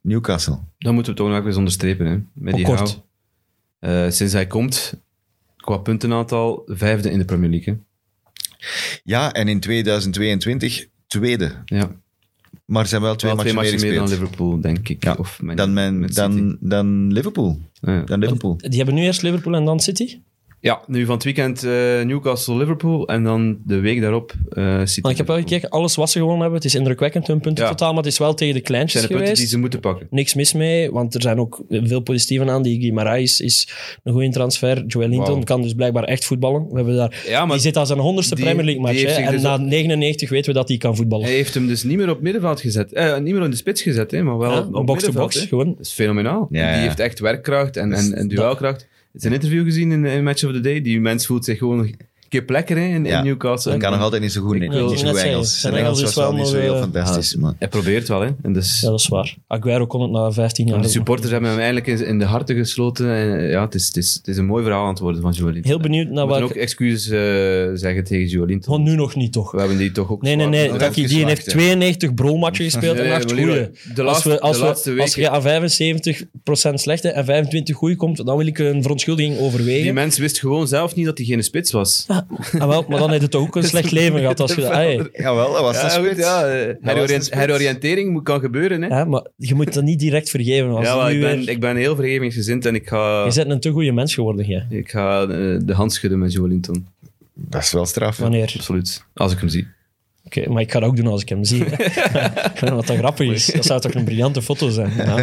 Speaker 2: Newcastle.
Speaker 4: Dan moeten we het ook nog eens onderstrepen. Hè,
Speaker 3: Hoe
Speaker 4: met die
Speaker 3: kort?
Speaker 4: hou. Eh, sinds hij komt, qua puntenaantal, vijfde in de Premier League. Hè.
Speaker 2: Ja, en in 2022 tweede.
Speaker 4: Ja.
Speaker 2: Maar ze hebben wel twee
Speaker 4: Wel
Speaker 2: matchen
Speaker 4: twee
Speaker 2: meer
Speaker 4: matchen meer dan
Speaker 2: gespeeld.
Speaker 4: Liverpool, denk ik.
Speaker 2: Ja,
Speaker 4: Of Man-
Speaker 2: Dan, mijn,
Speaker 4: Man City. Ah,
Speaker 2: dan, dan Liverpool.
Speaker 4: Ja.
Speaker 2: Dan Liverpool.
Speaker 3: Die hebben nu eerst Liverpool en dan City.
Speaker 4: Ja, nu van het weekend eh, Newcastle-Liverpool en dan de week daarop eh City.
Speaker 3: Want ik heb wel
Speaker 4: Liverpool.
Speaker 3: gekeken, alles wat ze gewonnen hebben. Het is indrukwekkend hun punten
Speaker 4: Ja.
Speaker 3: totaal, maar het is wel tegen de
Speaker 4: Het
Speaker 3: kleintjes
Speaker 4: zijn de punten
Speaker 3: geweest.
Speaker 4: die ze moeten pakken.
Speaker 3: Niks mis mee, want er zijn ook veel positieven aan. Die Guimaraes is een goede transfer. Joel Linton
Speaker 4: Wauw.
Speaker 3: kan dus blijkbaar echt voetballen. We hebben daar,
Speaker 4: Ja, Ah, maar
Speaker 3: die zit aan zijn honderdste
Speaker 4: die-
Speaker 3: Premier League match.
Speaker 4: die heeft
Speaker 3: hè.
Speaker 4: zich
Speaker 3: En
Speaker 4: dus
Speaker 3: na
Speaker 4: ook-
Speaker 3: 99 weten we dat hij kan voetballen.
Speaker 4: hij heeft hem dus niet meer op middenveld gezet. Eh, niet meer in de spits gezet, hè, maar wel
Speaker 3: Ja,
Speaker 4: op op
Speaker 3: box to
Speaker 4: middenveld,
Speaker 3: box,
Speaker 4: hè. Dus-
Speaker 3: gewoon.
Speaker 4: Dat is fenomenaal.
Speaker 2: Ja, Dus ja.
Speaker 4: Die heeft echt werkkracht en, en, en duelkracht. Het is een interview gezien in, in Match of the Day. Die mens voelt zich gewoon een keer plekker hè, in, in
Speaker 2: Ja.
Speaker 4: Newcastle.
Speaker 2: Dat kan nog
Speaker 4: En-
Speaker 2: altijd niet zo goed. Nee,
Speaker 4: Ik
Speaker 2: niet
Speaker 4: wil-
Speaker 2: zo
Speaker 3: net
Speaker 2: goed
Speaker 3: zeggen,
Speaker 2: Engels. Zijn Engels was wel niet zo
Speaker 3: nog,
Speaker 2: heel
Speaker 3: eh,
Speaker 2: fantastisch. Maar.
Speaker 4: Dus Hij probeert wel, hè. En dus,
Speaker 3: Ja, dat is waar. Aguero kon het na 15 jaar.
Speaker 4: de
Speaker 3: ook nog.
Speaker 4: supporters hebben hem eigenlijk in, in de harten gesloten. En, eh, ja, het, is, het, is, het is een mooi verhaal aan het worden van Joelinton.
Speaker 3: Heel benieuwd naar
Speaker 4: We moeten
Speaker 3: welke...
Speaker 4: ook excuses eh, zeggen tegen Joelinton.
Speaker 3: Gewoon nu nog niet, toch?
Speaker 4: We hebben die toch ook
Speaker 3: Nee, nee,
Speaker 4: zwaar
Speaker 3: nee.
Speaker 4: gedaan.
Speaker 2: dat
Speaker 3: Taki, die
Speaker 2: geslaagd,
Speaker 3: heeft
Speaker 2: hè.
Speaker 3: 92 bro-matchen gespeeld en
Speaker 4: Nee,
Speaker 3: 8
Speaker 4: maar Leroy,
Speaker 3: goeie.
Speaker 4: de
Speaker 3: Als,
Speaker 4: laatste-
Speaker 3: we, als,
Speaker 4: de laatste
Speaker 3: we, als
Speaker 4: weken-
Speaker 3: je aan 75% slechte en 25 goeie komt, dan wil ik een verontschuldiging
Speaker 4: Die
Speaker 3: overwegen.
Speaker 4: mens wist gewoon zelf niet dat hij geen spits was.
Speaker 3: Ah, wel, maar dan heeft het toch ook een slecht leven gehad. Als je, dat- ah, ja.
Speaker 2: Jawel, dat was
Speaker 4: Ja,
Speaker 2: de
Speaker 4: goed,
Speaker 2: spits.
Speaker 4: ja, eh, heroriënt-
Speaker 2: de spits.
Speaker 4: heroriëntering moet, kan gebeuren. Hè.
Speaker 3: Ja, maar je moet dat niet direct vergeven. Als
Speaker 4: Ja,
Speaker 3: je
Speaker 4: maar
Speaker 3: nu
Speaker 4: ik, ben,
Speaker 3: weer-
Speaker 4: ik ben heel vergevingsgezind en ik ga,
Speaker 3: Je bent een te goede mens geworden, jij.
Speaker 4: ik ga eh, de hand schudden met Joelinton.
Speaker 2: Dat is wel straf. hè.
Speaker 3: Wanneer?
Speaker 4: Absoluut. Als ik hem zie.
Speaker 3: Oké, maar ik ga dat ook doen als ik hem zie. hè. Ik vind Wat dat grappig is. Dat zou toch een briljante foto zijn. Ja.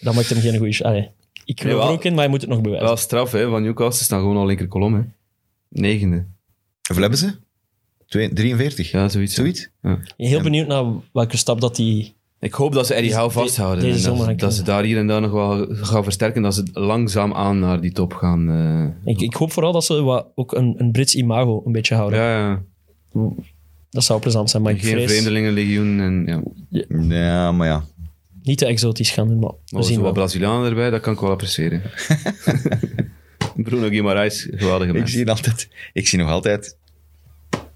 Speaker 3: Dat maakt hem geen goede... Allee, ik geloof
Speaker 4: Jawel.
Speaker 3: er ook in, maar je moet het nog bewijzen.
Speaker 4: Wel straf, hè, van Newcastle staan gewoon al linker kolom. Hè. Negende.
Speaker 2: Hoeveel hebben ze? Twee- 43?
Speaker 4: Ja, zoiets.
Speaker 2: Zoiets?
Speaker 3: Heel benieuwd naar welke stap dat hij
Speaker 4: Ik hoop dat ze Eddie
Speaker 3: Deze-
Speaker 4: Howe vasthouden.
Speaker 3: deze
Speaker 4: en dat,
Speaker 3: zomer
Speaker 4: ze-
Speaker 3: gaan
Speaker 4: dat ze daar hier en daar nog wel gaan versterken. Dat ze langzaamaan naar die top gaan. eh.
Speaker 3: Ik, ik hoop vooral dat ze wat, ook een, een Brits imago een beetje houden.
Speaker 4: ja, ja.
Speaker 3: Dat zou plezant zijn, maar ik
Speaker 4: Geen
Speaker 3: vrees
Speaker 4: vreemdelingenlegioen. En, ja.
Speaker 2: Ja, maar ja.
Speaker 3: niet te exotisch gaan doen. Maar we
Speaker 4: Maar
Speaker 3: zien
Speaker 4: Oh,
Speaker 3: wel.
Speaker 4: zo wat Brazilianen erbij, dat kan ik wel appreciëren. Bruno Guimaraes, geweldige
Speaker 2: Ik
Speaker 4: mens.
Speaker 2: zie, altijd, ik zie nog altijd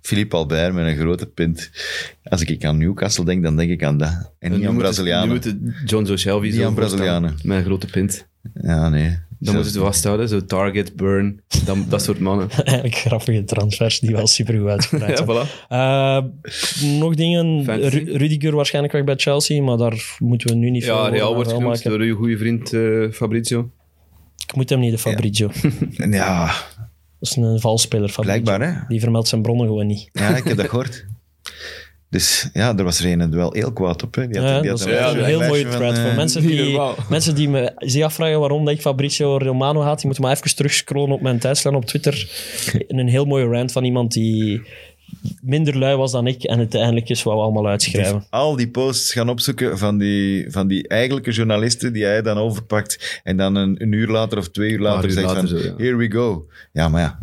Speaker 2: Philippe Albert met een grote pint. Als ik aan Newcastle denk, dan denk ik aan dat. En niet
Speaker 4: Nu
Speaker 2: aan
Speaker 4: moet het- Nu
Speaker 2: Brazilianen.
Speaker 4: moeten John Joe Shelby
Speaker 2: Niet
Speaker 4: zo
Speaker 2: aan
Speaker 4: voorstaan,
Speaker 2: Brazilianen.
Speaker 4: Met een grote pint.
Speaker 2: Ja, nee.
Speaker 4: Dan moeten ze het vasthouden. Zo Target, Burn, dan, dat soort mannen.
Speaker 3: Eigenlijk grappige transfers die wel super goed uitgedraaid
Speaker 4: ja,
Speaker 3: zijn.
Speaker 4: voilà.
Speaker 3: Eh, nog dingen.
Speaker 4: Fantasy.
Speaker 3: Ru- Rudiger waarschijnlijk weg bij Chelsea, maar daar moeten we nu niet
Speaker 4: Ja,
Speaker 3: veel
Speaker 4: Real
Speaker 3: woorden
Speaker 4: wordt
Speaker 3: aan vuil
Speaker 4: genoemd
Speaker 3: eh, maken.
Speaker 4: door uw goede vriend eh, Fabrizio.
Speaker 3: Ik moet hem niet, de Fabrizio.
Speaker 2: Ja,
Speaker 3: Dat is een valspeler, Fabrizio.
Speaker 2: blijkbaar hè.
Speaker 3: Die vermeldt zijn bronnen gewoon niet.
Speaker 2: Ja, ik heb dat gehoord. Dus ja, er was er een wel heel kwaad op. Hè. Die had,
Speaker 3: Ja,
Speaker 2: die
Speaker 3: dat
Speaker 2: had
Speaker 3: is
Speaker 2: een
Speaker 3: wel
Speaker 2: lijstje-
Speaker 3: een heel mooie
Speaker 2: lijstje van,
Speaker 3: thread.
Speaker 2: eh,
Speaker 3: Voor mensen
Speaker 4: niet
Speaker 3: die,
Speaker 4: normaal.
Speaker 3: mensen die me zich afvragen waarom dat ik Fabrizio Romano haat, die moeten maar even terugscrollen op mijn tijdslijn op Twitter. In een heel mooie rant van iemand die minder lui was dan ik en het eindelijk eens wou allemaal uitschrijven.
Speaker 2: Al die posts gaan opzoeken van die, van die eigenlijke journalisten die hij dan overpakt. En dan een, een uur later of twee uur later
Speaker 4: uur
Speaker 2: zegt
Speaker 4: later
Speaker 2: van,
Speaker 4: zo, ja.
Speaker 2: here we go. Ja, maar ja.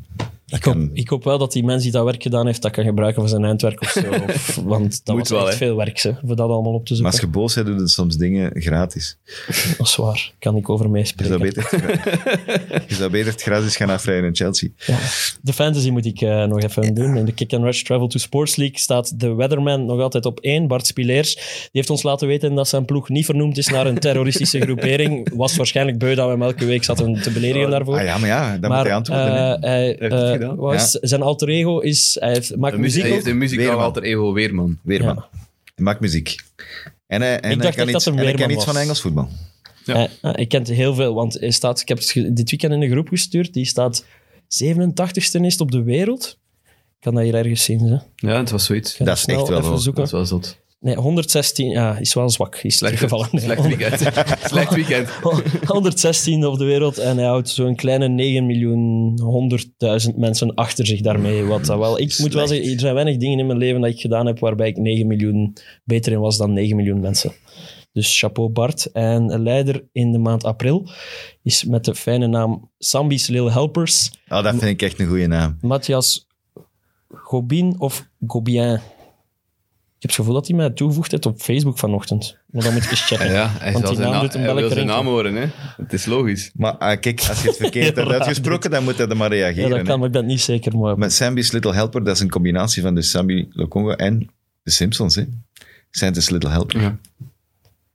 Speaker 3: Ik hoop, ik hoop wel dat die mens die dat werk gedaan heeft, dat kan gebruiken voor zijn eindwerk of zo. Of, want dat
Speaker 4: Moet
Speaker 3: was
Speaker 4: wel,
Speaker 3: echt
Speaker 4: hè.
Speaker 3: veel werk, ze, voor dat allemaal op te
Speaker 2: Maar
Speaker 3: zoeken.
Speaker 2: als je boos bent, doe je soms dingen gratis.
Speaker 3: Dat is waar, kan ik over
Speaker 2: Je zou
Speaker 3: meespreken.
Speaker 2: beter, het- je zou beter het gras eens gaan afrijden in Chelsea.
Speaker 3: De fantasy moet ik eh, nog even doen. In de Kick and Rush Travel to Sports League staat de Weatherman nog altijd op één. Bart Spileers die heeft ons laten weten dat zijn ploeg niet vernoemd is naar een terroristische groepering. Was waarschijnlijk beu dat we hem elke week zaten te
Speaker 4: Oh,
Speaker 3: beledigen daarvoor.
Speaker 2: Ah ja, maar ja, dan moet
Speaker 3: maar
Speaker 2: hij antwoorden. hè.
Speaker 3: eh, hij,
Speaker 4: heeft het
Speaker 3: eh,
Speaker 4: gedaan.
Speaker 3: wat is- zijn alter ego is... Hij heeft- maakt
Speaker 4: De
Speaker 3: muziek
Speaker 4: muziek, hij
Speaker 3: ook.
Speaker 4: heeft een muzikaal
Speaker 2: Weerman.
Speaker 4: alter ego Weerman.
Speaker 2: Weerman. Hij maakt muziek. En hij, en
Speaker 3: dacht
Speaker 2: hij
Speaker 3: echt
Speaker 2: kan,
Speaker 3: dat
Speaker 2: iets,
Speaker 3: hem
Speaker 2: en hij kan
Speaker 3: weerman
Speaker 2: iets van
Speaker 3: was.
Speaker 2: Engels voetbal.
Speaker 4: Ja.
Speaker 3: Eh, eh, ik ken het heel veel, want hij staat, ik heb het ge- dit weekend in een groep gestuurd. Die staat 87ste is het op de wereld. Ik kan dat hier ergens zien. Hè. Ik
Speaker 4: Ja, het was zoiets.
Speaker 3: kan
Speaker 2: Dat is
Speaker 3: snel
Speaker 2: echt wel
Speaker 3: even
Speaker 2: hoog.
Speaker 3: zoeken.
Speaker 4: Dat is wel zot.
Speaker 3: Nee, 116 ja, is wel zwak. Is
Speaker 4: Slecht,
Speaker 3: teruggevallen. Nee,
Speaker 4: slecht weekend. slecht weekend.
Speaker 3: 116 op de wereld en hij houdt zo'n kleine 9 miljoen 100.000 mensen achter zich daarmee. Wat dat wel. Ik moet wel zeggen, er zijn weinig dingen in mijn leven dat ik gedaan heb waarbij ik 9 miljoen beter in was dan 9 miljoen mensen. Dus chapeau Bart. En leider in de maand april is met de fijne naam Sambi's Lil Helpers,
Speaker 2: Ah, dat vind ik echt een goede naam.
Speaker 3: Matthias Gobin of Gobien. Ik heb het gevoel dat hij mij toegevoegd heeft op Facebook vanochtend. Maar dan moet ik eens checken.
Speaker 4: Ja, hij,
Speaker 3: Want
Speaker 4: zal
Speaker 3: die
Speaker 4: zijn,
Speaker 3: naam
Speaker 4: naam,
Speaker 3: doet hem
Speaker 4: hij
Speaker 3: wel
Speaker 4: wil zijn
Speaker 3: rinkelen.
Speaker 4: naam horen. Hè. Het is logisch.
Speaker 2: Maar ah, kijk, als je het verkeerd hebt
Speaker 3: Heel raar
Speaker 2: uitgesproken, dan moet hij er maar
Speaker 3: Ja,
Speaker 2: reageren.
Speaker 3: dat kan, maar ik ben het niet zeker. Maar
Speaker 2: hè. Met Sambi's Little Helper, dat is een combinatie van de Sambi Lokongo en de Simpsons. Hè. Santa's Little Helper.
Speaker 4: Ja.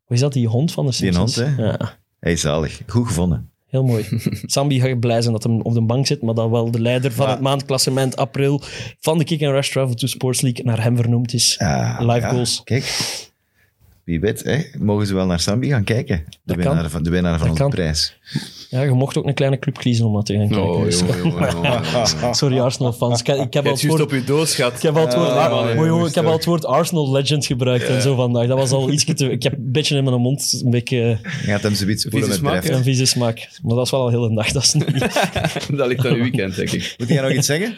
Speaker 3: Hoe is dat, die hond van de Simpsons?
Speaker 2: hond, hè?
Speaker 3: Ja.
Speaker 2: Hij is zalig. Goed gevonden.
Speaker 3: Heel mooi. Sambi gaat blij zijn dat hij op de bank zit, maar dat wel de leider van
Speaker 2: Ja.
Speaker 3: het maandklassement april van de Kick and Rush Travel to Sports League naar hem vernoemd is.
Speaker 2: Ah,
Speaker 3: Live
Speaker 2: ja,
Speaker 3: goals.
Speaker 2: Kijk, wie weet, hè, mogen ze wel naar Sambi gaan kijken. De
Speaker 3: Dat
Speaker 2: winnaar
Speaker 3: kan.
Speaker 2: van, de, winnaar van
Speaker 3: Dat
Speaker 2: onze
Speaker 3: kan.
Speaker 2: prijs.
Speaker 3: Ja, je mocht ook een kleine club kiezen om dat te gaan kijken.
Speaker 4: Oh,
Speaker 3: Dus-
Speaker 4: jongen, jongen, jongen, jongen.
Speaker 3: Sorry, Arsenal-fans. Ik, ik heb al
Speaker 4: Het
Speaker 3: het
Speaker 4: juist
Speaker 3: woord-
Speaker 4: op je doos gaat.
Speaker 3: Ik heb al het woord,
Speaker 2: Ah,
Speaker 3: Mooi,
Speaker 2: nee,
Speaker 3: jongen,
Speaker 2: moest
Speaker 3: ik heb al
Speaker 2: ook.
Speaker 3: het woord Arsenal Legend gebruikt en zo vandaag. Dat was al iets te... Ik heb een beetje in mijn mond een beetje eh,
Speaker 2: Je gaat hem zoiets voelen
Speaker 4: Vieze
Speaker 2: met
Speaker 4: smaak,
Speaker 2: dreft.
Speaker 4: hè?
Speaker 3: een vieze smaak. Maar dat is wel al heel een dag. Dat is niet...
Speaker 4: Dat ligt aan uw weekend, denk ik.
Speaker 2: Moet jij nog iets zeggen?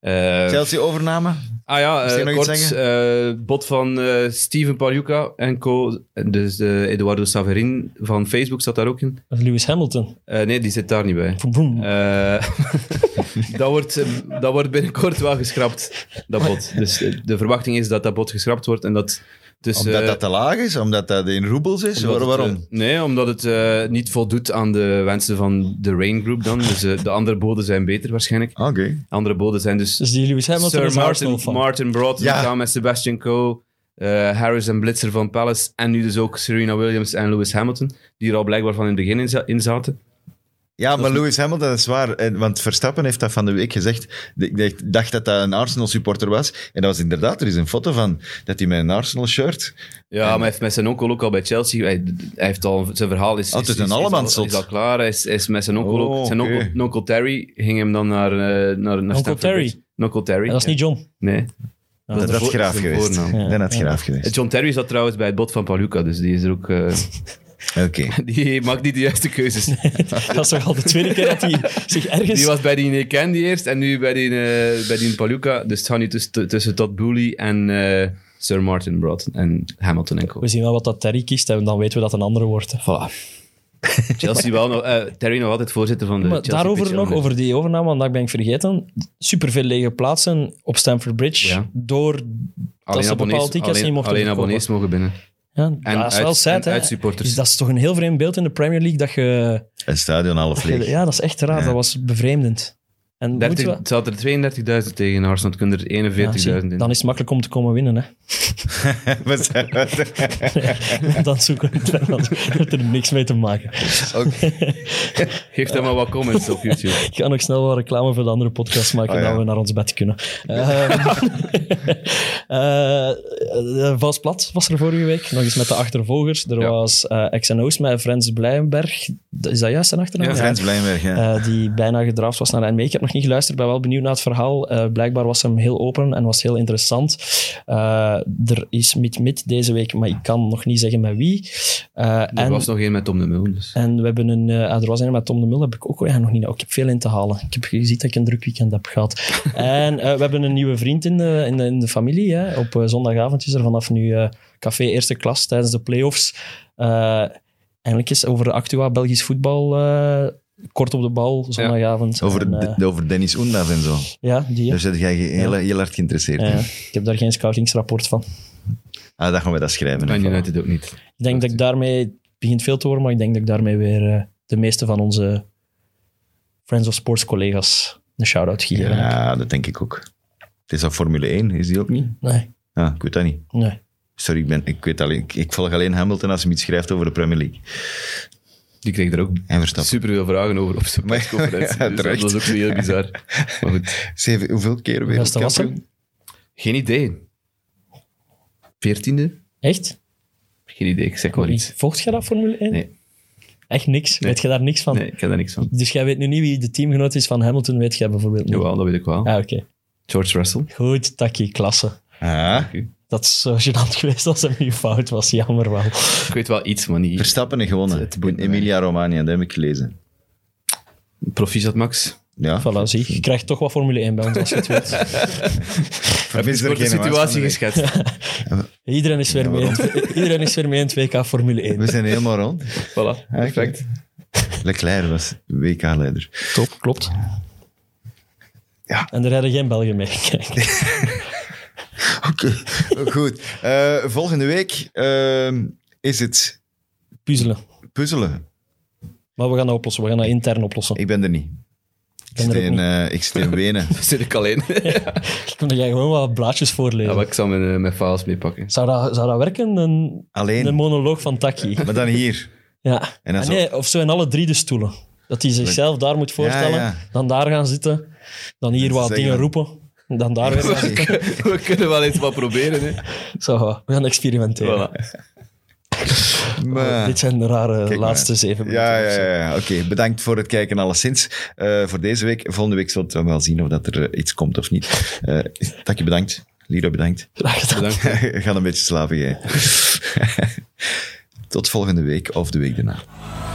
Speaker 4: Eh,
Speaker 2: Chelsea-overname?
Speaker 4: ah ja,
Speaker 2: Misschien
Speaker 4: eh,
Speaker 2: nog iets
Speaker 4: kort. eh, bot van eh, Steven Paluca en co. Dus eh, Eduardo Saverin van Facebook zat daar ook in.
Speaker 3: Lewis Hamilton.
Speaker 4: Eh, nee, die zit daar niet bij.
Speaker 3: Boem, boem.
Speaker 4: Eh, dat, wordt, eh, dat wordt binnenkort wel geschrapt, dat bot. Dus eh, de verwachting is dat dat bot geschrapt wordt en dat... Dus,
Speaker 2: Omdat
Speaker 4: eh,
Speaker 2: dat te laag is? Omdat dat in roebels is?
Speaker 4: omdat
Speaker 2: Waar-
Speaker 4: het,
Speaker 2: waarom?
Speaker 4: eh, nee, omdat het eh, niet voldoet aan de wensen van de Rain Group dan. Dus eh, de andere boden zijn beter waarschijnlijk.
Speaker 2: Ah, Oké.
Speaker 4: Andere boden zijn dus...
Speaker 3: Dus die Lewis Hamilton
Speaker 4: Sir
Speaker 3: is Arsenal
Speaker 4: Martin,
Speaker 3: van.
Speaker 4: Martin Broughton
Speaker 2: Ja.
Speaker 4: samen met Sebastian Coe, eh, Harris en Blitzer van Palace en nu dus ook Serena Williams en Lewis Hamilton, die er al blijkbaar van in het begin in, za- in zaten.
Speaker 2: Ja, maar Lewis Hamilton, dat is waar. En- Want Verstappen heeft dat van de week gezegd. Ik dacht- dacht dat dat een Arsenal-supporter was. En dat was inderdaad, er is een foto van dat hij met een Arsenal-shirt...
Speaker 4: Ja, maar hij heeft met zijn onkel ook al bij Chelsea. Hij, hij heeft al, zijn verhaal is,
Speaker 2: Oh, het is een
Speaker 4: is, al,
Speaker 2: allemanshot.
Speaker 4: is al klaar. Hij is, hij is met zijn onkel
Speaker 2: Oh,
Speaker 4: ook. Zijn
Speaker 2: oké.
Speaker 4: onkel, onkel Terry ging hem dan naar. eh, naar, naar Stamford
Speaker 3: Terry?
Speaker 4: Bridge. Onkel Terry.
Speaker 3: Ja, dat is niet Ah. John.
Speaker 4: Nee.
Speaker 3: Ja,
Speaker 2: Dat
Speaker 4: is
Speaker 2: had
Speaker 4: voor-
Speaker 2: graaf
Speaker 4: zijn
Speaker 2: geweest.
Speaker 4: voornaam.
Speaker 3: Ja.
Speaker 2: Dat had
Speaker 3: Ja.
Speaker 2: graaf
Speaker 4: Eh,
Speaker 2: geweest.
Speaker 4: John Terry zat trouwens bij het bot van Paluca, dus die is er ook. eh,
Speaker 2: Oké.
Speaker 4: die maakt niet de juiste keuzes.
Speaker 3: Dat is toch al de tweede keer dat hij zich ergens...
Speaker 4: Die was bij die Neken die eerst en nu bij die, eh, bij die Paluca. Dus het gaat nu tussen, tussen Todd Booley en eh, Sir Martin Broughton en Hamilton en Co.
Speaker 3: We zien wel wat dat Terry kiest en dan weten we dat het een andere wordt. hè.
Speaker 4: Voilà. Chelsea wel nog, eh, Terry nog altijd voorzitter van de
Speaker 3: Maar
Speaker 4: Chelsea
Speaker 3: daarover
Speaker 4: Pitch
Speaker 3: nog,
Speaker 4: Elder.
Speaker 3: over die overname, want dat ben ik vergeten. Superveel lege plaatsen op Stamford Bridge
Speaker 4: Ja.
Speaker 3: door... dat
Speaker 4: alleen
Speaker 3: ze
Speaker 4: abonnees,
Speaker 3: bepaalde tickets
Speaker 4: alleen,
Speaker 3: niet mochten
Speaker 4: alleen
Speaker 3: verkopen.
Speaker 4: abonnees mogen binnen.
Speaker 3: Ja,
Speaker 4: En
Speaker 3: dat is wel
Speaker 4: uit-
Speaker 3: sad,
Speaker 4: en
Speaker 3: hè.
Speaker 4: uitsupporters.
Speaker 3: Dus dat is toch een heel vreemd beeld in de Premier League dat je...
Speaker 2: Een stadion half leeg.
Speaker 3: Ja, dat is echt raar.
Speaker 2: Ja.
Speaker 3: Dat was bevreemdend. En moeten
Speaker 4: 30,
Speaker 3: we...
Speaker 4: het zat er 32.000 tegen Arsenal, het kunnen er 41.000
Speaker 3: Ja, zie,
Speaker 4: in.
Speaker 3: dan is het makkelijk om te komen winnen. Hè.
Speaker 2: We zijn-
Speaker 3: Dan zoeken we het wel. Dat heeft er niks mee te maken.
Speaker 4: Geef dan maar wat comments op YouTube.
Speaker 3: Ik ga nog snel wat reclame voor de andere podcast maken,
Speaker 2: Ah, ja.
Speaker 3: dat we naar ons bed kunnen. Eh, eh, eh, Vals Plat was er vorige week, nog eens met de achtervolgers. Er
Speaker 4: Ja.
Speaker 3: was eh X&O's met Frans Blijenberg. Is dat juist zijn achternaam?
Speaker 4: Ja,
Speaker 2: Frans Blijnberg, ja.
Speaker 3: Eh, die bijna gedraafd was naar NME. Ik heb nog niet geluisterd, ben wel benieuwd naar het verhaal. Eh, blijkbaar was hem heel open en was heel interessant. Eh, er is mit-mit deze week, maar ik kan nog niet zeggen met wie. Eh,
Speaker 4: Er
Speaker 3: en,
Speaker 4: was nog één met Tom de Mul. Dus.
Speaker 3: en we hebben een... eh, ah, er was een met Tom de Mul, heb ik ook ja, nog niet... oh, ik heb veel in te halen. Ik heb gezien dat ik een druk weekend heb gehad. en eh, we hebben een nieuwe vriend in de, in de, in de familie. Hè. Op eh, zondagavond is er vanaf nu eh, café eerste klas tijdens de play-offs. Eh, eindelijk is over Actua Belgisch voetbal... eh, Kort op de bal, zondagavond.
Speaker 2: Over,
Speaker 3: En, eh,
Speaker 2: de- over Dennis Oendas en zo.
Speaker 3: ja, die. hè.
Speaker 2: Daar zit jij heel, heel hard geïnteresseerd
Speaker 3: Ja, ja.
Speaker 2: in.
Speaker 3: ik heb daar geen scoutingsrapport van.
Speaker 2: Ah, dat gaan we dat schrijven. hè.
Speaker 4: En United ook niet.
Speaker 3: Ik denk dat ik daarmee... Het begint veel te worden, maar ik denk dat ik daarmee weer eh, de meeste van onze Friends of Sports collega's een shout-out geef.
Speaker 2: Ja, dat denk ik ook. Het is al Formule 1, is die ook niet?
Speaker 3: Nee,
Speaker 2: Ah, ik weet dat niet.
Speaker 3: nee.
Speaker 2: Sorry, ik, ben, ik, weet alleen, ik, ik volg alleen Hamilton als hij iets schrijft over de Premier League.
Speaker 4: Die kreeg er ook
Speaker 2: En Verstappen.
Speaker 4: super veel vragen over op zijn
Speaker 2: Maar-
Speaker 4: persconferentie.
Speaker 2: Ja,
Speaker 4: Dus dat
Speaker 2: terecht.
Speaker 4: was ook zo heel bizar. Maar goed,
Speaker 2: Zeven, hoeveel keer weer?
Speaker 3: Hoeveelste was hem?
Speaker 4: geen idee. Veertiende?
Speaker 3: Echt?
Speaker 4: Geen idee, ik zeg maar
Speaker 3: Corrie,
Speaker 4: iets.
Speaker 3: Volgt jij dat Formule 1?
Speaker 4: Nee.
Speaker 3: Echt niks? Weet je daar niks van?
Speaker 4: Nee, ik ken daar niks van.
Speaker 3: Dus jij weet nu niet wie de teamgenoot is van Hamilton, weet jij bijvoorbeeld niet?
Speaker 4: Jawel, dat weet ik wel.
Speaker 3: Ah, oké.
Speaker 4: George Russell.
Speaker 3: Goed, Taki, klasse.
Speaker 2: Ah,
Speaker 3: Dat is zo gênant geweest als hem nu fout was, jammer wel.
Speaker 4: Ik weet wel iets, maar niet...
Speaker 2: Verstappen heeft gewonnen.
Speaker 4: Het boeit
Speaker 2: In Emilia-Romagna, dat heb ik gelezen.
Speaker 4: Proficiat, Max.
Speaker 2: Ja,
Speaker 3: Voilà, zie. Je krijgt toch wat Formule 1 bij ons als je het weet.
Speaker 4: Heb je
Speaker 2: is er
Speaker 4: de
Speaker 2: geen nuance
Speaker 4: situatie
Speaker 2: van de
Speaker 4: geschetst?
Speaker 3: Iedereen is weer,
Speaker 2: Ja,
Speaker 3: mee, in, het- iedereen is weer mee in het WK Formule 1.
Speaker 2: we zijn helemaal rond.
Speaker 4: voilà, perfect.
Speaker 2: Leclerc was WK-leider.
Speaker 3: Top, klopt.
Speaker 2: Ja.
Speaker 3: En er rijden geen Belgen mee. Kijk.
Speaker 2: Oké, goed. Eh, volgende week ehm, is het
Speaker 3: Puzzelen.
Speaker 2: puzzelen.
Speaker 3: Maar we gaan dat oplossen. We gaan dat intern oplossen. Ik
Speaker 2: Ik ben er niet. Ik
Speaker 3: ben
Speaker 2: zit,
Speaker 3: er ook
Speaker 2: in,
Speaker 3: niet.
Speaker 2: eh, ik zit in Wenen.
Speaker 4: Zit ik alleen.
Speaker 3: Ik kom dat jij gewoon wat blaadjes
Speaker 4: Ja,
Speaker 3: voorlezen.
Speaker 4: maar ik zal mijn, eh, mijn files meepakken.
Speaker 3: zou, dat, zou dat werken? Een, een
Speaker 2: Alleen,
Speaker 3: monoloog van Taki.
Speaker 2: maar dan hier.
Speaker 3: Ja.
Speaker 2: En dan
Speaker 3: Ah,
Speaker 2: zo.
Speaker 3: nee, of zo in alle drie de stoelen. Dat hij zichzelf daar moet voorstellen,
Speaker 2: Ja, ja.
Speaker 3: dan daar gaan zitten, dan hier
Speaker 2: Mensen
Speaker 3: wat
Speaker 2: zeggen
Speaker 3: dingen
Speaker 2: dan-
Speaker 3: roepen, dan daar weer. gaan zitten.
Speaker 4: We kunnen wel eens wat proberen. Hè.
Speaker 3: Zo, we gaan experimenteren.
Speaker 4: Voilà.
Speaker 2: Maar-
Speaker 3: Dit zijn de rare
Speaker 2: Kijk maar.
Speaker 3: laatste zeven minuten.
Speaker 2: Ja,
Speaker 3: of
Speaker 2: ja,
Speaker 3: zo.
Speaker 2: ja. ja. Oké, bedankt voor het kijken alleszins. Eh voor deze week. Volgende week zullen we wel zien of dat er eh, iets komt of niet. Eh Takje bedankt. Liro bedankt.
Speaker 3: Graag gedaan.
Speaker 4: Bedankt.
Speaker 2: Ga een beetje slapen, jij. Tot volgende week of de week daarna.